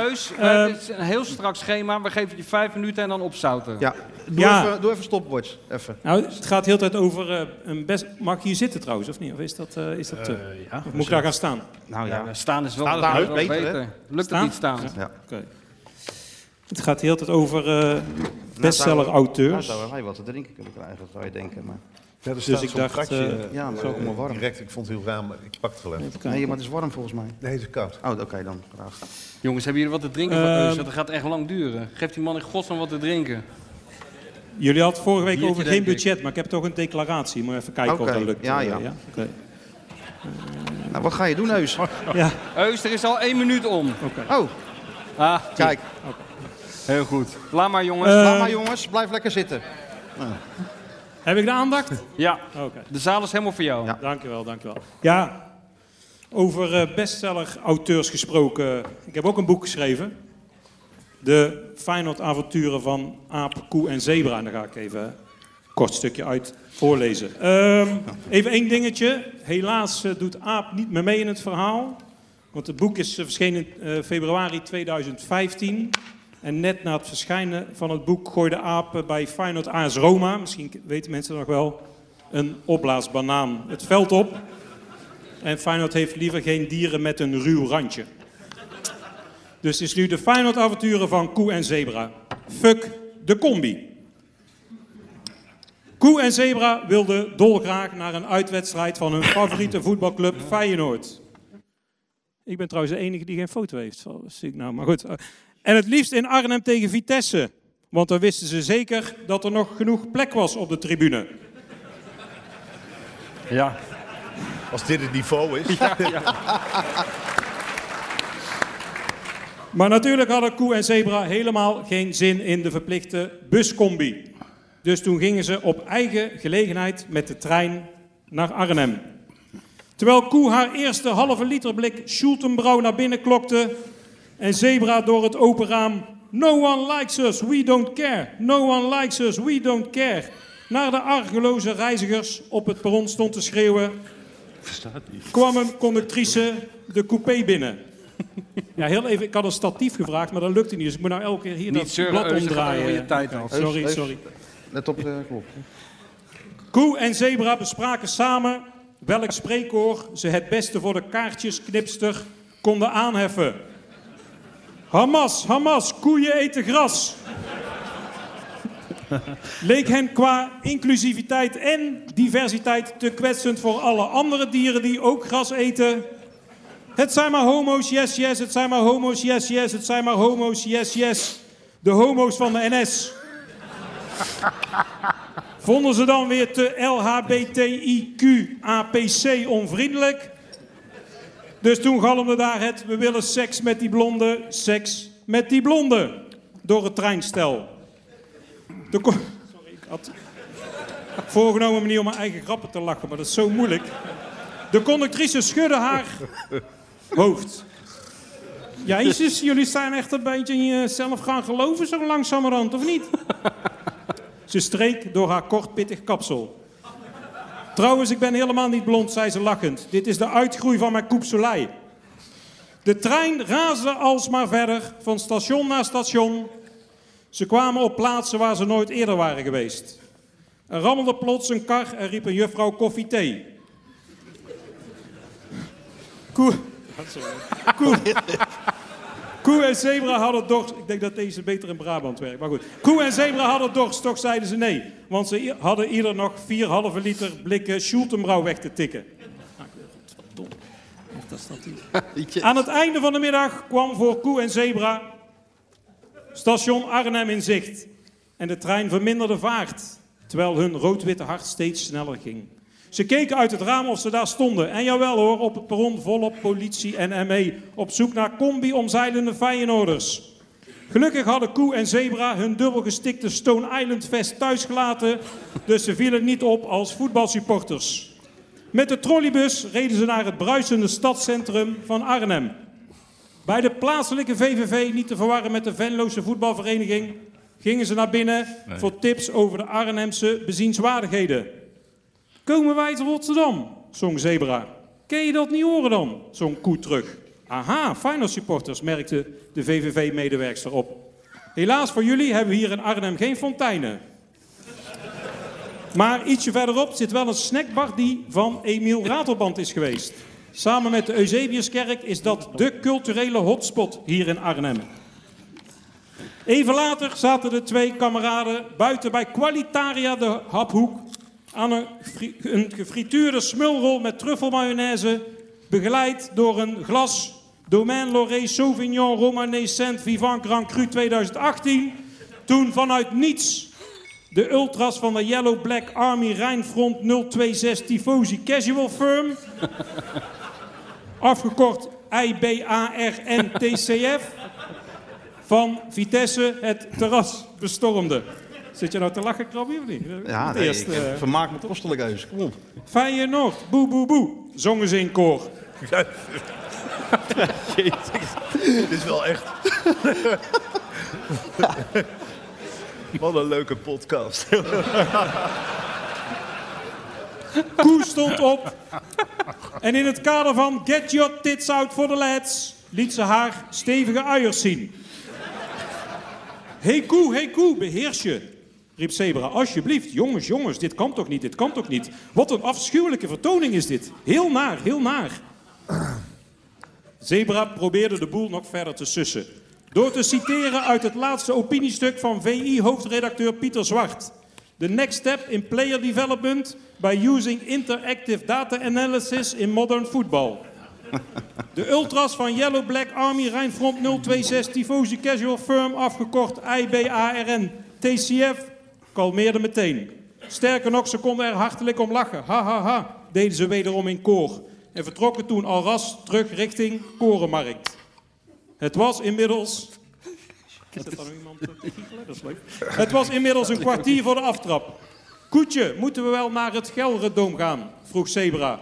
[SPEAKER 9] Eus, we
[SPEAKER 8] eh,
[SPEAKER 16] Ehm,
[SPEAKER 9] hebben- het is een heel strak schema. We geven je vijf minuten en dan opzouten.
[SPEAKER 8] Ja, doe,
[SPEAKER 16] Ja.
[SPEAKER 8] Even, doe even stopwatch. Even.
[SPEAKER 16] Nou, het gaat de hele tijd over eh, een best... Mag ik hier zitten trouwens, of niet? Of is dat... eh, is dat eh,
[SPEAKER 10] ja,
[SPEAKER 16] of moet ik daar gaan staan?
[SPEAKER 8] Nou ja.
[SPEAKER 9] staan is wel,
[SPEAKER 16] Staan is
[SPEAKER 9] staan
[SPEAKER 16] leuk,
[SPEAKER 9] is wel
[SPEAKER 16] beter, hè?
[SPEAKER 9] beter. Lukt het
[SPEAKER 16] Staan?
[SPEAKER 9] niet staan?
[SPEAKER 16] Ja. Oké. Het gaat de hele tijd over eh,
[SPEAKER 8] Nou
[SPEAKER 16] bestseller-auteurs.
[SPEAKER 8] zouden wij wat te drinken kunnen krijgen, zou je denken. Maar...
[SPEAKER 16] er Dus staat ik zo'n dacht, kratje, eh, eh,
[SPEAKER 8] ja, maar
[SPEAKER 16] zo
[SPEAKER 8] ook maar warm.
[SPEAKER 17] Direct, ik vond het heel raar, maar ik pak het wel even.
[SPEAKER 8] Nee, maar het is warm volgens mij.
[SPEAKER 17] Nee, het is koud.
[SPEAKER 8] Oh, oké, dan graag.
[SPEAKER 9] Jongens, hebben jullie wat te drinken van Eus?
[SPEAKER 16] Ehm.
[SPEAKER 9] Dat gaat echt lang duren. Geef die man in godsnaam wat te drinken.
[SPEAKER 16] Jullie hadden het vorige week
[SPEAKER 9] Biertje,
[SPEAKER 16] over geen
[SPEAKER 9] denk ik.
[SPEAKER 16] budget, maar ik heb toch een declaratie. Moet even kijken of
[SPEAKER 8] Oké,
[SPEAKER 16] dat lukt.
[SPEAKER 8] ja,
[SPEAKER 16] Eh,
[SPEAKER 8] ja.
[SPEAKER 16] Oké.
[SPEAKER 8] Nou, wat ga je doen, Eus?
[SPEAKER 16] Ja.
[SPEAKER 9] Eus, er is al één minuut om.
[SPEAKER 8] Oh.
[SPEAKER 9] Ah,
[SPEAKER 8] Kijk.
[SPEAKER 9] Heel goed. Laat maar jongens.
[SPEAKER 16] Eh.
[SPEAKER 8] Laat maar jongens, blijf lekker zitten.
[SPEAKER 16] Heb ik de aandacht?
[SPEAKER 9] Ja,
[SPEAKER 16] Oké.
[SPEAKER 9] de zaal is helemaal voor jou.
[SPEAKER 16] Dankjewel, dankjewel. Ja, over eh, bestseller-auteurs gesproken. Ik heb ook een boek geschreven. De Feyenoord-avonturen van Aap, Koe en Zebra. En daar ga ik even een kort stukje uit voorlezen. Ehm, even één dingetje. Helaas eh, doet Aap niet meer mee in het verhaal. Want het boek is eh, verschenen eh, februari 2015. En net na het verschijnen van het boek gooide Aap eh, bij Feyenoord AS Roma... misschien weten mensen dat nog wel... een opblaasbanaan het veld op. En Feyenoord heeft liever geen dieren met een ruw randje. Dus het is nu de Feyenoord-avonturen van Koe en Zebra. Fuck de combi. Koe en Zebra wilden dolgraag naar een uitwedstrijd van hun favoriete voetbalclub Feyenoord. Ik ben trouwens de enige die geen foto heeft. Zo, dat zie ik nou, maar goed. En het liefst in Arnhem tegen Vitesse. Want dan wisten ze zeker dat er nog genoeg plek was op de tribune.
[SPEAKER 9] Ja.
[SPEAKER 17] Als dit het niveau is.
[SPEAKER 16] Maar natuurlijk hadden Koe en Zebra helemaal geen zin in de verplichte buscombi. Dus toen gingen ze op eigen gelegenheid met de trein naar Arnhem. Terwijl Koe haar eerste halve liter blik Schultenbrouw naar binnen klokte... en Zebra door het open raam... No one likes us, we don't care. No one likes us, we don't care. Naar de argeloze reizigers op het perron stond te schreeuwen... kwam een conductrice de coupé binnen. Ja, heel even. Ik had een statief gevraagd, maar dat lukte niet. Dus ik moet nou elke keer hier
[SPEAKER 9] Niet
[SPEAKER 16] dat
[SPEAKER 9] zeuren, eh,
[SPEAKER 16] blad
[SPEAKER 9] Eus, je gaat
[SPEAKER 16] omdraaien.
[SPEAKER 9] al je tijd af.
[SPEAKER 16] Oké, Sorry,
[SPEAKER 8] Eus, Eus,
[SPEAKER 16] sorry.
[SPEAKER 8] Let op eh, de klok.
[SPEAKER 16] Koe en Zebra bespraken samen welk spreekkoor ze het beste voor de kaartjesknipster konden aanheffen. Hamas, Hamas, koeien eten gras. Leek hen qua inclusiviteit en diversiteit te kwetsend voor alle andere dieren die ook gras eten. Het zijn maar homo's, yes, yes. Het zijn maar homo's, yes, yes. Het zijn maar homo's, yes, yes. De homo's van de NS vonden ze dan weer te LHBTIQ-APC onvriendelijk. Dus toen galmde daar het, we willen seks met die blonde, seks met die blonde, door het treinstel. De co- Sorry, ik had voorgenomen manier om mijn eigen grappen te lachen, maar dat is zo moeilijk. De conductrice schudde haar hoofd. Ja, Jezus, jullie zijn echt een beetje in jezelf gaan geloven zo langzamerhand, of niet? Ze streek door haar kort pittig kapsel. Trouwens, ik ben helemaal niet blond, zei ze lachend. Dit is de uitgroei van mijn koepselij. De trein raasde alsmaar verder, van station naar station. Ze kwamen op plaatsen waar ze nooit eerder waren geweest. Er rammelde plots een kar en riep een juffrouw koffie thee. Koe... Koe... Koe en zebra hadden dorst. Ik denk dat deze beter in Brabant werkt, maar goed. Koe en zebra hadden dorst, toch zeiden ze nee. Want ze i- hadden ieder nog 4,5 liter blikken Schultenbrouw weg te tikken. Aan het einde van de middag kwam voor Koe en Zebra station Arnhem in zicht. En de trein verminderde vaart, terwijl hun rood-witte hart steeds sneller ging. Ze keken uit het raam of ze daar stonden. En jawel hoor, op E het perron volop politie en ME op zoek naar combi-omzeilende Feyenoorders. Gelukkig hadden Koe en Zebra hun dubbelgestikte Stone Island vest thuisgelaten, dus ze vielen niet op als voetbalsupporters. Met de trolleybus reden ze naar het bruisende stadscentrum van Arnhem. Bij de plaatselijke VVV, niet te verwarren met de Venloze voetbalvereniging, gingen ze naar binnen
[SPEAKER 18] Nee.
[SPEAKER 16] voor tips over de Arnhemse bezienswaardigheden. Komen wij te Rotterdam? zong Zebra. Ken je dat niet horen dan? zong Koe terug. Aha, Feyenoord supporters, merkte de VVV-medewerkster op. Helaas voor jullie hebben we hier in Arnhem geen fonteinen. Maar ietsje verderop zit wel een snackbar die van Emiel Ratelband is geweest. Samen met de Eusebiuskerk is dat de culturele hotspot hier in Arnhem. Even later zaten de twee kameraden buiten bij Qualitaria de Haphoek aan een, gefri- een gefrituurde smulrol met truffelmayonaise, begeleid door een glas Domaine Loré Sauvignon Romanée Saint Vivant Grand Cru 2018. Toen vanuit niets de ultras van de Yellow Black Army Rijnfront 026 Tifosi Casual Firm afgekort IBARNTCF, van Vitesse het terras bestormde. Zit je nou te lachen, Krabbe, of niet?
[SPEAKER 8] Ja,
[SPEAKER 16] Het
[SPEAKER 8] nee,
[SPEAKER 16] eerst,
[SPEAKER 8] ik
[SPEAKER 16] eh,
[SPEAKER 8] eh, vermaak me kostelijk heus. Kom op.
[SPEAKER 16] Feyenoord, boe boe boe, zongen ze in koor.
[SPEAKER 17] Dit is wel echt. Wat een leuke podcast.
[SPEAKER 16] Koe stond op. En in het kader van Get Your Tits Out for the Lads liet ze haar stevige uiers zien. Hey koe, hey koe, beheers je, riep Zebra. Alsjeblieft, jongens, jongens, dit kan toch niet, dit kan toch niet. Wat een afschuwelijke vertoning is dit. Heel naar, heel naar. Zebra probeerde de boel nog verder te sussen. Door te citeren uit het laatste opiniestuk van VI-hoofdredacteur Pieter Zwart. The next step in player development by using interactive data analysis in modern football. De ultras van Yellow Black Army Rijnfront 026 Tifosi Casual Firm, afgekort IBARN TCF, kalmeerde meteen. Sterker nog, ze konden er hartelijk om lachen. Ha ha ha, deden ze wederom in koor. En vertrokken toen al ras terug richting Korenmarkt. Het was inmiddels... Is dat dan iemand te giechelen? Dat is leuk. Het was inmiddels een kwartier voor de aftrap. Koetje, moeten we wel naar het Gelredoom gaan? vroeg Zebra.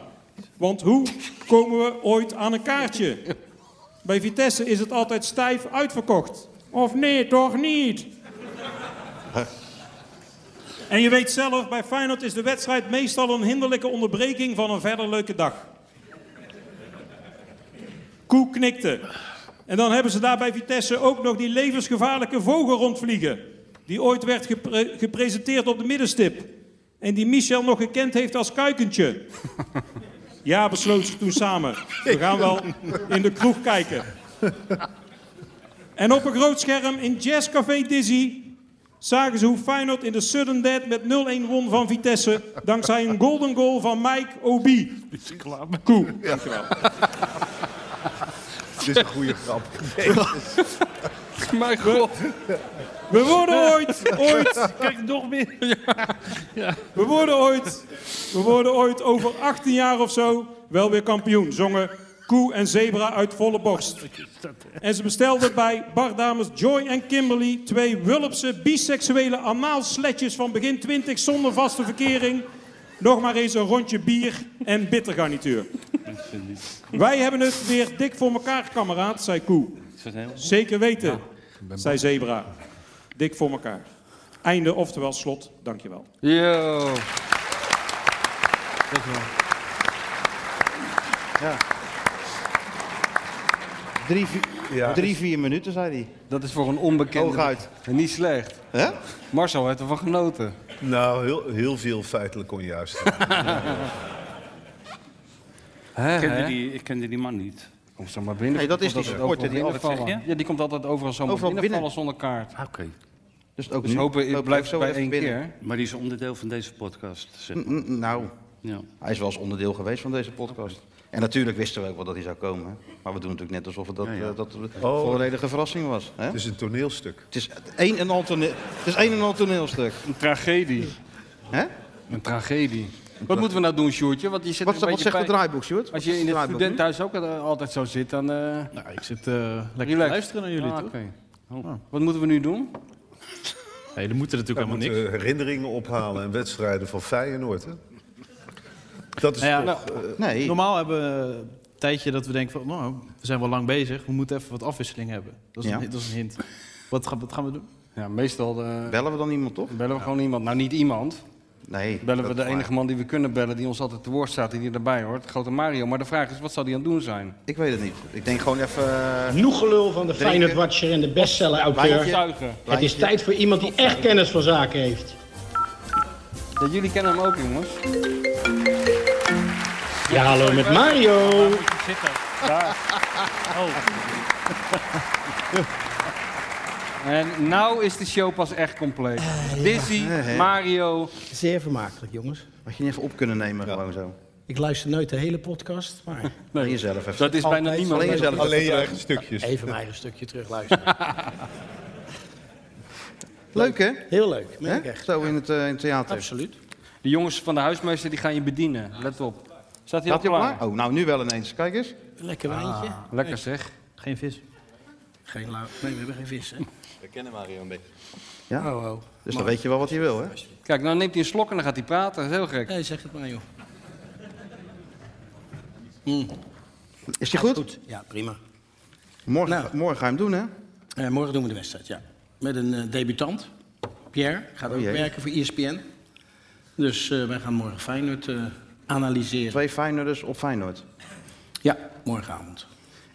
[SPEAKER 16] Want hoe komen we ooit aan een kaartje? Bij Vitesse is het altijd stijf uitverkocht. Of nee, toch niet? En je weet zelf, bij Feyenoord is de wedstrijd meestal een hinderlijke onderbreking van een verder leuke dag. Koe knikte. En dan hebben ze daar bij Vitesse ook nog die levensgevaarlijke vogel rondvliegen. Die ooit werd gepre- gepresenteerd op de middenstip. En die Michel nog gekend heeft als kuikentje. Ja, besloot ze toen samen. We gaan wel in de kroeg kijken. En op een groot scherm in Jazzcafé Dizzy zagen ze hoe Feyenoord in de sudden dead met 0-1 won van Vitesse. Dankzij een golden goal van Mike Obi. Koe, dankjewel.
[SPEAKER 17] Dit is een goede grap.
[SPEAKER 16] Mijn god. We worden ooit, ooit...
[SPEAKER 17] Kijk, nog meer.
[SPEAKER 16] We worden ooit, we worden ooit over 18 jaar of zo wel weer kampioen. Zongen Koe en Zebra uit volle borst. En ze bestelden bij bardames Joy en Kimberly twee wulpse biseksuele anaalsletjes van begin 20 zonder vaste verkering. Nog maar eens een rondje bier en bittergarnituur. Wij hebben het weer dik voor elkaar, kameraad, zei Koe. Zeker weten, zei Zebra. Dik voor elkaar. Einde, oftewel slot. Dankjewel.
[SPEAKER 9] Yo.
[SPEAKER 8] Ja. Drie, vier,
[SPEAKER 9] Ja.
[SPEAKER 8] drie, vier minuten, zei hij.
[SPEAKER 9] Dat is voor een onbekende.
[SPEAKER 8] Hooguit.
[SPEAKER 9] En niet slecht.
[SPEAKER 8] Hè?
[SPEAKER 9] Marcel heeft ervan genoten.
[SPEAKER 17] Nou, heel, heel veel feitelijk onjuist.
[SPEAKER 12] Ik kende,
[SPEAKER 9] hè?
[SPEAKER 12] die, ik kende die man niet.
[SPEAKER 9] Kom zo maar binnen.
[SPEAKER 8] Nee, dat is die
[SPEAKER 9] Komt
[SPEAKER 8] supporter
[SPEAKER 9] overal
[SPEAKER 8] die altijd
[SPEAKER 9] binnenvallen.
[SPEAKER 8] zegt,
[SPEAKER 9] Ja, die komt altijd overal zomaar
[SPEAKER 8] Overal
[SPEAKER 9] binnenvallen
[SPEAKER 8] binnen.
[SPEAKER 9] zonder kaart.
[SPEAKER 12] Ah, Oké.
[SPEAKER 8] Dus ook
[SPEAKER 9] Dus
[SPEAKER 8] nu
[SPEAKER 9] hopen, het
[SPEAKER 8] loopt
[SPEAKER 9] blijft
[SPEAKER 8] zo
[SPEAKER 9] bij
[SPEAKER 8] even
[SPEAKER 9] één
[SPEAKER 8] binnen.
[SPEAKER 9] keer.
[SPEAKER 12] Maar die is onderdeel van deze podcast. Zeg maar.
[SPEAKER 8] N- n- Nou,
[SPEAKER 12] Ja.
[SPEAKER 8] hij is wel eens onderdeel geweest van deze podcast. En natuurlijk wisten we ook wel dat hij zou komen. hè. Maar we doen natuurlijk net alsof het dat, eh, dat een volledige verrassing was. Hè?
[SPEAKER 17] Het is een toneelstuk.
[SPEAKER 8] Het is een en al, tone- het is een en al toneelstuk.
[SPEAKER 9] Een tragedie.
[SPEAKER 8] Hè?
[SPEAKER 9] Een tragedie. Wat moeten we nou doen, Sjoerdje? Want je zit
[SPEAKER 8] Wat-
[SPEAKER 9] een
[SPEAKER 8] wat
[SPEAKER 9] beetje
[SPEAKER 8] zegt het
[SPEAKER 9] bij-
[SPEAKER 8] draaiboek, Sjoerd? Wat
[SPEAKER 9] Als je
[SPEAKER 8] zegt
[SPEAKER 9] in
[SPEAKER 8] het
[SPEAKER 9] het
[SPEAKER 8] draaiboek nu?
[SPEAKER 9] studentenhuis ook eh, altijd zo zit, dan... eh,
[SPEAKER 10] Nou, ik zit eh, lekker te
[SPEAKER 9] relax.
[SPEAKER 10] luisteren naar jullie,
[SPEAKER 9] Ah,
[SPEAKER 10] toch?
[SPEAKER 9] oké.
[SPEAKER 8] Oh.
[SPEAKER 9] Wat moeten we nu doen?
[SPEAKER 14] Nee, dan moeten natuurlijk
[SPEAKER 9] helemaal
[SPEAKER 14] niks. herinneringen ophalen en wedstrijden van Feyenoord, hè? Dat is toch...
[SPEAKER 8] Nou,
[SPEAKER 14] eh,
[SPEAKER 10] nee. nou, Normaal hebben we een tijdje dat we denken van, nou, we zijn wel lang bezig. We moeten even wat afwisseling hebben. Dat is,
[SPEAKER 9] Ja.
[SPEAKER 10] een, dat is een hint. Wat gaan, wat gaan we doen?
[SPEAKER 9] Ja, meestal... eh,
[SPEAKER 8] bellen we dan iemand, toch?
[SPEAKER 9] Bellen we gewoon iemand. Nou, niet iemand.
[SPEAKER 8] Nee.
[SPEAKER 9] Bellen we
[SPEAKER 8] dat
[SPEAKER 9] de
[SPEAKER 8] is
[SPEAKER 9] enige
[SPEAKER 8] waar.
[SPEAKER 9] man die we kunnen bellen, die ons altijd te woord staat en die erbij hoort. Grote Mario. Maar de vraag is, wat zal die aan het doen zijn?
[SPEAKER 8] Ik weet het niet. Ik denk gewoon even... eh,
[SPEAKER 18] Genoeg gelul van de
[SPEAKER 8] Drinken.
[SPEAKER 18] Feyenoord-watcher en de bestseller-auteur.
[SPEAKER 8] Lijntje.
[SPEAKER 18] Het is
[SPEAKER 8] Lijntje.
[SPEAKER 18] tijd voor iemand die echt kennis van zaken heeft.
[SPEAKER 9] Ja, jullie kennen hem ook, jongens.
[SPEAKER 18] Ja, hallo met Mario.
[SPEAKER 9] Daar.
[SPEAKER 10] Oh.
[SPEAKER 9] En nou is de show pas echt compleet.
[SPEAKER 8] Eh,
[SPEAKER 9] Dizzy, Mario.
[SPEAKER 18] Zeer vermakelijk, jongens.
[SPEAKER 8] Had je niet even op kunnen nemen, gewoon zo.
[SPEAKER 18] Ik luister nooit de hele podcast, maar...
[SPEAKER 8] Alleen jezelf even.
[SPEAKER 18] Dat is bijna
[SPEAKER 8] Altijd
[SPEAKER 18] niemand.
[SPEAKER 8] Alleen jezelf.
[SPEAKER 18] Alleen je
[SPEAKER 8] even terug.
[SPEAKER 18] eigen stukjes. Even mijn eigen stukje terugluisteren.
[SPEAKER 8] Leuk, hè?
[SPEAKER 18] Heel leuk,
[SPEAKER 9] meen
[SPEAKER 8] Hè?
[SPEAKER 9] ik echt.
[SPEAKER 8] Zo in het, eh, in het theater.
[SPEAKER 18] Absoluut.
[SPEAKER 9] De jongens van de huismeester die gaan je bedienen. Let op. Staat hij al
[SPEAKER 8] Staat hij al
[SPEAKER 9] klaar? Ah,
[SPEAKER 8] klaar? Oh, nou nu wel ineens. Kijk eens.
[SPEAKER 18] Lekker wijntje.
[SPEAKER 9] Lekker zeg.
[SPEAKER 10] Geen vis.
[SPEAKER 18] Geen lui. Nee, we hebben geen vis, hè?
[SPEAKER 12] We kennen Mario een beetje.
[SPEAKER 8] Ja?
[SPEAKER 18] Oh, oh.
[SPEAKER 8] Dus dan weet je wel wat hij wil, hè?
[SPEAKER 9] Kijk, nou neemt hij een slok en dan gaat hij praten. Dat is heel gek.
[SPEAKER 18] Nee, zeg het maar, joh.
[SPEAKER 8] Mm. Is die goed?
[SPEAKER 18] Ja, prima. Nou.
[SPEAKER 8] Morgen, morgen ga je hem doen, hè?
[SPEAKER 18] Eh, morgen doen we de wedstrijd, ja. Met een eh, debutant, Pierre. Gaat
[SPEAKER 8] Oh,
[SPEAKER 18] ook
[SPEAKER 8] jee.
[SPEAKER 18] werken voor E ESPN. Dus eh, wij gaan morgen Feyenoord eh, analyseren.
[SPEAKER 8] Twee Feyenoorders op Feyenoord.
[SPEAKER 18] Ja, morgenavond.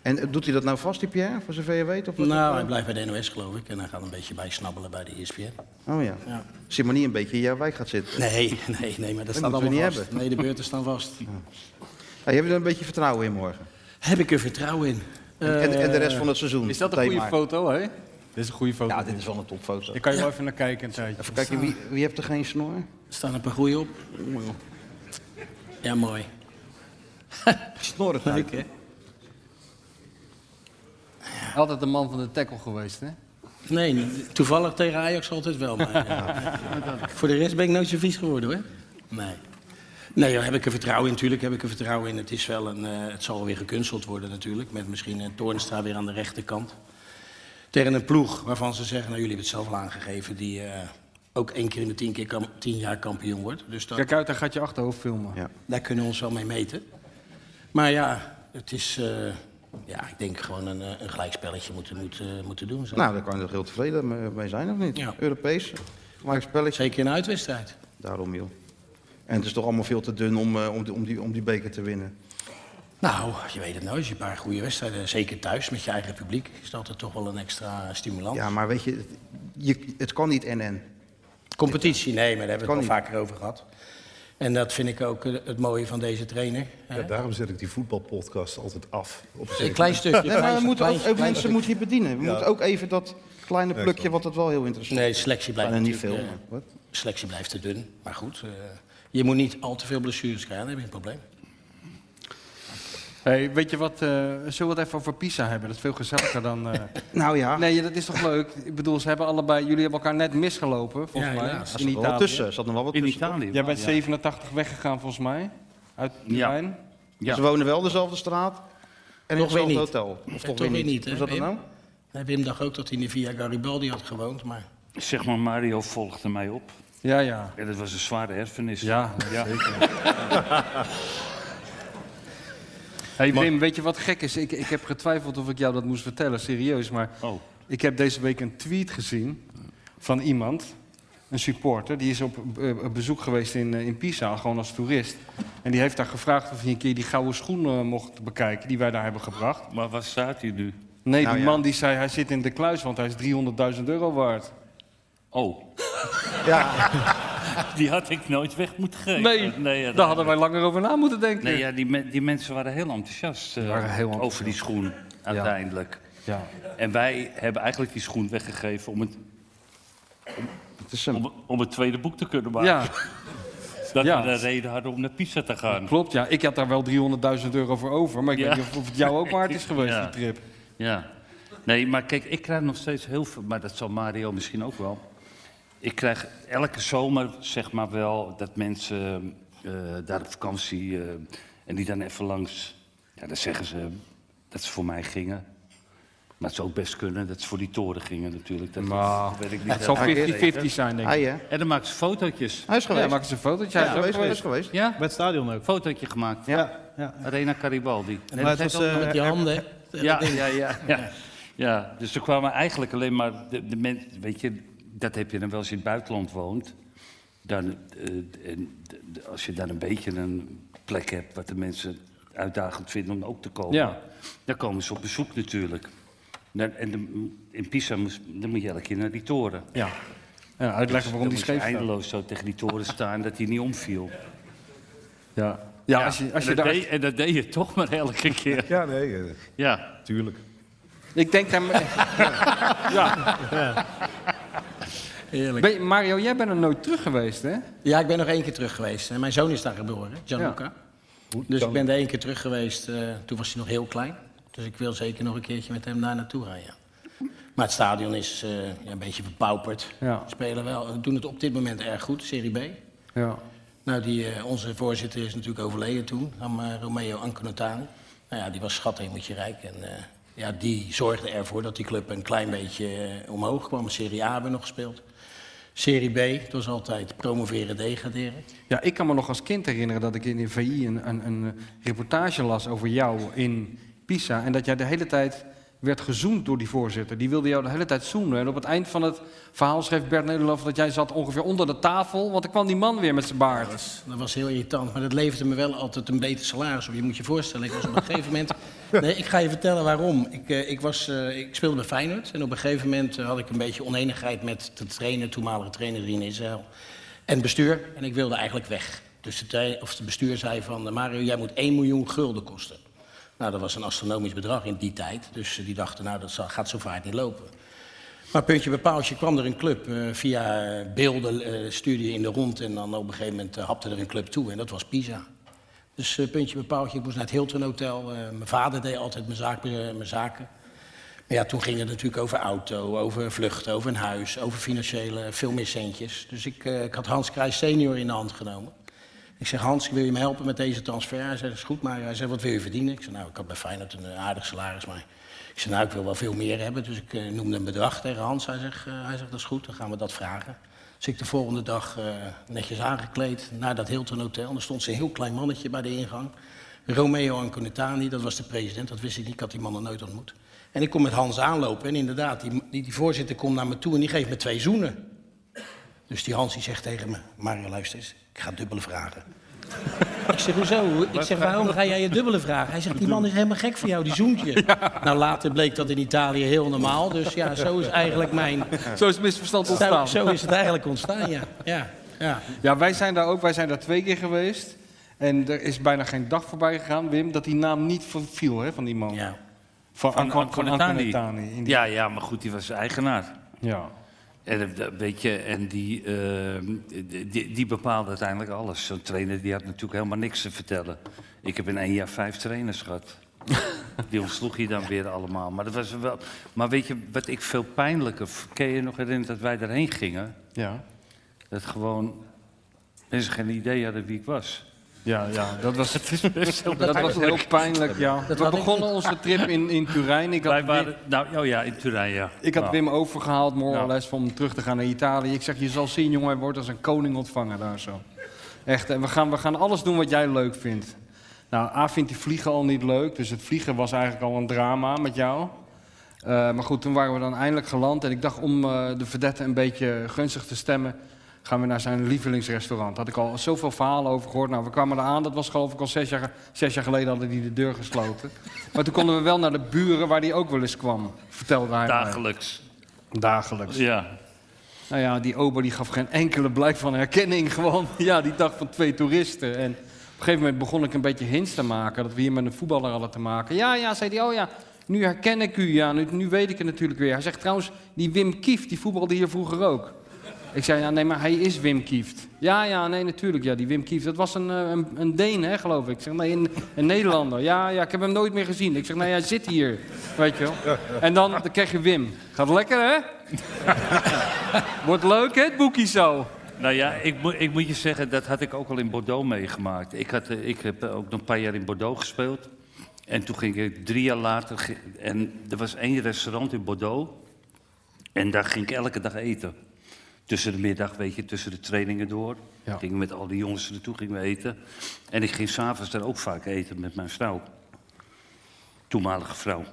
[SPEAKER 8] En eh, doet hij dat nou vast, die Pierre, voor zover je weet? Of wat?
[SPEAKER 18] Nou, hij blijft bij de NOS, geloof ik. En hij gaat een beetje bijsnabbelen bij de E ESPN.
[SPEAKER 8] Oh ja.
[SPEAKER 18] Ja.
[SPEAKER 8] Zit maar niet een beetje in jouw wijk gaat zitten.
[SPEAKER 18] Nee, nee, nee, maar dat
[SPEAKER 8] moeten
[SPEAKER 18] staat
[SPEAKER 8] we
[SPEAKER 18] allemaal
[SPEAKER 8] niet
[SPEAKER 18] vast.
[SPEAKER 8] hebben.
[SPEAKER 18] Nee, de beurten staan vast.
[SPEAKER 8] Hey, heb je er een beetje vertrouwen in morgen?
[SPEAKER 18] Heb ik er vertrouwen in? Eh,
[SPEAKER 8] En, en, en de rest van het seizoen?
[SPEAKER 9] Is dat een
[SPEAKER 8] meteen
[SPEAKER 9] goede
[SPEAKER 8] maar.
[SPEAKER 9] foto, hè? Dit is een goede foto. Ja, dit
[SPEAKER 8] Ah, is wel een topfoto.
[SPEAKER 9] Daar kan je wel even naar kijken een tijdje.
[SPEAKER 8] Even kijken, wie, wie heeft er geen snor?
[SPEAKER 18] Er staan een paar goeie op. Ja, mooi.
[SPEAKER 8] Snorren
[SPEAKER 18] Leuk, hè?
[SPEAKER 9] Altijd de man van de tackle geweest, hè?
[SPEAKER 18] Nee, niet- toevallig tegen Ajax altijd wel. Maar, ja. Voor de rest ben ik nooit zo vies geworden, hoor. Nee. Nee, daar heb ik er vertrouwen in. Natuurlijk heb ik er vertrouwen in. Het, is wel een, eh, het zal weer gekunsteld worden natuurlijk. Met misschien een Toornstra weer aan de rechterkant. Tegen een ploeg waarvan ze zeggen... Nou, jullie hebben het zelf al aangegeven. Die eh, ook één keer in de tien, keer kam- tien jaar kampioen wordt. Dus dat,
[SPEAKER 9] Kijk uit, daar gaat je achterhoofd filmen.
[SPEAKER 18] daar kunnen we ons wel mee meten. Maar ja, het is... eh, ja, ik denk gewoon een, eh, een gelijkspelletje moeten, moeten, moeten doen. zo.
[SPEAKER 8] Nou, daar kan je toch heel tevreden mee- mee zijn, of niet?
[SPEAKER 18] Ja.
[SPEAKER 8] Europees, gelijk spelletje.
[SPEAKER 18] Zeker in een uitwedstrijd.
[SPEAKER 8] Daarom, joh. En het is toch allemaal veel te dun om, eh, om, die, om, die, om die beker te winnen.
[SPEAKER 18] Nou, je weet het nooit. Als je een paar goede wedstrijden, eh, zeker thuis met je eigen publiek, is dat er toch wel een extra stimulant.
[SPEAKER 8] Ja, maar weet je, het- je, het kan niet NN.
[SPEAKER 18] Competitie, nee, maar daar hebben we
[SPEAKER 8] Kan
[SPEAKER 18] het al vaker over gehad. En dat vind ik ook eh, het mooie van deze trainer. hè?
[SPEAKER 14] Ja, daarom zet ik die voetbalpodcast altijd af. Op
[SPEAKER 18] Een klein stukje.
[SPEAKER 8] Nee, maar we moeten ook, ook eh, mensen moeten
[SPEAKER 18] je
[SPEAKER 8] hier bedienen. We
[SPEAKER 18] Ja.
[SPEAKER 8] moeten ook even dat kleine
[SPEAKER 18] Ja,
[SPEAKER 8] plukje,
[SPEAKER 18] klopt.
[SPEAKER 8] wat het wel heel interessant
[SPEAKER 18] Nee, de selectie blijft
[SPEAKER 8] Bijna niet veel.
[SPEAKER 18] natuurlijk,
[SPEAKER 8] maar
[SPEAKER 18] eh,
[SPEAKER 8] Wat?
[SPEAKER 18] selectie blijft te dun. Maar goed, eh, je moet niet al te veel blessures krijgen, dan heb je een probleem.
[SPEAKER 9] Hey, weet je wat, eh, zullen we het even over Pisa hebben? Dat is veel gezelliger dan... eh,
[SPEAKER 8] Nou ja,
[SPEAKER 9] Nee, dat is toch leuk? Ik bedoel, ze hebben allebei, jullie hebben elkaar net misgelopen, volgens
[SPEAKER 8] Ja,
[SPEAKER 9] mij.
[SPEAKER 8] ja, er zat nog wel wat tussen, er zat nog wel wat In tussen, Italië, toch?
[SPEAKER 9] Jij bent
[SPEAKER 8] ja.
[SPEAKER 9] 87 weggegaan, volgens mij. Uit Turijn.
[SPEAKER 8] ze wonen wel dezelfde straat en in
[SPEAKER 18] Toch weer
[SPEAKER 8] hetzelfde
[SPEAKER 18] niet.
[SPEAKER 8] hotel. Of
[SPEAKER 18] En
[SPEAKER 8] toch, weer niet.
[SPEAKER 18] hè,
[SPEAKER 8] Hoe zat dat
[SPEAKER 18] Wim?
[SPEAKER 8] nou?
[SPEAKER 18] Nee, Wim dacht ook dat hij in de Via Garibaldi had gewoond, maar...
[SPEAKER 12] Zeg maar, Mario volgde mij op.
[SPEAKER 9] Ja, ja.
[SPEAKER 12] En dat was een zware erfenis.
[SPEAKER 9] Ja, Hey
[SPEAKER 12] Maar-
[SPEAKER 9] Wim, weet je wat gek is? Ik, ik heb getwijfeld of ik jou dat moest vertellen, serieus. Maar
[SPEAKER 12] Oh.
[SPEAKER 9] ik heb deze week een tweet gezien van iemand, een supporter. Die is op eh, op bezoek geweest in, eh, in Pisa, gewoon als toerist. En die heeft daar gevraagd of hij een keer die gouden schoenen mocht bekijken die wij daar hebben gebracht.
[SPEAKER 12] Maar waar staat hij nu?
[SPEAKER 9] Nee,
[SPEAKER 12] Nou
[SPEAKER 9] die
[SPEAKER 12] ja.
[SPEAKER 9] man die zei hij zit in de kluis, want hij is 300.000 euro waard.
[SPEAKER 12] Oh.
[SPEAKER 8] Ja.
[SPEAKER 12] Die had ik nooit weg moeten geven.
[SPEAKER 9] Nee,
[SPEAKER 12] ja, dat-
[SPEAKER 9] daar hadden wij langer over na moeten denken.
[SPEAKER 12] Nee, ja, die, me- die mensen waren heel enthousiast, eh, over die schoen uiteindelijk.
[SPEAKER 9] Ja.
[SPEAKER 12] En wij hebben eigenlijk die schoen weggegeven om het, om, om het tweede boek te kunnen maken.
[SPEAKER 9] Ja.
[SPEAKER 12] Dat
[SPEAKER 9] Ja.
[SPEAKER 12] we de reden hadden om naar Pisa te gaan.
[SPEAKER 9] Klopt, ja. Ik had daar wel 300.000 euro voor over. Maar ik
[SPEAKER 12] Ja.
[SPEAKER 9] weet niet of, of het jou ook waard is geweest, die trip.
[SPEAKER 12] Ja. Nee, maar kijk, ik krijg nog steeds heel veel... Maar dat zal Mario misschien ook wel. Ik krijg elke zomer, zeg maar wel, dat mensen eh, daar op vakantie... eh, en die dan even langs... Ja, dan zeggen ze dat ze voor mij gingen. Maar het zou ook best kunnen dat ze voor die toren gingen natuurlijk. Dat,
[SPEAKER 9] Maar
[SPEAKER 12] dat weet ik niet.
[SPEAKER 9] het zal
[SPEAKER 12] Hij is
[SPEAKER 9] 50-50 zijn, denk ik.
[SPEAKER 12] Hij, hè? En dan maakt ze fotootjes.
[SPEAKER 9] Hij is geweest. Ja, maken ze fotootjes. Hij is ook geweest.
[SPEAKER 12] Ja? Bij het stadion ook. Fotootje gemaakt. Ja. Arena Garibaldi.
[SPEAKER 9] maar het was, eh, Met die handen, hè?
[SPEAKER 12] Ja, ja, ja, ja. Ja, dus er kwamen eigenlijk alleen maar de, de mensen... Weet je, dat heb je dan wel als je in het buitenland woont. Dan, eh, en d- d- als je dan een beetje een plek hebt... wat de mensen uitdagend vinden om ook te komen...
[SPEAKER 19] Ja.
[SPEAKER 12] dan komen ze op bezoek natuurlijk. Dan- en de- in Pisa moest, dan moet je elke keer naar die toren.
[SPEAKER 9] Ja. En uitleggen waarom die scheef
[SPEAKER 12] staat.
[SPEAKER 9] staat.
[SPEAKER 12] eindeloos zo tegen die toren staan dat hij niet omviel.
[SPEAKER 9] Ja.
[SPEAKER 12] Ja,
[SPEAKER 9] als je, als
[SPEAKER 12] en
[SPEAKER 9] je
[SPEAKER 12] dat
[SPEAKER 9] daar...
[SPEAKER 12] deed, en dat deed je toch maar elke keer.
[SPEAKER 10] Ja, nee. eh,
[SPEAKER 12] Ja.
[SPEAKER 10] Tuurlijk.
[SPEAKER 9] Ik denk daar... ja. Ah,
[SPEAKER 18] Heerlijk.
[SPEAKER 9] Ben je- Mario, jij bent er nooit terug geweest, hè?
[SPEAKER 18] Ja, ik ben nog één keer terug geweest. En mijn zoon is daar geboren, Gianluca. Dus ik ben er één keer terug geweest. eh, toen was hij nog heel klein. Dus ik wil zeker nog een keertje met hem daar naartoe gaan, ja. Maar het stadion is eh, ja, een beetje verpauperd.
[SPEAKER 9] Ja.
[SPEAKER 18] Spelen wel, eh, doen het op dit moment erg goed, Serie B.
[SPEAKER 9] Ja.
[SPEAKER 18] Nou, die, eh, onze voorzitter is natuurlijk overleden toen, aan, eh, Romeo Anconotani. Nou ja, die was schat hemeltje rijk. En eh, ja, die zorgde ervoor dat die club een klein beetje eh, omhoog kwam. Serie A hebben we nog gespeeld. Serie B, het was altijd promoveren, degraderen.
[SPEAKER 9] Ja, ik kan me nog als kind herinneren dat ik in de VI een, een, een eh, reportage las over jou in Pisa. En dat jij de hele tijd werd gezoend door die voorzitter. Die wilde jou de hele tijd zoenen. En op het eind van het verhaal schreef Bert Nederlof dat jij zat ongeveer onder de tafel. Want er kwam die man weer met zijn baard.
[SPEAKER 18] Dat was heel irritant, maar dat leverde me wel altijd een beter salaris op. Je moet je voorstellen, ik was op een gegeven moment... Nee, ik ga je vertellen waarom. Ik, eh, ik, was, eh, ik speelde bij Feyenoord en op een gegeven moment eh, had ik een beetje oneenigheid met de trainer, toenmalige trainer Rien Israël, en het bestuur. En ik wilde eigenlijk weg. Dus de, tra- of het bestuur zei van, eh, Mario, jij moet 1 miljoen gulden kosten. Nou, dat was een astronomisch bedrag in die tijd. Dus eh, die dachten, nou, dat zal- gaat zo vaart niet lopen. Maar puntje bij paaltje kwam er een club. eh, via eh, beelden eh stuurde je in de rond en dan op een gegeven moment eh, hapte er een club toe. En dat was Pisa. Dus eh, puntje bij paaltje, ik moest naar het Hilton Hotel. eh, mijn vader deed altijd mijn, zaak, eh, mijn zaken. Maar ja, toen ging het natuurlijk over auto, over vluchten, over een huis, over financiële, veel meer centjes. Dus ik, eh, ik had Hans Krijs senior in de hand genomen. Ik zeg, Hans, wil je me helpen met deze transfer? Hij zei, dat is goed, maar hij zei, wat wil je verdienen? Ik zei, nou, ik had bij Feyenoord een eh, aardig salaris, maar ik zei, nou, ik wil wel veel meer hebben. Dus ik eh, noemde een bedrag tegen Hans. Hij zegt, eh, hij zegt, dat is goed, dan gaan we dat vragen. Dus ik de volgende dag eh, netjes aangekleed naar dat Hilton Hotel. En er stond een heel klein mannetje bij de ingang. Romeo Anconetani, dat was de president, dat wist ik niet, ik had die man nog nooit ontmoet. En ik kom met Hans aanlopen en inderdaad, die, die, die voorzitter komt naar me toe en die geeft me twee zoenen. Dus die Hans die zegt tegen me, Mario luister eens, ik ga dubbele vragen. Ik zeg, hoezo? Ik zeg, waarom ga jij je dubbele vragen? Hij zegt, die man is helemaal gek voor jou, die zoent je. Nou, later bleek dat in Italië heel normaal. Dus ja, zo is eigenlijk mijn...
[SPEAKER 9] Zo is het misverstand
[SPEAKER 18] Zo-
[SPEAKER 9] ontstaan.
[SPEAKER 18] Zo, is het eigenlijk ontstaan, ja. ja. Ja.
[SPEAKER 9] ja, wij zijn daar ook. Wij zijn daar twee keer geweest. En er is bijna geen dag voorbij gegaan, Wim, dat die naam niet viel hè, van die man.
[SPEAKER 18] Ja.
[SPEAKER 9] Van,
[SPEAKER 12] Van
[SPEAKER 9] Anco- van
[SPEAKER 12] Anconetani.
[SPEAKER 9] Anconetani. In die-
[SPEAKER 12] Ja, ja, maar goed, die was eigenaar.
[SPEAKER 9] Ja.
[SPEAKER 12] En, eh, dat- weet je, en die, eh, die, die bepaalde uiteindelijk alles. Zo'n trainer die had natuurlijk helemaal niks te vertellen. Ik heb in één jaar vijf trainers gehad. Die ontsloeg je dan weer allemaal. Maar, dat was wel, maar weet je, wat ik veel pijnlijker... v- Ken je je nog herinneren dat wij daarheen gingen?
[SPEAKER 9] Ja.
[SPEAKER 12] Dat gewoon mensen geen idee hadden wie ik was.
[SPEAKER 9] Ja, ja, dat was,
[SPEAKER 12] het is best heel
[SPEAKER 9] Dat was heel pijnlijk, ja.
[SPEAKER 12] Dat
[SPEAKER 9] We
[SPEAKER 12] had ik-
[SPEAKER 9] begonnen onze trip in, in Turijn. Ik had,
[SPEAKER 12] Wij waren, nou, oh ja, in Turijn, ja.
[SPEAKER 9] ik had
[SPEAKER 12] Nou.
[SPEAKER 9] Wim overgehaald, more or
[SPEAKER 12] Ja.
[SPEAKER 9] less, om terug te gaan naar Italië. Ik zeg, je zal zien, jongen, hij wordt als een koning ontvangen daar zo. Echt, en we gaan, we gaan alles doen wat jij leuk vindt. Nou, A vindt die vliegen al niet leuk, dus het vliegen was eigenlijk al een drama met jou. Eh, maar goed, toen waren we dan eindelijk geland en ik dacht om eh, de verdette een beetje gunstig te stemmen... gaan we naar zijn lievelingsrestaurant. Daar had ik al zoveel verhalen over gehoord. Nou, we kwamen eraan, dat was geloof ik al zes jaar, ge- zes jaar geleden hadden die de deur gesloten. maar toen konden we wel naar de buren waar die ook wel eens kwam, vertelde hij mij.
[SPEAKER 12] Dagelijks.
[SPEAKER 9] Dagelijks.
[SPEAKER 12] Ja.
[SPEAKER 9] Nou ja, die ober die gaf geen enkele blijk van herkenning. Gewoon, ja, die dag van twee toeristen. En op een gegeven moment begon ik een beetje hints te maken... dat we hier met een voetballer hadden te maken. Ja, ja, zei hij, oh ja, nu herken ik u. Ja, nu, nu weet ik het natuurlijk weer. Hij zegt trouwens, die Wim Kieft, die voetbalde hier vroeger ook. Ik zei, ja, nee, maar hij is Wim Kieft. Ja, ja, nee, natuurlijk, ja, die Wim Kieft. Dat was een, eh, een, een Deen, hè, geloof ik. Ik zeg, nee, een, een Nederlander. Ja, ja, ik heb hem nooit meer gezien. Ik zeg, nee, hij zit hier, weet je wel. En dan, dan krijg je Wim. Gaat lekker, hè? Wordt leuk, hè, het boekje zo.
[SPEAKER 12] Nou ja, ik, moet- ik moet je zeggen, dat had ik ook al in Bordeaux meegemaakt. Ik, had, eh, ik heb eh, ook nog een paar jaar in Bordeaux gespeeld. En toen ging ik drie jaar later... ge- En er was één restaurant in Bordeaux. En daar ging ik elke dag eten. Tussen de middag, weet je, tussen de trainingen door.
[SPEAKER 10] Ja.
[SPEAKER 12] Gingen met al die jongens naartoe gingen we eten. En ik ging s'avonds daar ook vaak eten met mijn vrouw. Toenmalige vrouw.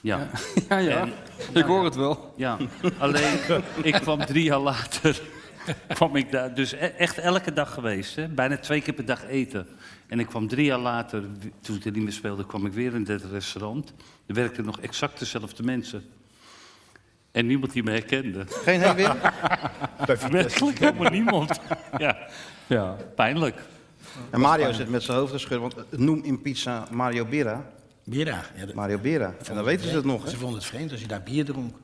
[SPEAKER 12] Ja.
[SPEAKER 10] Ja, ja. Ik hoor het wel.
[SPEAKER 12] Ja, alleen ik kwam drie jaar later. kwam ik daar. Dus e- echt elke dag geweest. Hè? Bijna twee keer per dag eten. En ik kwam drie jaar later, w- toen ik er niet meer speelde, kwam ik weer in dit restaurant. Er werkten nog exact dezelfde mensen. En niemand die me herkende.
[SPEAKER 8] Geen herwin?
[SPEAKER 12] Werkelijk helemaal niemand. Ja.
[SPEAKER 10] ja,
[SPEAKER 12] pijnlijk.
[SPEAKER 8] En Mario zit met zijn hoofd te schudden, want eh, noem in pizza Mario Bera.
[SPEAKER 18] Bera?
[SPEAKER 8] Mario Bera. En dan weten ze het nog, hè?
[SPEAKER 18] Ze vonden het vreemd als je daar bier dronk.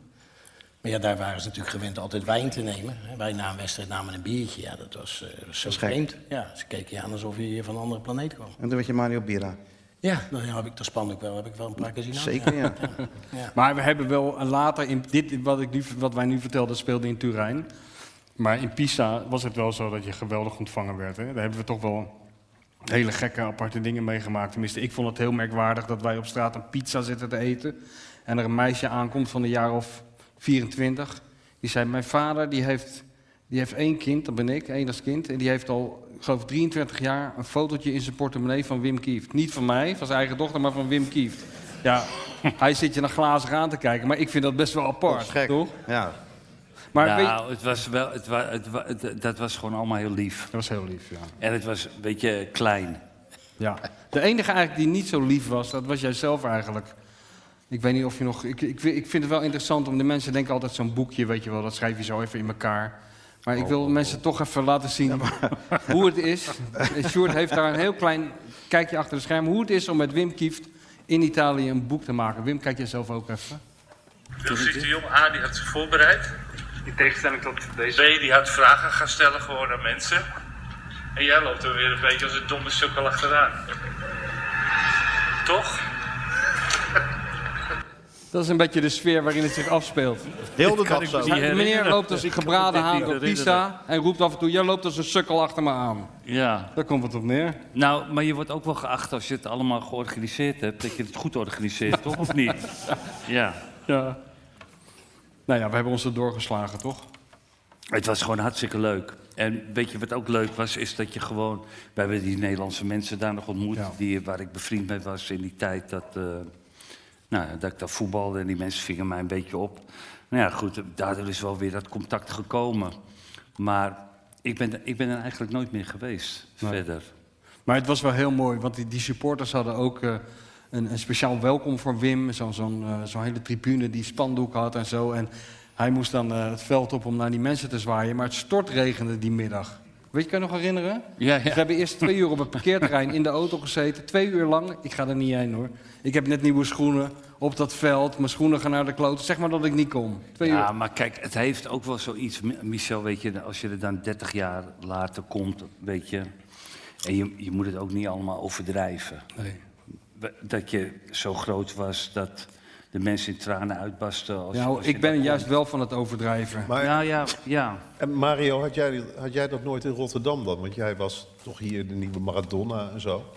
[SPEAKER 18] Maar ja, daar waren ze natuurlijk gewend altijd wijn te nemen. hè. Wij na een wedstrijd namen een biertje. Ja, dat was eh, zo
[SPEAKER 8] gek.
[SPEAKER 18] vreemd. Ja, ze keken je aan alsof je hier van een andere planeet kwam.
[SPEAKER 8] En toen werd je Mario Bera.
[SPEAKER 18] Ja, dan heb ik dat spandoek wel, heb ik wel een paar keer zien hangen.
[SPEAKER 8] Zeker, ja.
[SPEAKER 9] Maar we hebben wel een later in dit wat, ik nu, wat wij nu vertelden speelde in Turijn. Maar in Pisa was het wel zo dat je geweldig ontvangen werd. Hè? Daar hebben we toch wel hele gekke, aparte dingen meegemaakt. Tenminste, ik vond het heel merkwaardig dat wij op straat een pizza zitten te eten. En er een meisje aankomt van een jaar of 24. Die zei, mijn vader die heeft, die heeft één kind, dat ben ik, enig kind. En die heeft al, ik geloof 23 jaar, een fotootje in zijn portemonnee van Wim Kieft. Niet van mij, van zijn eigen dochter, maar van Wim Kieft. Ja, hij zit je naar glazig aan te kijken. Maar ik vind dat best wel apart, toch?
[SPEAKER 8] Ja.
[SPEAKER 9] Maar weet-
[SPEAKER 12] nou, het was wel, het wa, het wa- het- dat was gewoon allemaal heel lief. Dat
[SPEAKER 9] was heel lief, ja.
[SPEAKER 12] En het was een beetje klein.
[SPEAKER 9] Ja. De enige eigenlijk die niet zo lief was, dat was jij zelf eigenlijk. Ik weet niet of je nog. Ik, ik, ik vind het wel interessant om de mensen denken altijd zo'n boekje, weet je wel, dat schrijf je zo even in elkaar. Maar ik wil mensen toch even laten zien hoe het is. En Sjoerd heeft daar een heel klein kijkje achter de schermen hoe het is om met Wim Kieft in Italië een boek te maken. Wim, kijk jezelf ook even.
[SPEAKER 20] Wilfried de Jong, A, die had zich voorbereid. In tegenstelling tot deze. B, die had vragen gaan stellen gewoon aan mensen. En jij loopt er weer een beetje als een domme sukkel achteraan. Toch?
[SPEAKER 9] Dat is een beetje de sfeer waarin het zich afspeelt.
[SPEAKER 8] Heel de
[SPEAKER 9] dag
[SPEAKER 8] dag zo.
[SPEAKER 9] De meneer loopt als een gebraden haan door Pisa en roept af en toe: Jij loopt als een sukkel achter me aan.
[SPEAKER 12] Ja.
[SPEAKER 9] Daar komt het op neer.
[SPEAKER 12] Nou, maar je wordt ook wel geacht als je het allemaal georganiseerd hebt, dat je het goed organiseert, toch? Of niet? Ja.
[SPEAKER 9] Ja. Nou ja, we hebben ons er doorgeslagen, toch?
[SPEAKER 12] Het was gewoon hartstikke leuk. En weet je wat ook leuk was, is dat je gewoon... We hebben die Nederlandse mensen daar nog ontmoet, die, waar ik bevriend mee was in die tijd dat... eh, nou, ja, dat ik daar voetbalde en die mensen vingen mij een beetje op. Nou ja, goed, daardoor is wel weer dat contact gekomen. Maar ik ben, ik ben er eigenlijk nooit meer geweest,
[SPEAKER 9] Nee.
[SPEAKER 12] verder.
[SPEAKER 9] Maar het was wel heel mooi, want die, die supporters hadden ook eh, een, een speciaal welkom voor Wim. Zo'n zo'n, eh, zo'n hele tribune die spandoek had en zo. En hij moest dan eh, het veld op om naar die mensen te zwaaien. Maar het stortregende die middag. Weet je, kan je nog herinneren?
[SPEAKER 12] Ja, ja.
[SPEAKER 9] We hebben eerst twee uur op het parkeerterrein in de auto gezeten. Twee uur lang. Ik ga er niet heen hoor. Ik heb net nieuwe schoenen op dat veld. Mijn schoenen gaan naar de kloot. Zeg maar dat ik niet kom. Twee
[SPEAKER 12] ja,
[SPEAKER 9] uur.
[SPEAKER 12] maar kijk, het heeft ook wel zoiets. Mi- Michel, weet je, als je er dan 30 jaar later komt, weet je. En je, je moet het ook niet allemaal overdrijven.
[SPEAKER 9] Nee.
[SPEAKER 12] We- Dat je zo groot was dat de mensen in tranen uitbasten. Als,
[SPEAKER 9] Nou,
[SPEAKER 12] als je
[SPEAKER 9] ik ben
[SPEAKER 12] daar
[SPEAKER 9] juist
[SPEAKER 12] komt.
[SPEAKER 9] wel van het overdrijven.
[SPEAKER 12] Nou ja, ja.
[SPEAKER 14] En Mario, had jij, had jij dat nooit in Rotterdam dan? Want jij was toch hier de nieuwe Maradona en zo.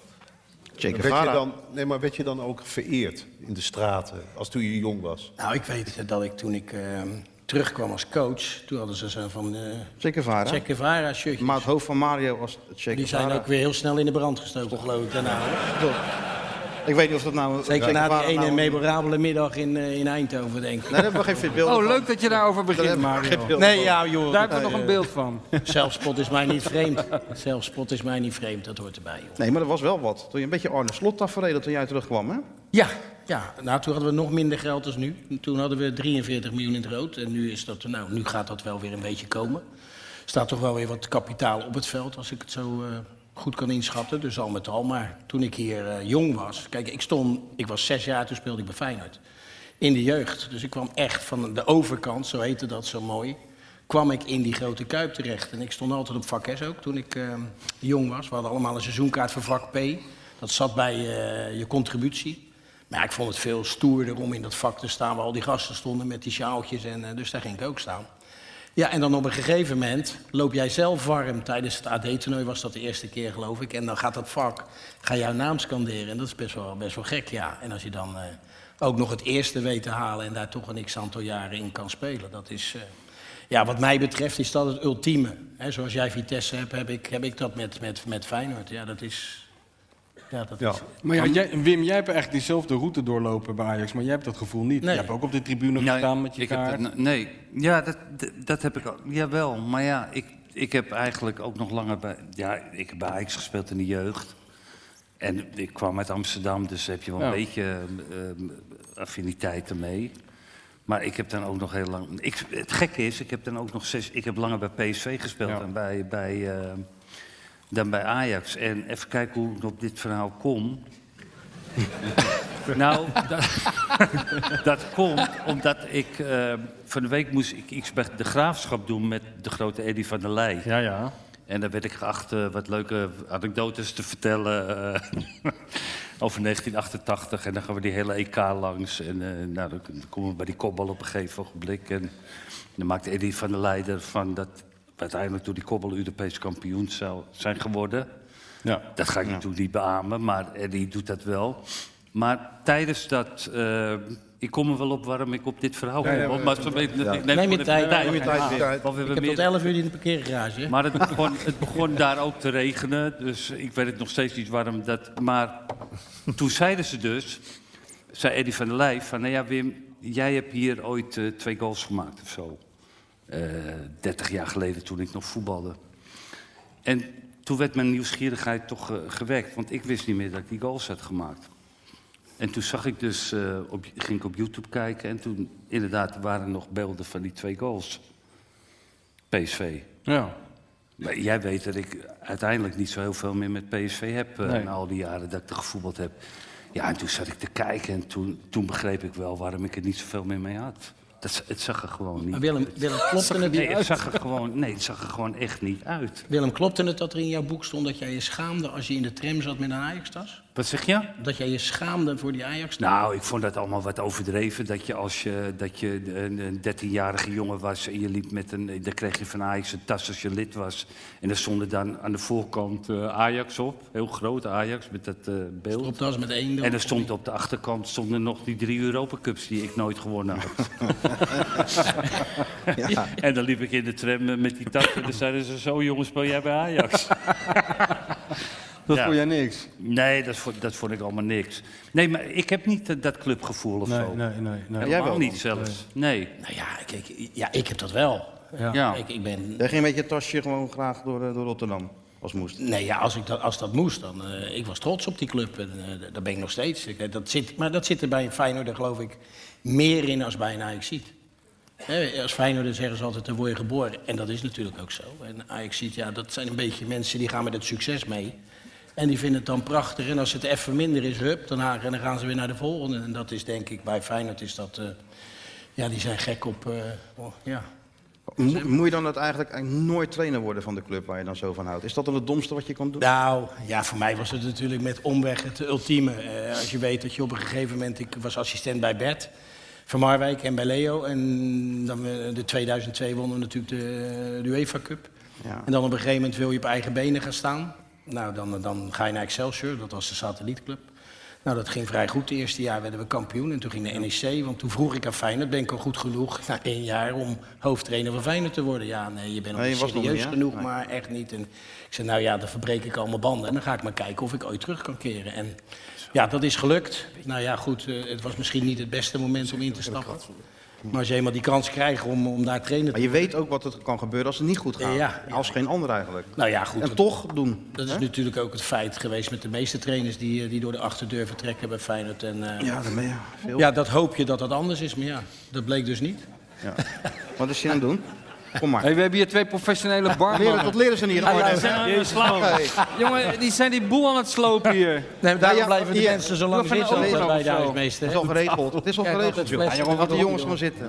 [SPEAKER 8] Che
[SPEAKER 14] Werd
[SPEAKER 8] Guevara.
[SPEAKER 14] je dan, nee, maar werd je dan ook vereerd in de straten als toen je jong was?
[SPEAKER 18] Nou, ik weet eh, dat ik toen ik ehm, terugkwam als coach, toen hadden ze zo van... eh
[SPEAKER 8] Che Guevara.
[SPEAKER 18] Che Guevara shirtjes.
[SPEAKER 8] Maar het hoofd van Mario was het Che
[SPEAKER 18] Die
[SPEAKER 8] Guevara.
[SPEAKER 18] zijn ook weer heel snel in de brand gestoken, geloof ik, daarna. hoor.
[SPEAKER 8] Ik weet niet of dat nou...
[SPEAKER 18] Zeker
[SPEAKER 8] Che
[SPEAKER 18] na die
[SPEAKER 8] Guevara
[SPEAKER 18] ene
[SPEAKER 8] nou-
[SPEAKER 18] memorabele middag in, eh, in Eindhoven, denk ik.
[SPEAKER 8] Nee, Nou, daar hebben we geen veel beelden
[SPEAKER 9] Oh, leuk dat je daarover begint,
[SPEAKER 18] hebben we
[SPEAKER 9] Mario.
[SPEAKER 18] geen beelden Nee, van. ja, joh.
[SPEAKER 9] Daar hebben we
[SPEAKER 18] Nee,
[SPEAKER 9] nog een
[SPEAKER 18] eh,
[SPEAKER 9] beeld van.
[SPEAKER 18] Zelfspot is mij niet vreemd. Zelfspot is mij niet vreemd, dat hoort erbij, joh.
[SPEAKER 8] Nee, maar er was wel wat. Toen je een beetje Arne Slot afreden toen jij terugkwam, hè?
[SPEAKER 18] Ja, ja, nou toen hadden we nog minder geld dan nu. Toen hadden we 43 miljoen in het rood. En nu, is dat, nou, nu gaat dat wel weer een beetje komen. Er staat toch wel weer wat kapitaal op het veld, als ik het zo eh, goed kan inschatten. Dus al met al. Maar toen ik hier eh, jong was... Kijk, ik, stond, ik was zes jaar, toen speelde ik bij Feyenoord. In de jeugd. Dus ik kwam echt van de overkant, zo heette dat zo mooi... kwam ik in die grote Kuip terecht. En ik stond altijd op vak S ook, toen ik eh, jong was. We hadden allemaal een seizoenkaart voor vak P. Dat zat bij eh, je contributie. Maar ja, ik vond het veel stoerder om in dat vak te staan waar al die gasten stonden met die sjaaltjes. En, eh, dus daar ging ik ook staan. Ja, en dan op een gegeven moment loop jij zelf warm. Tijdens het AD-toernooi was dat de eerste keer, geloof ik. En dan gaat dat vak, ga jouw naam scanderen. En dat is best wel, best wel gek, ja. En als je dan eh, ook nog het eerste weet te halen... en daar toch een x-aantal jaren in kan spelen, dat is... eh, ja, wat mij betreft is dat het ultieme. Hè, zoals jij Vitesse hebt, heb ik, heb ik dat met, met, met Feyenoord. Ja, dat is... Ja, dat is...
[SPEAKER 21] Maar ja, jij, Wim, jij hebt echt diezelfde route doorlopen bij Ajax, maar jij hebt dat gevoel niet. Je hebt ook op de tribune gestaan met je
[SPEAKER 12] ik heb
[SPEAKER 21] kaart.
[SPEAKER 12] dat- nee, ja, dat, dat, dat heb ik ook. Jawel, maar ja, ik, ik heb eigenlijk ook nog langer bij... Ja, ik heb bij Ajax gespeeld in de jeugd. En ik kwam uit Amsterdam, dus heb je wel een
[SPEAKER 16] Ja.
[SPEAKER 12] beetje ehm, affiniteiten mee. Maar ik heb dan ook nog heel lang... Ik, het gekke is, ik heb dan ook nog zes... Ik heb langer bij PSV gespeeld dan, bij, bij, ehm, dan bij Ajax. En even kijken hoe ik op dit verhaal kom. Nou, dat, dat komt omdat ik eh, van de week moest ik iets bij de graafschap doen met de grote Eddy van der Leij. Ja, ja. En daar werd ik geacht eh, wat leuke anekdotes te vertellen eh, over 1988. En dan gaan we die hele EK langs. En eh, nou, dan komen we bij die kopbal op een gegeven ogenblik. En dan maakt Eddy van der Leij ervan dat we uiteindelijk door die kopbal Europees kampioen zou zijn geworden.
[SPEAKER 21] Ja.
[SPEAKER 12] Dat ga ik natuurlijk niet beamen, maar Eddie doet dat wel. Maar tijdens dat... eh, ik kom er wel op waarom ik op dit verhaal
[SPEAKER 18] Ja,
[SPEAKER 12] kom.
[SPEAKER 18] ja,
[SPEAKER 12] hoor,
[SPEAKER 18] ja,
[SPEAKER 12] maar
[SPEAKER 18] ja.
[SPEAKER 12] zo weet-
[SPEAKER 18] Ja.
[SPEAKER 12] ik
[SPEAKER 18] Neem je
[SPEAKER 12] gewoon
[SPEAKER 18] tijd,
[SPEAKER 12] even
[SPEAKER 18] neem je tijd,
[SPEAKER 12] Ah,
[SPEAKER 18] Pim.
[SPEAKER 12] want we
[SPEAKER 18] Ik
[SPEAKER 12] hebben
[SPEAKER 18] heb tot
[SPEAKER 12] meer-
[SPEAKER 18] 11 uur in de parkeergarage, hè?
[SPEAKER 12] Maar het begon, het begon daar ook te regenen. Dus ik weet het nog steeds niet waarom dat... Maar toen zeiden ze dus... Zei Eddie van der Leij van... Nou ja, Wim, jij hebt hier ooit eh, twee goals gemaakt of zo. Eh 30 jaar geleden toen ik nog voetbalde. En toen werd mijn nieuwsgierigheid toch eh, gewekt. Want ik wist niet meer dat ik die goals had gemaakt. En toen zag ik dus, eh, op, ging ik op YouTube kijken... en toen inderdaad waren er nog beelden van die twee goals. PSV.
[SPEAKER 21] Ja.
[SPEAKER 12] Maar jij weet dat ik uiteindelijk niet zo heel veel meer met PSV heb... eh,
[SPEAKER 21] Nee.
[SPEAKER 12] na al die jaren dat ik er gevoetbald heb. Ja, en toen zat ik te kijken en toen, toen begreep ik wel... waarom ik er niet zoveel meer mee had. Dat, het zag er gewoon niet
[SPEAKER 18] Maar Willem,
[SPEAKER 12] uit.
[SPEAKER 18] Willem klopte
[SPEAKER 12] zag,
[SPEAKER 18] het
[SPEAKER 12] nee,
[SPEAKER 18] niet uit?
[SPEAKER 12] zag er gewoon, nee, het zag er gewoon echt niet uit.
[SPEAKER 18] Willem, klopte het dat er in jouw boek stond dat jij je schaamde als je in de tram zat met een Ajax-tas?
[SPEAKER 12] Wat zeg je?
[SPEAKER 18] Dat jij je schaamde voor die Ajax-tas?
[SPEAKER 12] Nou, ik vond dat allemaal wat overdreven. Dat je als je, dat je een- een 13-jarige jongen was en je liep met een. Dan kreeg je van Ajax een tas als je lid was. En er stonden dan aan de voorkant eh, Ajax op. Heel groot Ajax met dat eh, beeld.
[SPEAKER 18] Stropdas met één dan.
[SPEAKER 12] En er stond op de achterkant stonden nog die drie Europa Cups die ik nooit gewonnen had.
[SPEAKER 18] Ja.
[SPEAKER 12] En dan liep ik in de tram eh, met die tas. En dan zeiden ze: Zo jongens, speel jij bij Ajax?
[SPEAKER 21] Dat
[SPEAKER 12] Ja.
[SPEAKER 21] vond jij niks?
[SPEAKER 12] Nee, dat vond, dat vond ik allemaal niks. Nee, maar ik heb niet eh, dat clubgevoel of
[SPEAKER 21] Nee,
[SPEAKER 12] zo.
[SPEAKER 21] nee, nee, nee. Jij
[SPEAKER 12] Helemaal
[SPEAKER 21] wel
[SPEAKER 12] niet
[SPEAKER 21] dan?
[SPEAKER 12] zelfs. Nee.
[SPEAKER 18] Nou ja, kijk, ja, ik heb dat wel.
[SPEAKER 12] Ja.
[SPEAKER 18] Ik, ik ben...
[SPEAKER 8] Jij ging met je tasje gewoon graag door, eh, door Rotterdam, als moest.
[SPEAKER 18] Nee, ja, als, ik dat, als dat moest, dan... eh, ik was trots op die club. En, eh, dat ben ik nog steeds. Ik, eh, dat zit, maar dat zit er bij een Feyenoorder, geloof ik, meer in als bij een Ajaxiet. Hè, Als Feyenoorder zeggen ze altijd, dan word je geboren. En dat is natuurlijk ook zo. En Ajaxiet, ja, dat zijn een beetje mensen die gaan met het succes mee. En die vinden het dan prachtig. En als het even minder is, hup, dan, haken- en dan gaan ze weer naar de volgende. En dat is denk ik, bij Feyenoord is dat... eh, ja, die zijn gek op... eh, oh, ja.
[SPEAKER 8] Mo- moet je dan dat eigenlijk, eigenlijk nooit trainer worden van de club waar je dan zo van houdt? Is dat dan het domste wat je kan doen?
[SPEAKER 18] Nou, ja, voor mij was het natuurlijk met omweg het ultieme. Eh, als je weet dat je op een gegeven moment... Ik was assistent bij Bert van Marwijk en bij Leo. En dan, eh, de 2002 wonnen we natuurlijk de, de UEFA Cup. En dan op een gegeven moment wil je op eigen benen gaan staan. Nou, dan, dan ga je naar Excelsior, dat was de satellietclub. Nou, dat ging vrij goed. Het eerste jaar werden we kampioen. En toen ging de NEC, want toen vroeg ik aan Feyenoord... ben ik al goed genoeg na één jaar om hoofdtrainer van Feyenoord te worden? Ja, nee, je bent nog
[SPEAKER 8] Nee,
[SPEAKER 18] niet
[SPEAKER 8] je was nog
[SPEAKER 18] serieus
[SPEAKER 8] niet, hè?
[SPEAKER 18] genoeg,
[SPEAKER 8] Nee.
[SPEAKER 18] maar echt niet. En ik zei, nou ja, dan verbreek ik al mijn banden. En dan ga ik maar kijken of ik ooit terug kan keren. En ja, dat is gelukt. Nou ja, goed, eh, het was misschien niet het beste moment om in te stappen. Maar als je eenmaal die kans krijgt om, om daar trainer te
[SPEAKER 8] Maar je weet ook wat er kan gebeuren als het niet goed gaat.
[SPEAKER 18] Ja,
[SPEAKER 8] Als geen ander eigenlijk.
[SPEAKER 18] Nou ja, goed.
[SPEAKER 8] En
[SPEAKER 18] dat-
[SPEAKER 8] toch doen.
[SPEAKER 18] Dat is
[SPEAKER 8] hè?
[SPEAKER 18] natuurlijk ook het feit geweest met de meeste trainers die, eh, die door de achterdeur vertrekken bij Feyenoord. En, eh,
[SPEAKER 8] Ja, dat ben je veel.
[SPEAKER 18] ja, dat hoop je dat dat anders is, maar ja, dat bleek dus niet.
[SPEAKER 8] Ja. Wat is je aan het doen? Kom maar.
[SPEAKER 9] Hey, we hebben hier twee professionele barmannen.
[SPEAKER 8] Leren- tot leren ze niet in
[SPEAKER 9] Ah, ja,
[SPEAKER 8] orde.
[SPEAKER 9] we zijn aan het
[SPEAKER 8] Jezus,
[SPEAKER 9] slopen.
[SPEAKER 8] man.
[SPEAKER 9] Jongen, die zijn die boel aan het slopen hier.
[SPEAKER 18] Nee, daarom
[SPEAKER 8] Nou
[SPEAKER 18] blijven de mensen zo lang zitten
[SPEAKER 9] bij
[SPEAKER 18] altijd bij de
[SPEAKER 8] Het
[SPEAKER 18] huismeester.
[SPEAKER 8] is al geregeld. Het is al
[SPEAKER 9] Kijk,
[SPEAKER 8] geregeld.
[SPEAKER 9] altijd
[SPEAKER 8] joh.
[SPEAKER 9] flessen.
[SPEAKER 8] Ja, Laat de jongens gaan zitten.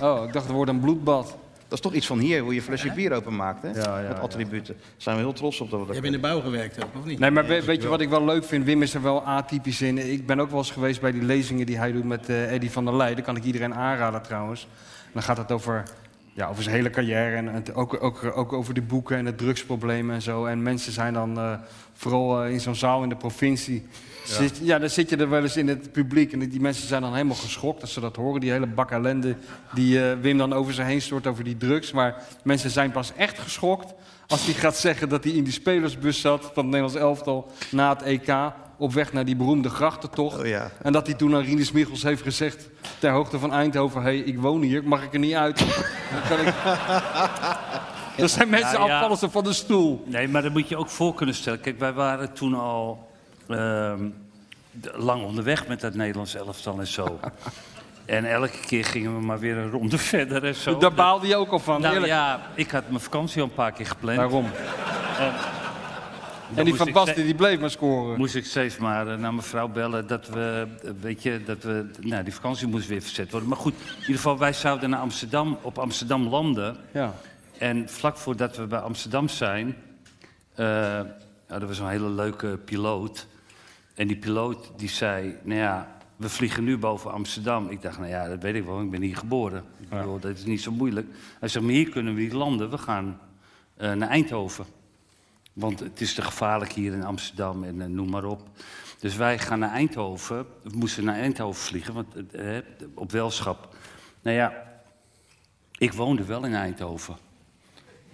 [SPEAKER 9] Oh, ik dacht het wordt een bloedbad.
[SPEAKER 8] Dat is toch iets van hier, hoe je flesje bier openmaakt, hè? Met attributen. Daar zijn we heel trots op dat we
[SPEAKER 18] Je
[SPEAKER 8] dat
[SPEAKER 18] hebt in de bouw gewerkt ook, of niet?
[SPEAKER 9] Nee, maar we- weet je wat ik wel leuk vind? Wim is er wel atypisch in. Ik ben ook wel eens geweest bij die lezingen die hij doet met eh Eddy van der Leij. Dat kan ik iedereen aanraden trouwens. Dan gaat het over Ja, over zijn hele carrière en het, ook, ook, ook over de boeken en het drugsprobleem en zo. En mensen zijn dan, eh, vooral eh, in zo'n zaal in de provincie...
[SPEAKER 14] Ja.
[SPEAKER 9] Zit, ja, dan zit je er wel eens in het publiek. En die mensen zijn dan helemaal geschokt als ze dat horen. Die hele bak ellende die eh, Wim dan over zich heen stort over die drugs. Maar mensen zijn pas echt geschokt als hij gaat zeggen dat hij in die spelersbus zat... van het Nederlands elftal na het EK op weg naar die beroemde grachtentocht. En dat hij toen aan Rinus Michels heeft gezegd... ter hoogte van Eindhoven, hey, ik woon hier, mag ik er niet uit? Dan kan ik... Er zijn mensen afvallen ze van de stoel.
[SPEAKER 12] Nou Nee, maar dat moet je ook voor kunnen stellen. Kijk, wij waren toen al ehm, d- lang onderweg met dat Nederlands elftal en zo. en elke keer gingen we maar weer een ronde verder en zo.
[SPEAKER 9] Daar baalde je ook al van,
[SPEAKER 12] Nou
[SPEAKER 9] eerlijk.
[SPEAKER 12] ja, ik had mijn vakantie al een paar keer gepland.
[SPEAKER 9] Daarom.
[SPEAKER 12] En,
[SPEAKER 9] En die Van Basten, die bleef maar scoren.
[SPEAKER 12] Moest ik steeds maar eh, naar mijn vrouw bellen dat we, eh, weet je, dat we, nou die vakantie moest weer verzet worden. Maar goed, in ieder geval, wij zouden naar Amsterdam, op Amsterdam landen.
[SPEAKER 9] Ja.
[SPEAKER 12] En vlak voordat we bij Amsterdam zijn, eh hadden we zo'n hele leuke piloot. En die piloot die zei, nou ja, we vliegen nu boven Amsterdam. Ik dacht, nou ja, dat weet ik wel, ik ben hier geboren. Ik bedoel, dat is niet zo moeilijk. Hij zegt, maar hier kunnen we niet landen, we gaan eh, naar Eindhoven. Want het is te gevaarlijk hier in Amsterdam en eh, noem maar op. Dus wij gaan naar Eindhoven. We moesten naar Eindhoven vliegen, want, eh, eh, op welschap. Nou ja, ik woonde wel in Eindhoven.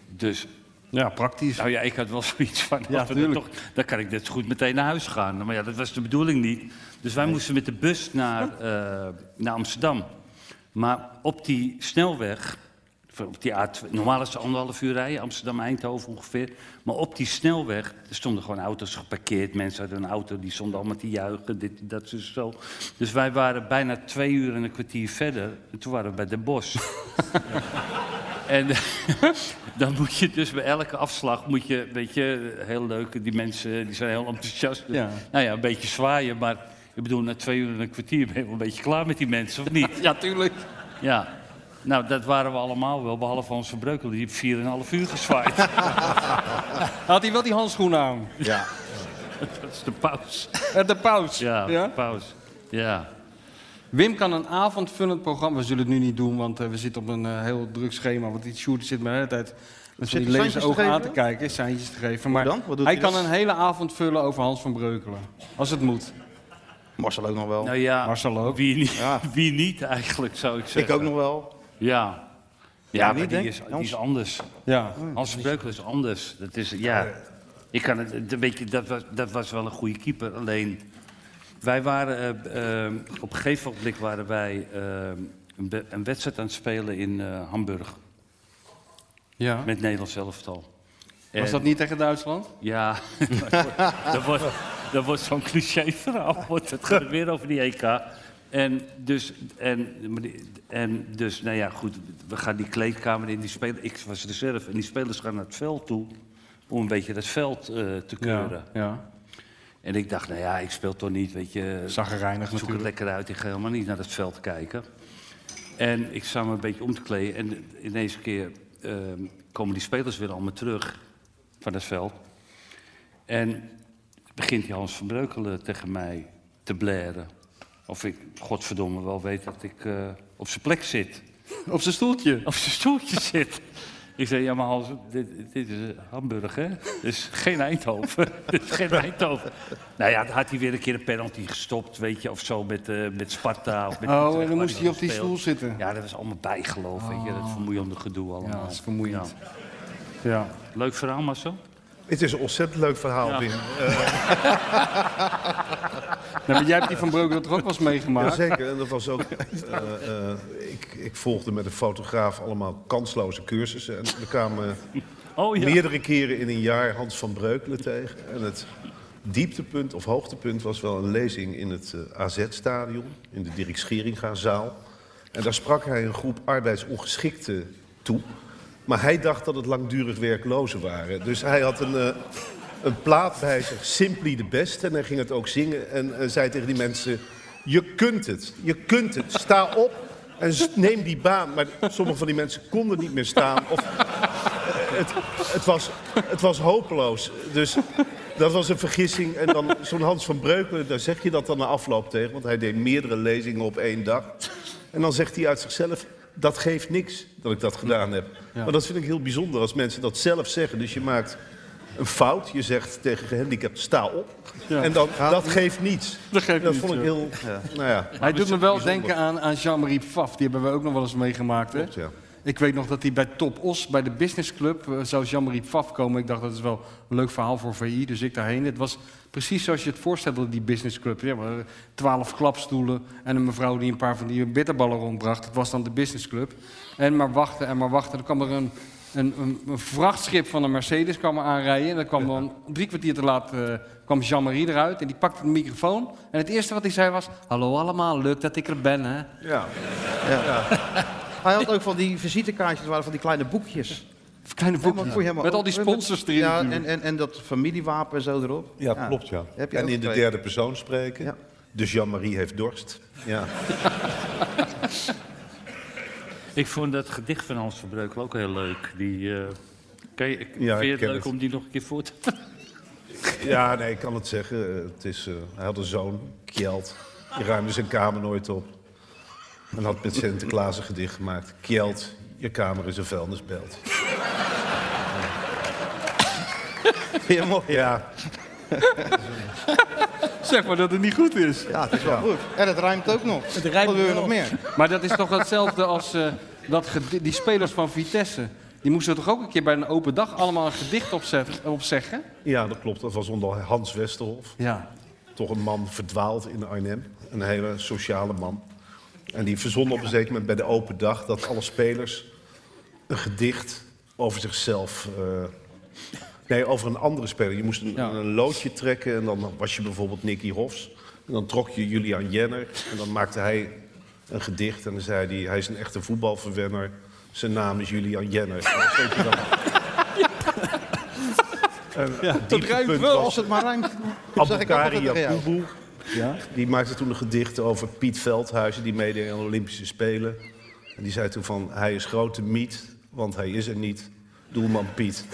[SPEAKER 12] Dus.
[SPEAKER 9] Ja, praktisch.
[SPEAKER 12] Nou ja, ik had wel zoiets van.
[SPEAKER 9] Ja,
[SPEAKER 12] als we dan
[SPEAKER 9] tuurlijk.
[SPEAKER 12] dan kan ik net zo goed meteen naar huis gaan. Nou, Maar ja, dat was de bedoeling niet. Dus wij moesten met de bus naar, eh, naar Amsterdam. Maar op die snelweg, van op die A2, normaal is het anderhalf uur rijden, Amsterdam-Eindhoven ongeveer. Maar op die snelweg er stonden gewoon auto's geparkeerd. Mensen hadden een auto, die stonden allemaal te juichen, dit, dat, dus zo. Dus wij waren bijna twee uur en een kwartier verder. En toen waren we bij Den Bosch. En dan moet je dus bij elke afslag, moet je, weet je, heel leuk, die mensen die zijn heel enthousiast.
[SPEAKER 9] Ja.
[SPEAKER 12] Nou ja, een beetje zwaaien, maar ik bedoel, na twee uur en een kwartier ben je wel een beetje klaar met die mensen, of niet?
[SPEAKER 9] ja, tuurlijk.
[SPEAKER 12] Ja. Nou, dat waren we allemaal wel, behalve Hans van Breukel, die heeft 4,5 uur gezwaaid.
[SPEAKER 9] Had hij wel die handschoenen aan?
[SPEAKER 12] Ja. dat is de paus.
[SPEAKER 9] Eh, De paus.
[SPEAKER 12] Ja,
[SPEAKER 9] Ja?
[SPEAKER 12] de paus. Ja.
[SPEAKER 9] Wim kan een avondvullend programma. We zullen het nu niet doen, want eh, we zitten op een eh, heel druk schema. Want die Sjoerd zit me de hele tijd met van
[SPEAKER 8] Zit
[SPEAKER 9] die
[SPEAKER 8] hij
[SPEAKER 9] lezers
[SPEAKER 8] seintjes te
[SPEAKER 9] ogen aan te
[SPEAKER 8] geven?
[SPEAKER 9] kijken, seintjes te geven. Maar
[SPEAKER 8] dan? Wat doet
[SPEAKER 9] hij
[SPEAKER 8] hij
[SPEAKER 9] kan
[SPEAKER 8] dan?
[SPEAKER 9] een hele avond vullen over Hans van Breukelen. Als het moet.
[SPEAKER 22] Marcel ook nog wel.
[SPEAKER 12] Nou ja,
[SPEAKER 9] Marcel ook.
[SPEAKER 12] Wie niet, wie niet eigenlijk, zou ik zeggen.
[SPEAKER 22] ook nog wel.
[SPEAKER 12] Ja.
[SPEAKER 22] Ja,
[SPEAKER 12] Ja,
[SPEAKER 22] niet,
[SPEAKER 12] maar
[SPEAKER 22] denk
[SPEAKER 12] die is,
[SPEAKER 22] ik.
[SPEAKER 12] die is anders.
[SPEAKER 9] Ja. Oh,
[SPEAKER 12] Hans Breukelen is anders. Dat is, ja. Ik kan het, dat, weet je, dat, was, dat was wel een goede keeper. Alleen, wij waren, eh, eh, op een gegeven ogenblik waren wij eh, een, be- een wedstrijd aan het spelen in eh, Hamburg.
[SPEAKER 9] Ja.
[SPEAKER 12] Met Nederlands elftal.
[SPEAKER 9] Was
[SPEAKER 12] En-
[SPEAKER 9] dat niet tegen Duitsland?
[SPEAKER 12] ja, dat wordt, dat wordt zo'n cliché-verhaal. Wordt het gaat weer over die EK. En dus, en, en dus, nou ja, goed, we gaan die kleedkamer in. Die spelen, ik was reserve en die spelers gaan naar het veld toe om een beetje dat veld eh, te keuren.
[SPEAKER 9] ja.
[SPEAKER 12] En ik dacht, nou ja, ik speel toch niet, weet je.
[SPEAKER 9] Zag er reinig
[SPEAKER 12] Zoek het lekker uit, ik ga helemaal niet naar het veld kijken. En ik sta me een beetje om te kleden. En ineens een keer eh, komen die spelers weer allemaal terug van het veld. En begint die Hans van Breukelen tegen mij te blaren. Of ik, godverdomme, wel weet dat ik eh, op zijn plek zit.
[SPEAKER 9] Op zijn stoeltje?
[SPEAKER 12] Op zijn stoeltje zit. Ik zei, ja, maar Hans, dit, dit is eh, Hamburg, hè? Dus geen Eindhoven. Dit is geen Eindhoven. Nou ja, dan had hij weer een keer een penalty gestopt, weet je, of zo, met, eh, met Sparta. Of met
[SPEAKER 9] Oh,
[SPEAKER 12] Utrecht,
[SPEAKER 9] en dan
[SPEAKER 12] waar
[SPEAKER 9] moest hij op die
[SPEAKER 12] gespeeld.
[SPEAKER 9] stoel zitten.
[SPEAKER 12] Ja, dat was allemaal bijgeloof, weet je, dat vermoeiende gedoe allemaal.
[SPEAKER 9] Ja, dat is vermoeiend.
[SPEAKER 12] Ja.
[SPEAKER 9] Ja.
[SPEAKER 12] Leuk verhaal, Marcel?
[SPEAKER 14] Het is een ontzettend leuk verhaal,
[SPEAKER 12] Ja.
[SPEAKER 14] Wim.
[SPEAKER 9] Nee, maar jij hebt die van Breukelen toch ook wel eens meegemaakt?
[SPEAKER 14] Jazeker, en dat was ook... eh, eh, ik, ik volgde met een fotograaf allemaal kansloze cursussen. En we kwamen
[SPEAKER 12] Oh, ja.
[SPEAKER 14] meerdere keren in een jaar Hans van Breukelen tegen. En het dieptepunt of hoogtepunt was wel een lezing in het eh, AZ-stadion... in de Dirk Scheringa-zaal. En daar sprak hij een groep arbeidsongeschikten toe... Maar hij dacht dat het langdurig werklozen waren. Dus hij had een, eh, een plaat bij zich, Simply the Best. En hij ging het ook zingen en eh, zei tegen die mensen... Je kunt het, je kunt het. Sta op en s- neem die baan. Maar sommige van die mensen konden niet meer staan. Of, eh, het, het, was, het was hopeloos. Dus dat was een vergissing. En dan zo'n Hans van Breukelen, daar zeg je dat dan na afloop tegen. Want hij deed meerdere lezingen op één dag. En dan zegt hij uit zichzelf... dat geeft niks dat ik dat gedaan heb.
[SPEAKER 23] Ja.
[SPEAKER 14] Maar dat vind ik heel bijzonder als mensen dat zelf zeggen. Dus je maakt een fout. Je zegt tegen gehandicapt, sta op.
[SPEAKER 9] Ja.
[SPEAKER 14] En dan,
[SPEAKER 9] Gaat
[SPEAKER 14] dat
[SPEAKER 9] niet.
[SPEAKER 14] geeft niets.
[SPEAKER 9] Dat geeft niets,
[SPEAKER 14] vond ik
[SPEAKER 9] ja.
[SPEAKER 14] heel... Nou ja,
[SPEAKER 9] Hij doet me wel
[SPEAKER 14] bijzonder.
[SPEAKER 9] denken aan, aan Jean-Marie Pfaff. Die hebben we ook nog wel eens meegemaakt. Hè? Ik weet nog dat hij bij Top Os, bij de Business Club, eh, zou Jean-Marie Pfaff komen. Ik dacht, dat is wel een leuk verhaal voor VI, dus ik daarheen. Het was precies zoals je het voorstelde, die Business Club. Ja, maar twaalf klapstoelen en een mevrouw die een paar van die bitterballen rondbracht. Dat was dan de Business Club. En maar wachten en maar wachten. Dan kwam er een, een, een, een vrachtschip van een Mercedes kwam er aanrijden. En dan kwam dan drie kwartier te laat eh, kwam Jean-Marie eruit. En die pakte de microfoon. En het eerste wat hij zei was, hallo allemaal, leuk dat ik er ben, hè.
[SPEAKER 14] Ja.
[SPEAKER 8] Ja. Hij had ook van die visitekaartjes, dat waren van die kleine boekjes.
[SPEAKER 9] Kleine
[SPEAKER 8] boekjes,
[SPEAKER 9] met al die sponsors erin
[SPEAKER 8] Ja, en,
[SPEAKER 9] natuurlijk.
[SPEAKER 8] en, en dat familiewapen en zo erop.
[SPEAKER 14] Ja, klopt ja.
[SPEAKER 8] Heb je
[SPEAKER 14] En
[SPEAKER 8] ook
[SPEAKER 14] in de
[SPEAKER 8] twee.
[SPEAKER 14] derde persoon spreken. Dus Jean-Marie heeft dorst. Ja.
[SPEAKER 12] Ik vond dat gedicht van Hans Verbreuk ook heel leuk. Die, eh ken je,
[SPEAKER 14] Ja,
[SPEAKER 12] vind
[SPEAKER 14] ik
[SPEAKER 12] je het
[SPEAKER 14] ken
[SPEAKER 12] leuk
[SPEAKER 14] het.
[SPEAKER 12] om die nog een keer voor te...
[SPEAKER 14] Ja, nee, ik kan het zeggen. Eh, Het is, eh, hij had een zoon, Kjeld. Die ruimde zijn kamer nooit op. En had met Sinterklaas een gedicht gemaakt. Kjeld, je kamer is een vuilnisbelt. Heel mooi. Ja.
[SPEAKER 9] zeg maar dat het niet goed is.
[SPEAKER 8] Ja, het is wel goed. En het ruimt ook nog. Het ruimt wil je nog meer.
[SPEAKER 9] Maar dat is toch hetzelfde als eh, dat gedi- die spelers van Vitesse. Die moesten toch ook een keer bij een open dag allemaal een gedicht opzet- opzeggen?
[SPEAKER 14] ja, dat klopt. Dat was onder Hans Westerhof.
[SPEAKER 9] Ja.
[SPEAKER 14] Toch een man verdwaald in Arnhem. Een hele sociale man. En die verzon op een zeker moment bij de open dag... dat alle spelers een gedicht over zichzelf... eh, nee, over een andere speler. Je moest een, een loodje trekken en dan was je bijvoorbeeld Nicky Hofs. En dan trok je Julian Jenner en dan maakte hij een gedicht. En dan zei hij, hij is een echte voetbalverwenner. Zijn naam is Julian Jenner. En dat weet je dan. En het dieptepunt was-
[SPEAKER 8] Als het maar ruimt. Dat zeg ik altijd
[SPEAKER 14] Abdelkari
[SPEAKER 8] tegen jou.
[SPEAKER 14] Yakubu. Die maakte toen een gedicht over Piet Veldhuizen, die meedeed aan de Olympische Spelen. En die zei toen van, hij is grote miet, want hij is er niet. Doelman Piet.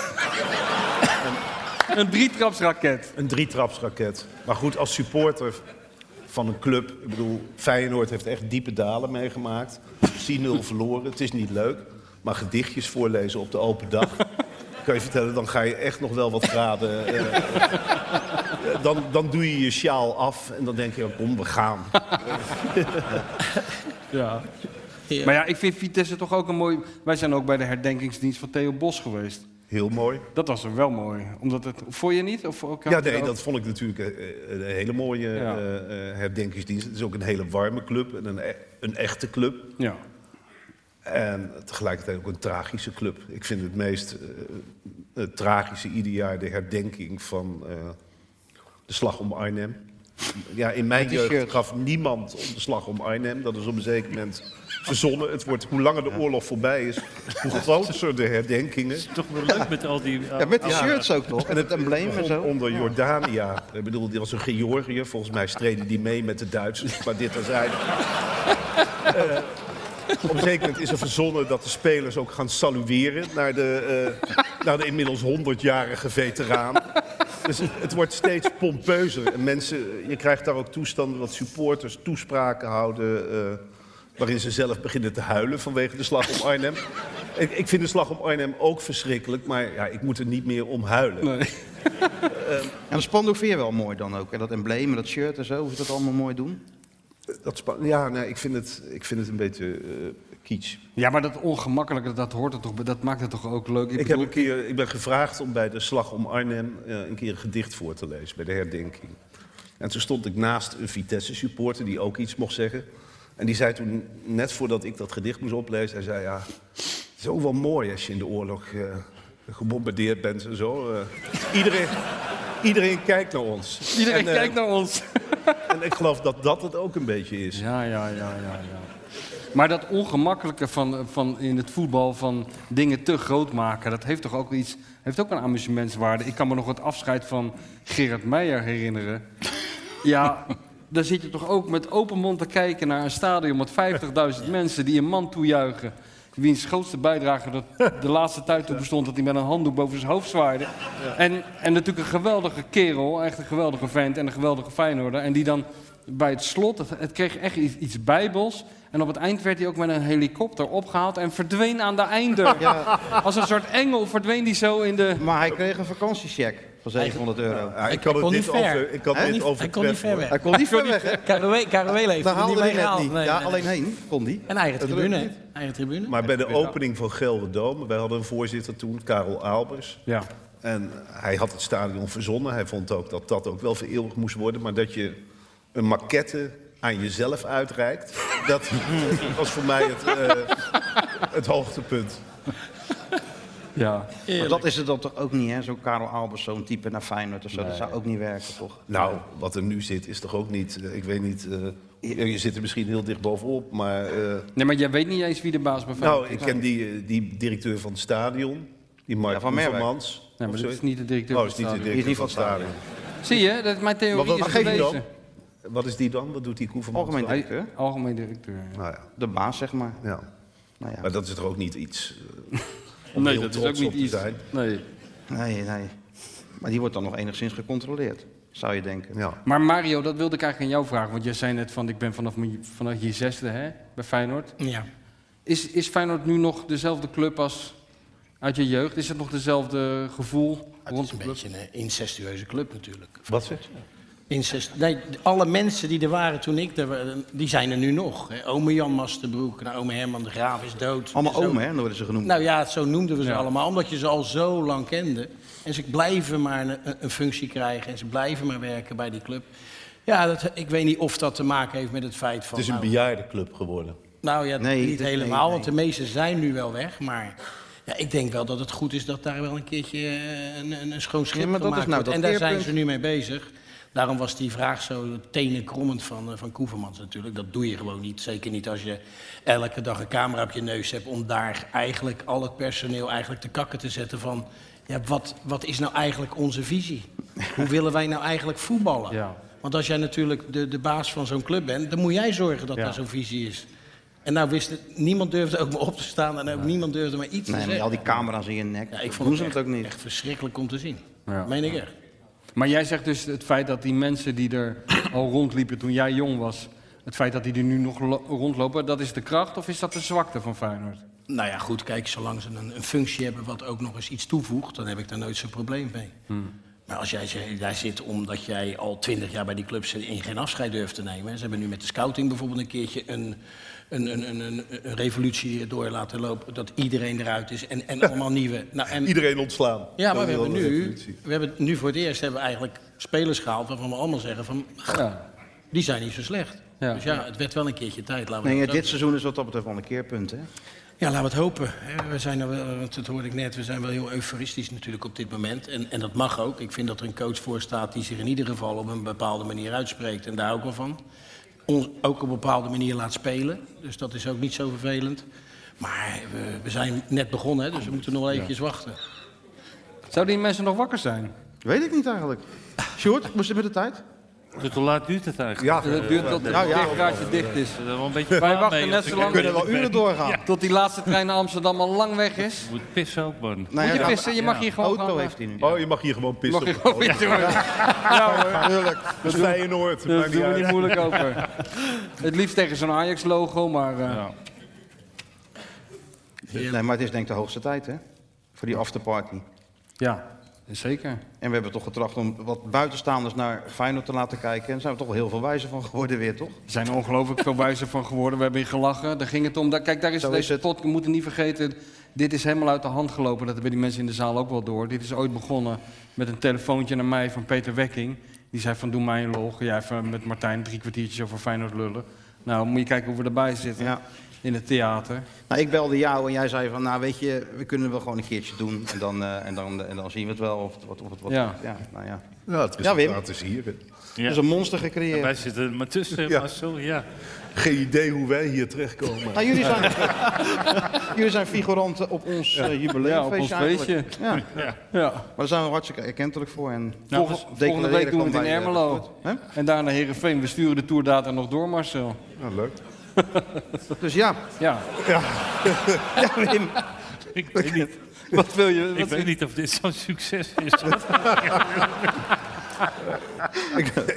[SPEAKER 9] Een drietrapsraket.
[SPEAKER 14] Een drietrapsraket. Maar goed, als supporter van een club... Ik bedoel, Feyenoord heeft echt diepe dalen meegemaakt. 10-0 verloren, het is niet leuk. Maar gedichtjes voorlezen op de open dag... kan je vertellen, dan ga je echt nog wel wat graden... eh, dan, dan doe je je sjaal af en dan denk je, kom, we gaan.
[SPEAKER 9] Ja. Maar ja, ik vind Vitesse toch ook een mooi... Wij zijn ook bij de herdenkingsdienst van Theo Bos geweest.
[SPEAKER 14] Heel mooi.
[SPEAKER 9] Dat was er wel mooi. Omdat het... Vond je niet? Of, of-
[SPEAKER 14] Ja, nee, dat vond ik natuurlijk eh, een hele mooie
[SPEAKER 9] Ja.
[SPEAKER 14] eh, eh, herdenkingsdienst. Het is ook een hele warme club en een, e- een echte club.
[SPEAKER 9] Ja.
[SPEAKER 14] En tegelijkertijd ook een tragische club. Ik vind het meest eh, het tragische ieder jaar de herdenking van eh, de slag om Arnhem. Ja, in mijn
[SPEAKER 8] Met die
[SPEAKER 14] jeugd
[SPEAKER 8] shirt.
[SPEAKER 14] gaf niemand om de slag om Arnhem. Dat is op een zeker moment verzonnen. Het wordt, hoe langer de oorlog voorbij is, hoe groter de herdenkingen.
[SPEAKER 12] toch wel leuk met al die...
[SPEAKER 8] Ja, met die shirts ook toch? En het embleem en
[SPEAKER 14] begon
[SPEAKER 8] zo.
[SPEAKER 14] Onder Jordania. Ik bedoel, die was een Georgië. Volgens mij streden die mee met de Duitsers. Maar dit terzijde. Eh op een zeker moment is er verzonnen dat de spelers ook gaan salueren... naar de, eh, naar de inmiddels 100-jarige veteraan. Dus het wordt steeds pompeuzer. En mensen, je krijgt daar ook toestanden dat supporters toespraken houden... eh, waarin ze zelf beginnen te huilen vanwege de slag om Arnhem. Ik, ik vind de slag om Arnhem ook verschrikkelijk, maar ja, ik moet er niet meer om huilen.
[SPEAKER 8] Ehm, En dat spandoek vind je wel mooi dan ook. En dat embleem en dat shirt en zo, hoe ze dat allemaal mooi doen.
[SPEAKER 14] Eh, Dat spa- ja, nee, ik vind het, ik vind het een beetje eh kitsch.
[SPEAKER 9] Ja, maar dat ongemakkelijke, dat hoort er toch bij. Dat maakt het toch ook leuk.
[SPEAKER 14] Ik, heb
[SPEAKER 9] bedoel-
[SPEAKER 14] een keer, ik ben gevraagd om bij de Slag om Arnhem eh, een keer een gedicht voor te lezen, bij de herdenking. En toen stond ik naast een Vitesse-supporter die ook iets mocht zeggen. En die zei toen, net voordat ik dat gedicht moest oplezen, hij zei ja, het is ook wel mooi als je in de oorlog eh, gebombardeerd bent en zo. eh. iedereen, iedereen kijkt naar ons.
[SPEAKER 9] Iedereen
[SPEAKER 14] En, eh,
[SPEAKER 9] kijkt naar ons.
[SPEAKER 14] En ik geloof dat dat het ook een beetje is.
[SPEAKER 9] Ja, ja, ja, ja. ja. Maar dat ongemakkelijke van, van in het voetbal, van dingen te groot maken, dat heeft toch ook iets, heeft ook een amusementswaarde. Ik kan me nog het afscheid van Gerard Meijer herinneren. Ja, daar zit je toch ook met open mond te kijken naar een stadion met 50.000 mensen die een man toejuichen. Wiens grootste bijdrage dat de laatste tijd toe bestond dat hij met een handdoek boven zijn hoofd zwaaide. En, en natuurlijk een geweldige kerel, echt een geweldige vent en een geweldige Feyenoorder. En die dan bij het slot. Het, het kreeg echt iets, iets bijbels. En op het eind werd hij ook met een helikopter opgehaald en verdween aan de einde.
[SPEAKER 8] Ja.
[SPEAKER 9] Als een soort engel verdween hij zo in de...
[SPEAKER 8] Maar hij kreeg een vakantiecheck van 700 euro.
[SPEAKER 14] Ja, Nou, ik kan het dit over- ik kan
[SPEAKER 8] Hè?
[SPEAKER 14] dit over Nou,
[SPEAKER 8] Hij kon niet ver
[SPEAKER 14] treffen,
[SPEAKER 8] weg.
[SPEAKER 14] hoor.
[SPEAKER 8] Hij kon niet ver weg, hè?
[SPEAKER 18] Carouele heeft
[SPEAKER 8] Daar
[SPEAKER 18] het niet
[SPEAKER 8] haalde hij net
[SPEAKER 18] meegehaald.
[SPEAKER 8] niet.
[SPEAKER 18] Nee,
[SPEAKER 8] Ja,
[SPEAKER 18] nee.
[SPEAKER 8] alleen heen kon die.
[SPEAKER 18] En eigen
[SPEAKER 14] Dat
[SPEAKER 18] tribune,
[SPEAKER 14] lukt
[SPEAKER 18] hè? Eigen tribune.
[SPEAKER 14] Maar bij de opening van Gelderdome, wij hadden een voorzitter toen, Karel Albers.
[SPEAKER 9] Ja.
[SPEAKER 14] En hij had het stadion verzonnen. Hij vond ook dat dat ook wel vereeuwigd moest worden. Maar dat je een maquette aan jezelf uitreikt, dat was voor mij het, eh, het hoogtepunt.
[SPEAKER 9] Ja.
[SPEAKER 8] Maar dat is het dan toch ook niet, hè? Zo'n Karel Albers, zo'n type naar Feyenoord of zo. Dat
[SPEAKER 14] Nee.
[SPEAKER 8] zou ook niet werken, toch?
[SPEAKER 14] Nou, wat er nu zit is toch ook niet, eh, ik weet niet, eh, je- je zit er misschien heel dicht bovenop, maar... eh,
[SPEAKER 9] Nee, maar jij weet niet eens wie de baas bij
[SPEAKER 14] nou,
[SPEAKER 9] Feyenoord
[SPEAKER 14] ik
[SPEAKER 9] is.
[SPEAKER 14] ken die, eh, die directeur van het stadion, die Mark
[SPEAKER 9] Ja,
[SPEAKER 14] van
[SPEAKER 9] van Merwijk.
[SPEAKER 14] Oevermans.
[SPEAKER 9] Nee, maar
[SPEAKER 14] Of
[SPEAKER 9] dat
[SPEAKER 14] zo.
[SPEAKER 9] is niet de directeur
[SPEAKER 14] Oh,
[SPEAKER 9] van
[SPEAKER 14] is niet de
[SPEAKER 9] het stadion.
[SPEAKER 14] directeur
[SPEAKER 9] Die is niet
[SPEAKER 14] van het
[SPEAKER 9] van het
[SPEAKER 14] stadion.
[SPEAKER 9] Zie je, dat mijn theorie
[SPEAKER 14] Maar wat,
[SPEAKER 9] is
[SPEAKER 14] wat geef je dan?
[SPEAKER 9] bewezen.
[SPEAKER 14] Wat is die dan? Wat doet die Koevermans?
[SPEAKER 9] Algemeen
[SPEAKER 14] dan?
[SPEAKER 9] directeur. Algemeen directeur.
[SPEAKER 14] Nou ja.
[SPEAKER 8] De baas, zeg maar.
[SPEAKER 14] Ja.
[SPEAKER 8] Nou ja.
[SPEAKER 14] Maar dat is toch ook niet iets eh, om
[SPEAKER 9] Nee,
[SPEAKER 14] heel
[SPEAKER 9] dat is
[SPEAKER 14] trots
[SPEAKER 9] ook niet
[SPEAKER 14] op te
[SPEAKER 9] iets.
[SPEAKER 14] zijn?
[SPEAKER 9] Nee.
[SPEAKER 8] Nee, nee. Maar die wordt dan nog enigszins gecontroleerd, zou je denken.
[SPEAKER 14] Ja.
[SPEAKER 9] Maar Mario, dat wilde ik eigenlijk aan jou vragen. Want jij zei net van, ik ben vanaf, mijn- vanaf je zesde hè, bij Feyenoord.
[SPEAKER 18] Ja.
[SPEAKER 9] Is, is Feyenoord nu nog dezelfde club als uit je jeugd? Is het nog dezelfde gevoel rond de club?
[SPEAKER 18] Het is een eh, incestueuze club natuurlijk.
[SPEAKER 14] Wat zeg je?
[SPEAKER 18] Incest. Nee, alle mensen die er waren toen ik er was, die zijn er nu nog. hè. Ome Jan Masterbroek, nou, ome Herman de Graaf is dood.
[SPEAKER 8] Allemaal
[SPEAKER 18] Zo-
[SPEAKER 8] omen, hè? Dan worden ze genoemd.
[SPEAKER 18] Nou ja, zo noemden we ze
[SPEAKER 8] Ja.
[SPEAKER 18] allemaal, omdat je ze al zo lang kende. En ze blijven maar een, een functie krijgen en ze blijven maar werken bij die club. Ja, dat, ik weet niet of dat te maken heeft met het feit van...
[SPEAKER 14] Het is een
[SPEAKER 18] nou,
[SPEAKER 14] bejaardenclub geworden.
[SPEAKER 18] nou ja,
[SPEAKER 14] Nee,
[SPEAKER 18] niet
[SPEAKER 14] dat- nee,
[SPEAKER 18] helemaal,
[SPEAKER 14] nee.
[SPEAKER 18] want de meesten zijn nu wel weg. Maar ja, ik denk wel dat het goed is dat daar wel een keertje eh, een, een, een schoon schip
[SPEAKER 8] Ja, maar dat
[SPEAKER 18] gemaakt
[SPEAKER 8] is nou
[SPEAKER 18] wordt. En
[SPEAKER 8] dat
[SPEAKER 18] daar zijn
[SPEAKER 8] keerpunt.
[SPEAKER 18] ze nu mee bezig. Daarom was die vraag zo tenenkrommend van, eh, van Koevermans natuurlijk. Dat doe je gewoon niet. Zeker niet als je elke dag een camera op je neus hebt... om daar eigenlijk al het personeel eigenlijk te kakken te zetten van... Ja, wat, wat is nou eigenlijk onze visie? Hoe willen wij nou eigenlijk voetballen? Want als jij natuurlijk de, de baas van zo'n club bent... dan moet jij zorgen dat
[SPEAKER 9] Ja.
[SPEAKER 18] daar zo'n visie is. En nou wist het, niemand durfde ook maar op te staan en ook niemand durfde maar iets te
[SPEAKER 8] Nee, met
[SPEAKER 18] zeggen.
[SPEAKER 8] al die camera's in je nek.
[SPEAKER 18] Ja, ik
[SPEAKER 8] doen
[SPEAKER 18] vond
[SPEAKER 8] ze
[SPEAKER 18] het
[SPEAKER 8] het
[SPEAKER 18] echt,
[SPEAKER 8] ook niet.
[SPEAKER 18] echt verschrikkelijk om te zien.
[SPEAKER 9] Ja.
[SPEAKER 18] Meen ik echt.
[SPEAKER 9] Maar jij zegt dus het feit dat die mensen die er al rondliepen toen jij jong was... het feit dat die er nu nog lo- rondlopen, dat is de kracht of is dat de zwakte van Feyenoord?
[SPEAKER 18] Nou ja, goed, kijk, zolang ze een, een functie hebben wat ook nog eens iets toevoegt, dan heb ik daar nooit zo'n probleem mee. Maar Nou, als jij ze- daar zit omdat jij al twintig jaar bij die club zit en geen afscheid durft te nemen. Ze hebben nu met de scouting bijvoorbeeld een keertje een, een, een, een, een, een revolutie door laten lopen. Dat iedereen eruit is en, en allemaal nieuwe. Nou, en,
[SPEAKER 14] Iedereen ontslaan.
[SPEAKER 18] Ja,
[SPEAKER 14] Dat
[SPEAKER 18] maar we
[SPEAKER 14] is wel
[SPEAKER 18] hebben,
[SPEAKER 14] een
[SPEAKER 18] nu,
[SPEAKER 14] revolutie.
[SPEAKER 18] we hebben nu voor het eerst hebben we eigenlijk spelers gehaald waarvan we allemaal zeggen van... Die zijn niet zo slecht.
[SPEAKER 8] Ja.
[SPEAKER 18] Dus ja, het werd wel een keertje tijd. Laten we
[SPEAKER 8] Nee,
[SPEAKER 18] Nou, dat zo
[SPEAKER 8] ja, dit
[SPEAKER 18] zeggen.
[SPEAKER 8] seizoen is wat dat betreft wel een keerpunt, hè?
[SPEAKER 18] Ja, laten we het hopen. hè. We zijn er wel, want dat hoorde ik net, we zijn wel heel euforistisch natuurlijk op dit moment. En, en dat mag ook. Ik vind dat er een coach voor staat die zich in ieder geval op een bepaalde manier uitspreekt. En daar ook wel van. Ons ook op een bepaalde manier laat spelen. Dus dat is ook niet zo vervelend. Maar we, we zijn net begonnen, hè, dus we moeten nog wel eventjes wachten.
[SPEAKER 9] Zouden die mensen nog wakker zijn?
[SPEAKER 8] Weet ik niet eigenlijk. Short, moest het met de tijd?
[SPEAKER 12] Dus hoe laat duurt het eigenlijk?
[SPEAKER 8] Ja, het duurt tot het Nou ja. dichtgaatje
[SPEAKER 9] dicht is.
[SPEAKER 12] Wel een beetje
[SPEAKER 9] Wij
[SPEAKER 12] kwaad Eh,
[SPEAKER 9] wachten
[SPEAKER 12] mee, want
[SPEAKER 9] net zo
[SPEAKER 12] ik-
[SPEAKER 9] lang...
[SPEAKER 12] ik ben- Ja.
[SPEAKER 9] Tot die laatste trein naar Amsterdam al lang weg is.
[SPEAKER 12] Ik Moet pissen ook, man.
[SPEAKER 9] Moet je pissen? Je mag hier gewoon
[SPEAKER 12] Auto
[SPEAKER 9] gaan,
[SPEAKER 12] heeft
[SPEAKER 9] eh,
[SPEAKER 12] hij nu.
[SPEAKER 14] Oh, je mag hier gewoon pissen.
[SPEAKER 9] Mag je
[SPEAKER 14] op
[SPEAKER 9] gewoon
[SPEAKER 14] de auto.
[SPEAKER 9] pissen, hoor.
[SPEAKER 14] Ja, tuurlijk. Dat is Feyenoord.
[SPEAKER 9] Daar
[SPEAKER 14] maakt
[SPEAKER 9] doen we
[SPEAKER 14] uit.
[SPEAKER 9] niet moeilijk over. Het liefst tegen zo'n Ajax-logo, maar... eh,
[SPEAKER 8] Nee, maar het is denk ik de hoogste tijd, hè? Voor die afterparty.
[SPEAKER 9] Ja, zeker.
[SPEAKER 8] En we hebben toch getracht om wat buitenstaanders naar Feyenoord te laten kijken. En daar zijn we toch wel heel veel wijzer van geworden weer, toch?
[SPEAKER 9] We zijn er ongelooflijk veel wijzer van geworden. We hebben hier gelachen. Daar ging het om. Daar- Kijk, daar is
[SPEAKER 8] Zo is
[SPEAKER 9] deze
[SPEAKER 8] het.
[SPEAKER 9] podcast. We moeten niet vergeten. Dit is helemaal uit de hand gelopen. Dat hebben die mensen in de zaal ook wel door. Dit is ooit begonnen met een telefoontje naar mij van Peter Wekking. Die zei van doe mij een lol. Ga jij even met Martijn drie kwartiertjes over Feyenoord lullen. Nou, moet je kijken hoe we erbij zitten. In het theater.
[SPEAKER 8] Nou, ik belde jou en jij zei van, nou weet je, we kunnen wel gewoon een keertje doen. En dan, eh, en dan, en dan zien we het wel of het wat... Of het, wat
[SPEAKER 9] Ja.
[SPEAKER 8] nou ja.
[SPEAKER 14] Ja, het
[SPEAKER 8] Ja, Wim.
[SPEAKER 14] resultaat is hier.
[SPEAKER 8] Ja. Er is een monster gecreëerd.
[SPEAKER 12] Ja, wij zitten er maar tussen,
[SPEAKER 14] Ja.
[SPEAKER 12] Marcel, ja.
[SPEAKER 14] Geen idee hoe wij hier terechtkomen.
[SPEAKER 8] Nou, jullie zijn, jullie zijn figuranten op ons
[SPEAKER 14] Ja.
[SPEAKER 8] eh, jubileumfeestje
[SPEAKER 14] Ja, op ons
[SPEAKER 8] eigenlijk.
[SPEAKER 14] feestje.
[SPEAKER 8] Ja.
[SPEAKER 14] Ja.
[SPEAKER 8] Maar daar zijn we hartstikke erkentelijk voor. En
[SPEAKER 9] Volgende- volgende week doen Nou, we
[SPEAKER 8] eh,
[SPEAKER 9] het in Ermelo.
[SPEAKER 8] Hè?
[SPEAKER 9] en daarna Herenveen. We sturen de toerdata nog door, Marcel.
[SPEAKER 14] Nou, leuk.
[SPEAKER 8] dus ja.
[SPEAKER 9] Ja.
[SPEAKER 14] Ja.
[SPEAKER 8] Wim.
[SPEAKER 12] Ik weet niet.
[SPEAKER 9] Wat wil je?
[SPEAKER 12] Ik weet niet of dit zo'n succes is.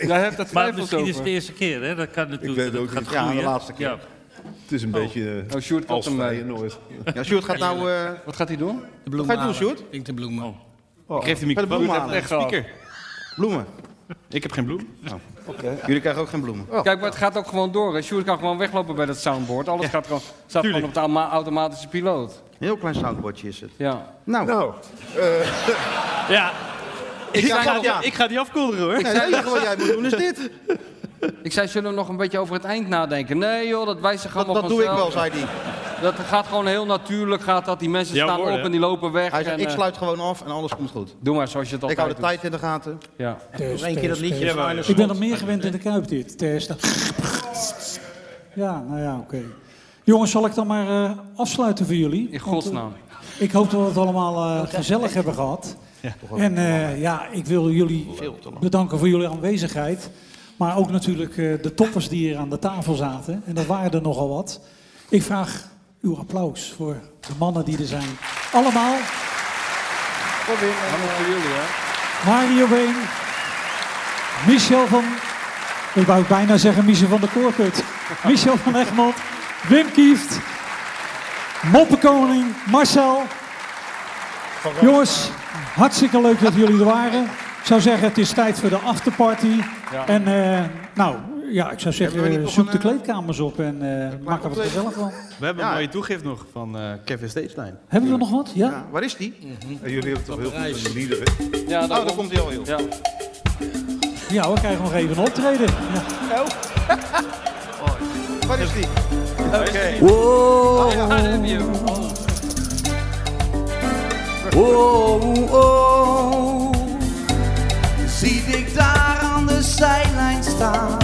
[SPEAKER 10] Jij hebt dat
[SPEAKER 24] maar
[SPEAKER 10] twijfels
[SPEAKER 24] misschien is
[SPEAKER 10] over.
[SPEAKER 24] het de eerste keer, hè? Dat kan
[SPEAKER 14] Ik
[SPEAKER 24] natuurlijk.
[SPEAKER 14] weet het
[SPEAKER 24] dat
[SPEAKER 14] ook
[SPEAKER 24] gaat
[SPEAKER 14] niet. Ja, de
[SPEAKER 24] groeien.
[SPEAKER 14] laatste keer.
[SPEAKER 24] Ja.
[SPEAKER 14] Het is een beetje eh,
[SPEAKER 10] Oh, Sjoerd had
[SPEAKER 14] als
[SPEAKER 10] hem,
[SPEAKER 14] vrije
[SPEAKER 10] eh,
[SPEAKER 14] Noord.
[SPEAKER 8] Ja, Sjoerd gaat nou... eh,
[SPEAKER 10] Wat gaat hij doen?
[SPEAKER 18] De bloemen
[SPEAKER 8] Wat ga je doen,
[SPEAKER 18] halen.
[SPEAKER 8] Sjoerd?
[SPEAKER 18] Ik denk de bloemen.
[SPEAKER 8] Oh.
[SPEAKER 18] geef de
[SPEAKER 8] Ga
[SPEAKER 18] microfoon.
[SPEAKER 8] bloemen
[SPEAKER 18] Sjoerd
[SPEAKER 8] halen.
[SPEAKER 18] heeft een speaker.
[SPEAKER 8] Bloemen. Ik heb geen bloem. Oh. Jullie krijgen ook geen bloemen.
[SPEAKER 10] Kijk, maar het gaat ook gewoon door. hè. Sjoerd kan gewoon weglopen bij dat soundboard. Alles gaat gewoon, staat gewoon op de ama- automatische piloot.
[SPEAKER 8] Heel klein soundboardje is het.
[SPEAKER 10] Ja.
[SPEAKER 8] Nou.
[SPEAKER 10] ja.
[SPEAKER 8] Ik ga- ja.
[SPEAKER 10] ik ga die afkoelderen hoor.
[SPEAKER 8] Nee, het enige wat jij moet doen is dit.
[SPEAKER 10] Ik zei, zullen we nog een beetje over het eind nadenken? Nee joh, dat wijst zich allemaal
[SPEAKER 8] dat doe ik
[SPEAKER 10] vanzelf.
[SPEAKER 8] wel, zei hij.
[SPEAKER 10] Dat gaat gewoon heel natuurlijk, gaat dat. Die mensen
[SPEAKER 8] Ja,
[SPEAKER 10] staan
[SPEAKER 8] hoor,
[SPEAKER 10] op
[SPEAKER 8] hè.
[SPEAKER 10] en die lopen weg.
[SPEAKER 8] Hij
[SPEAKER 10] en,
[SPEAKER 8] zegt, ik
[SPEAKER 10] eh,
[SPEAKER 8] sluit gewoon af en alles komt goed.
[SPEAKER 10] Doe maar zoals je het altijd
[SPEAKER 8] Ik hou de
[SPEAKER 10] doet.
[SPEAKER 8] tijd in de gaten.
[SPEAKER 10] Ja.
[SPEAKER 8] Nog één keer dat liedje van Arne
[SPEAKER 3] Ik ben
[SPEAKER 8] Slot.
[SPEAKER 3] nog meer gewend in de Kuip dit. Test. Ja, nou ja, oké. Jongens, zal ik dan maar eh, afsluiten voor jullie?
[SPEAKER 10] In
[SPEAKER 3] Want,
[SPEAKER 10] godsnaam.
[SPEAKER 3] eh, ik hoop dat we het allemaal eh, gezellig hebben gehad. En eh, ja, ik wil jullie bedanken voor jullie aanwezigheid. Maar ook natuurlijk eh, de toppers die hier aan de tafel zaten. En dat waren er nogal wat. Ik vraag uw applaus voor de mannen die er zijn. Allemaal.
[SPEAKER 8] eh,
[SPEAKER 10] Allemaal voor jullie hè.
[SPEAKER 3] Mario Been. Michel van... Ik wou bijna zeggen Michel van de Koorkut. Michel van Egmond. Wim Kieft. Moppenkoning. Marcel. Jongens, hartstikke leuk dat jullie er waren. Ik zou zeggen, het is tijd voor de afterparty.
[SPEAKER 8] Ja.
[SPEAKER 3] En eh, nou, ja, ik zou
[SPEAKER 8] Hebben we
[SPEAKER 3] zeggen,
[SPEAKER 8] niet
[SPEAKER 3] eh,
[SPEAKER 8] nog
[SPEAKER 3] zoek
[SPEAKER 8] een,
[SPEAKER 3] de kleedkamers op en eh, maak er wat
[SPEAKER 8] optreden?
[SPEAKER 3] gezellig van.
[SPEAKER 25] We hebben
[SPEAKER 8] Ja.
[SPEAKER 25] een mooie toegift nog van eh, Kevin Steedstein.
[SPEAKER 3] Hebben we nog wat? Ja?
[SPEAKER 8] Waar is die?
[SPEAKER 14] En Eh, jullie hebben toch heel veel van de liederen.
[SPEAKER 10] Ja,
[SPEAKER 8] oh, daar komt hij al, joh.
[SPEAKER 10] Ja.
[SPEAKER 3] Ja, we krijgen nog even een optreden. Ja.
[SPEAKER 8] Waar is die? Oké.
[SPEAKER 5] Oh,
[SPEAKER 8] ja, daar heb je hem.
[SPEAKER 5] Oh, oh, zie ik daar aan de zijlijn staan.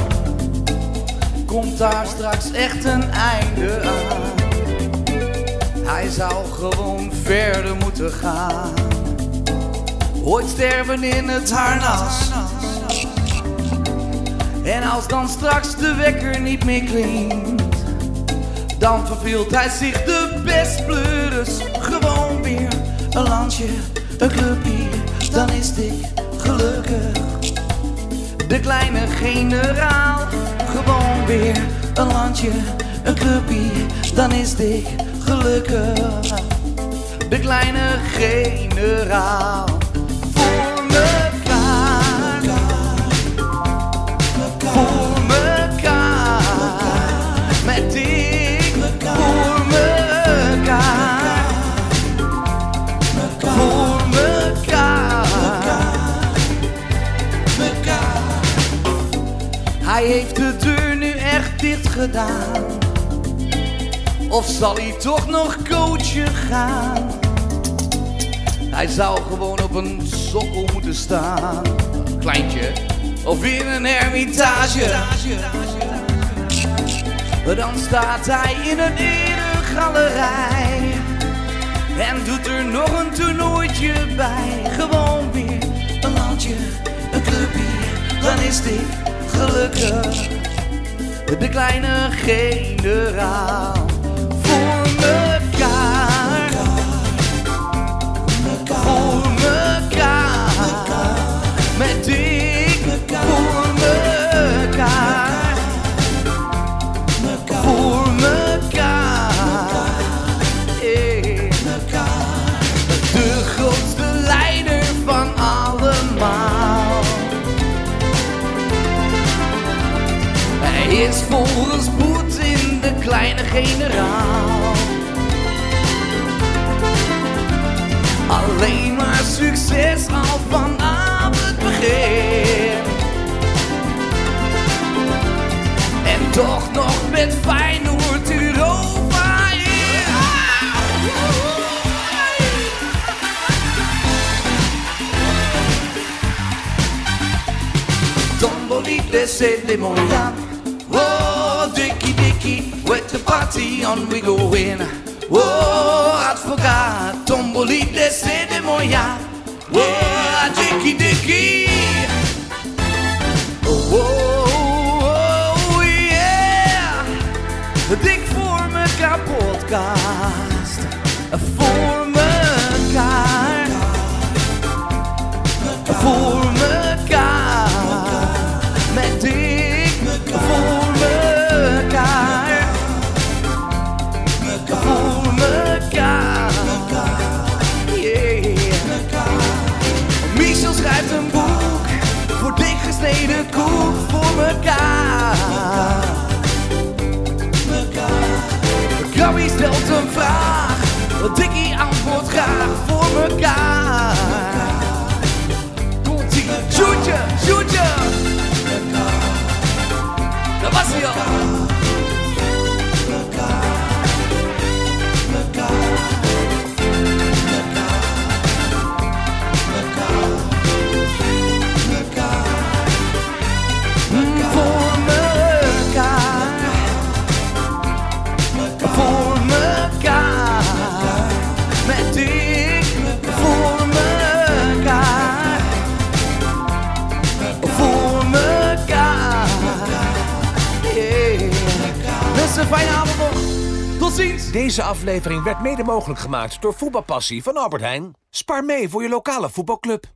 [SPEAKER 5] Komt daar straks echt een einde aan? Hij zou gewoon verder moeten gaan. Ooit sterven in het harnas. En als dan straks de wekker niet meer klinkt, dan verveelt hij zich de best pleuris. Gewoon weer een landje, een clubje, dan is dit gelukkig. De kleine generaal, gewoon weer een landje, een clubje, dan is dit gelukkig. De kleine generaal, voor mekaar, voor mekaar, met dik voor mekaar, voor mekaar. Hij heeft de deur nu echt dicht gedaan. Of zal hij toch nog coachen gaan? Hij zou gewoon op een sokkel moeten staan. Kleintje. Of in een ermitage. Dan staat hij in een eregalerij. En doet er nog een toernooitje bij. Gewoon weer een landje, een clubje. Dan is dit gelukkig. De kleine generaal. Voor mekaar. Voor mekaar. Met dik voor mekaar. Voor mekaar. Yeah. De grootste leider van allemaal. Hij is volgens Poetin de kleine generaal. Alleen maar succes al vanaf het begin. En toch nog met Feyenoord Europa in. Tombolite, c'est les mondiales. Oh, Dicky Dicky, with the party on we go in. Oh, I forgot. Tombolite, c'est les mondiales. Oh, Dicky Dicky. Oh, oh, oh, yeah. Dik voor mekaar podcast. Voor mekaar. Voor mekaar. mensen, fijne avond nog. Tot ziens.
[SPEAKER 10] Deze aflevering werd mede mogelijk gemaakt door voetbalpassie van Albert Heijn. Spaar mee voor je lokale voetbalclub.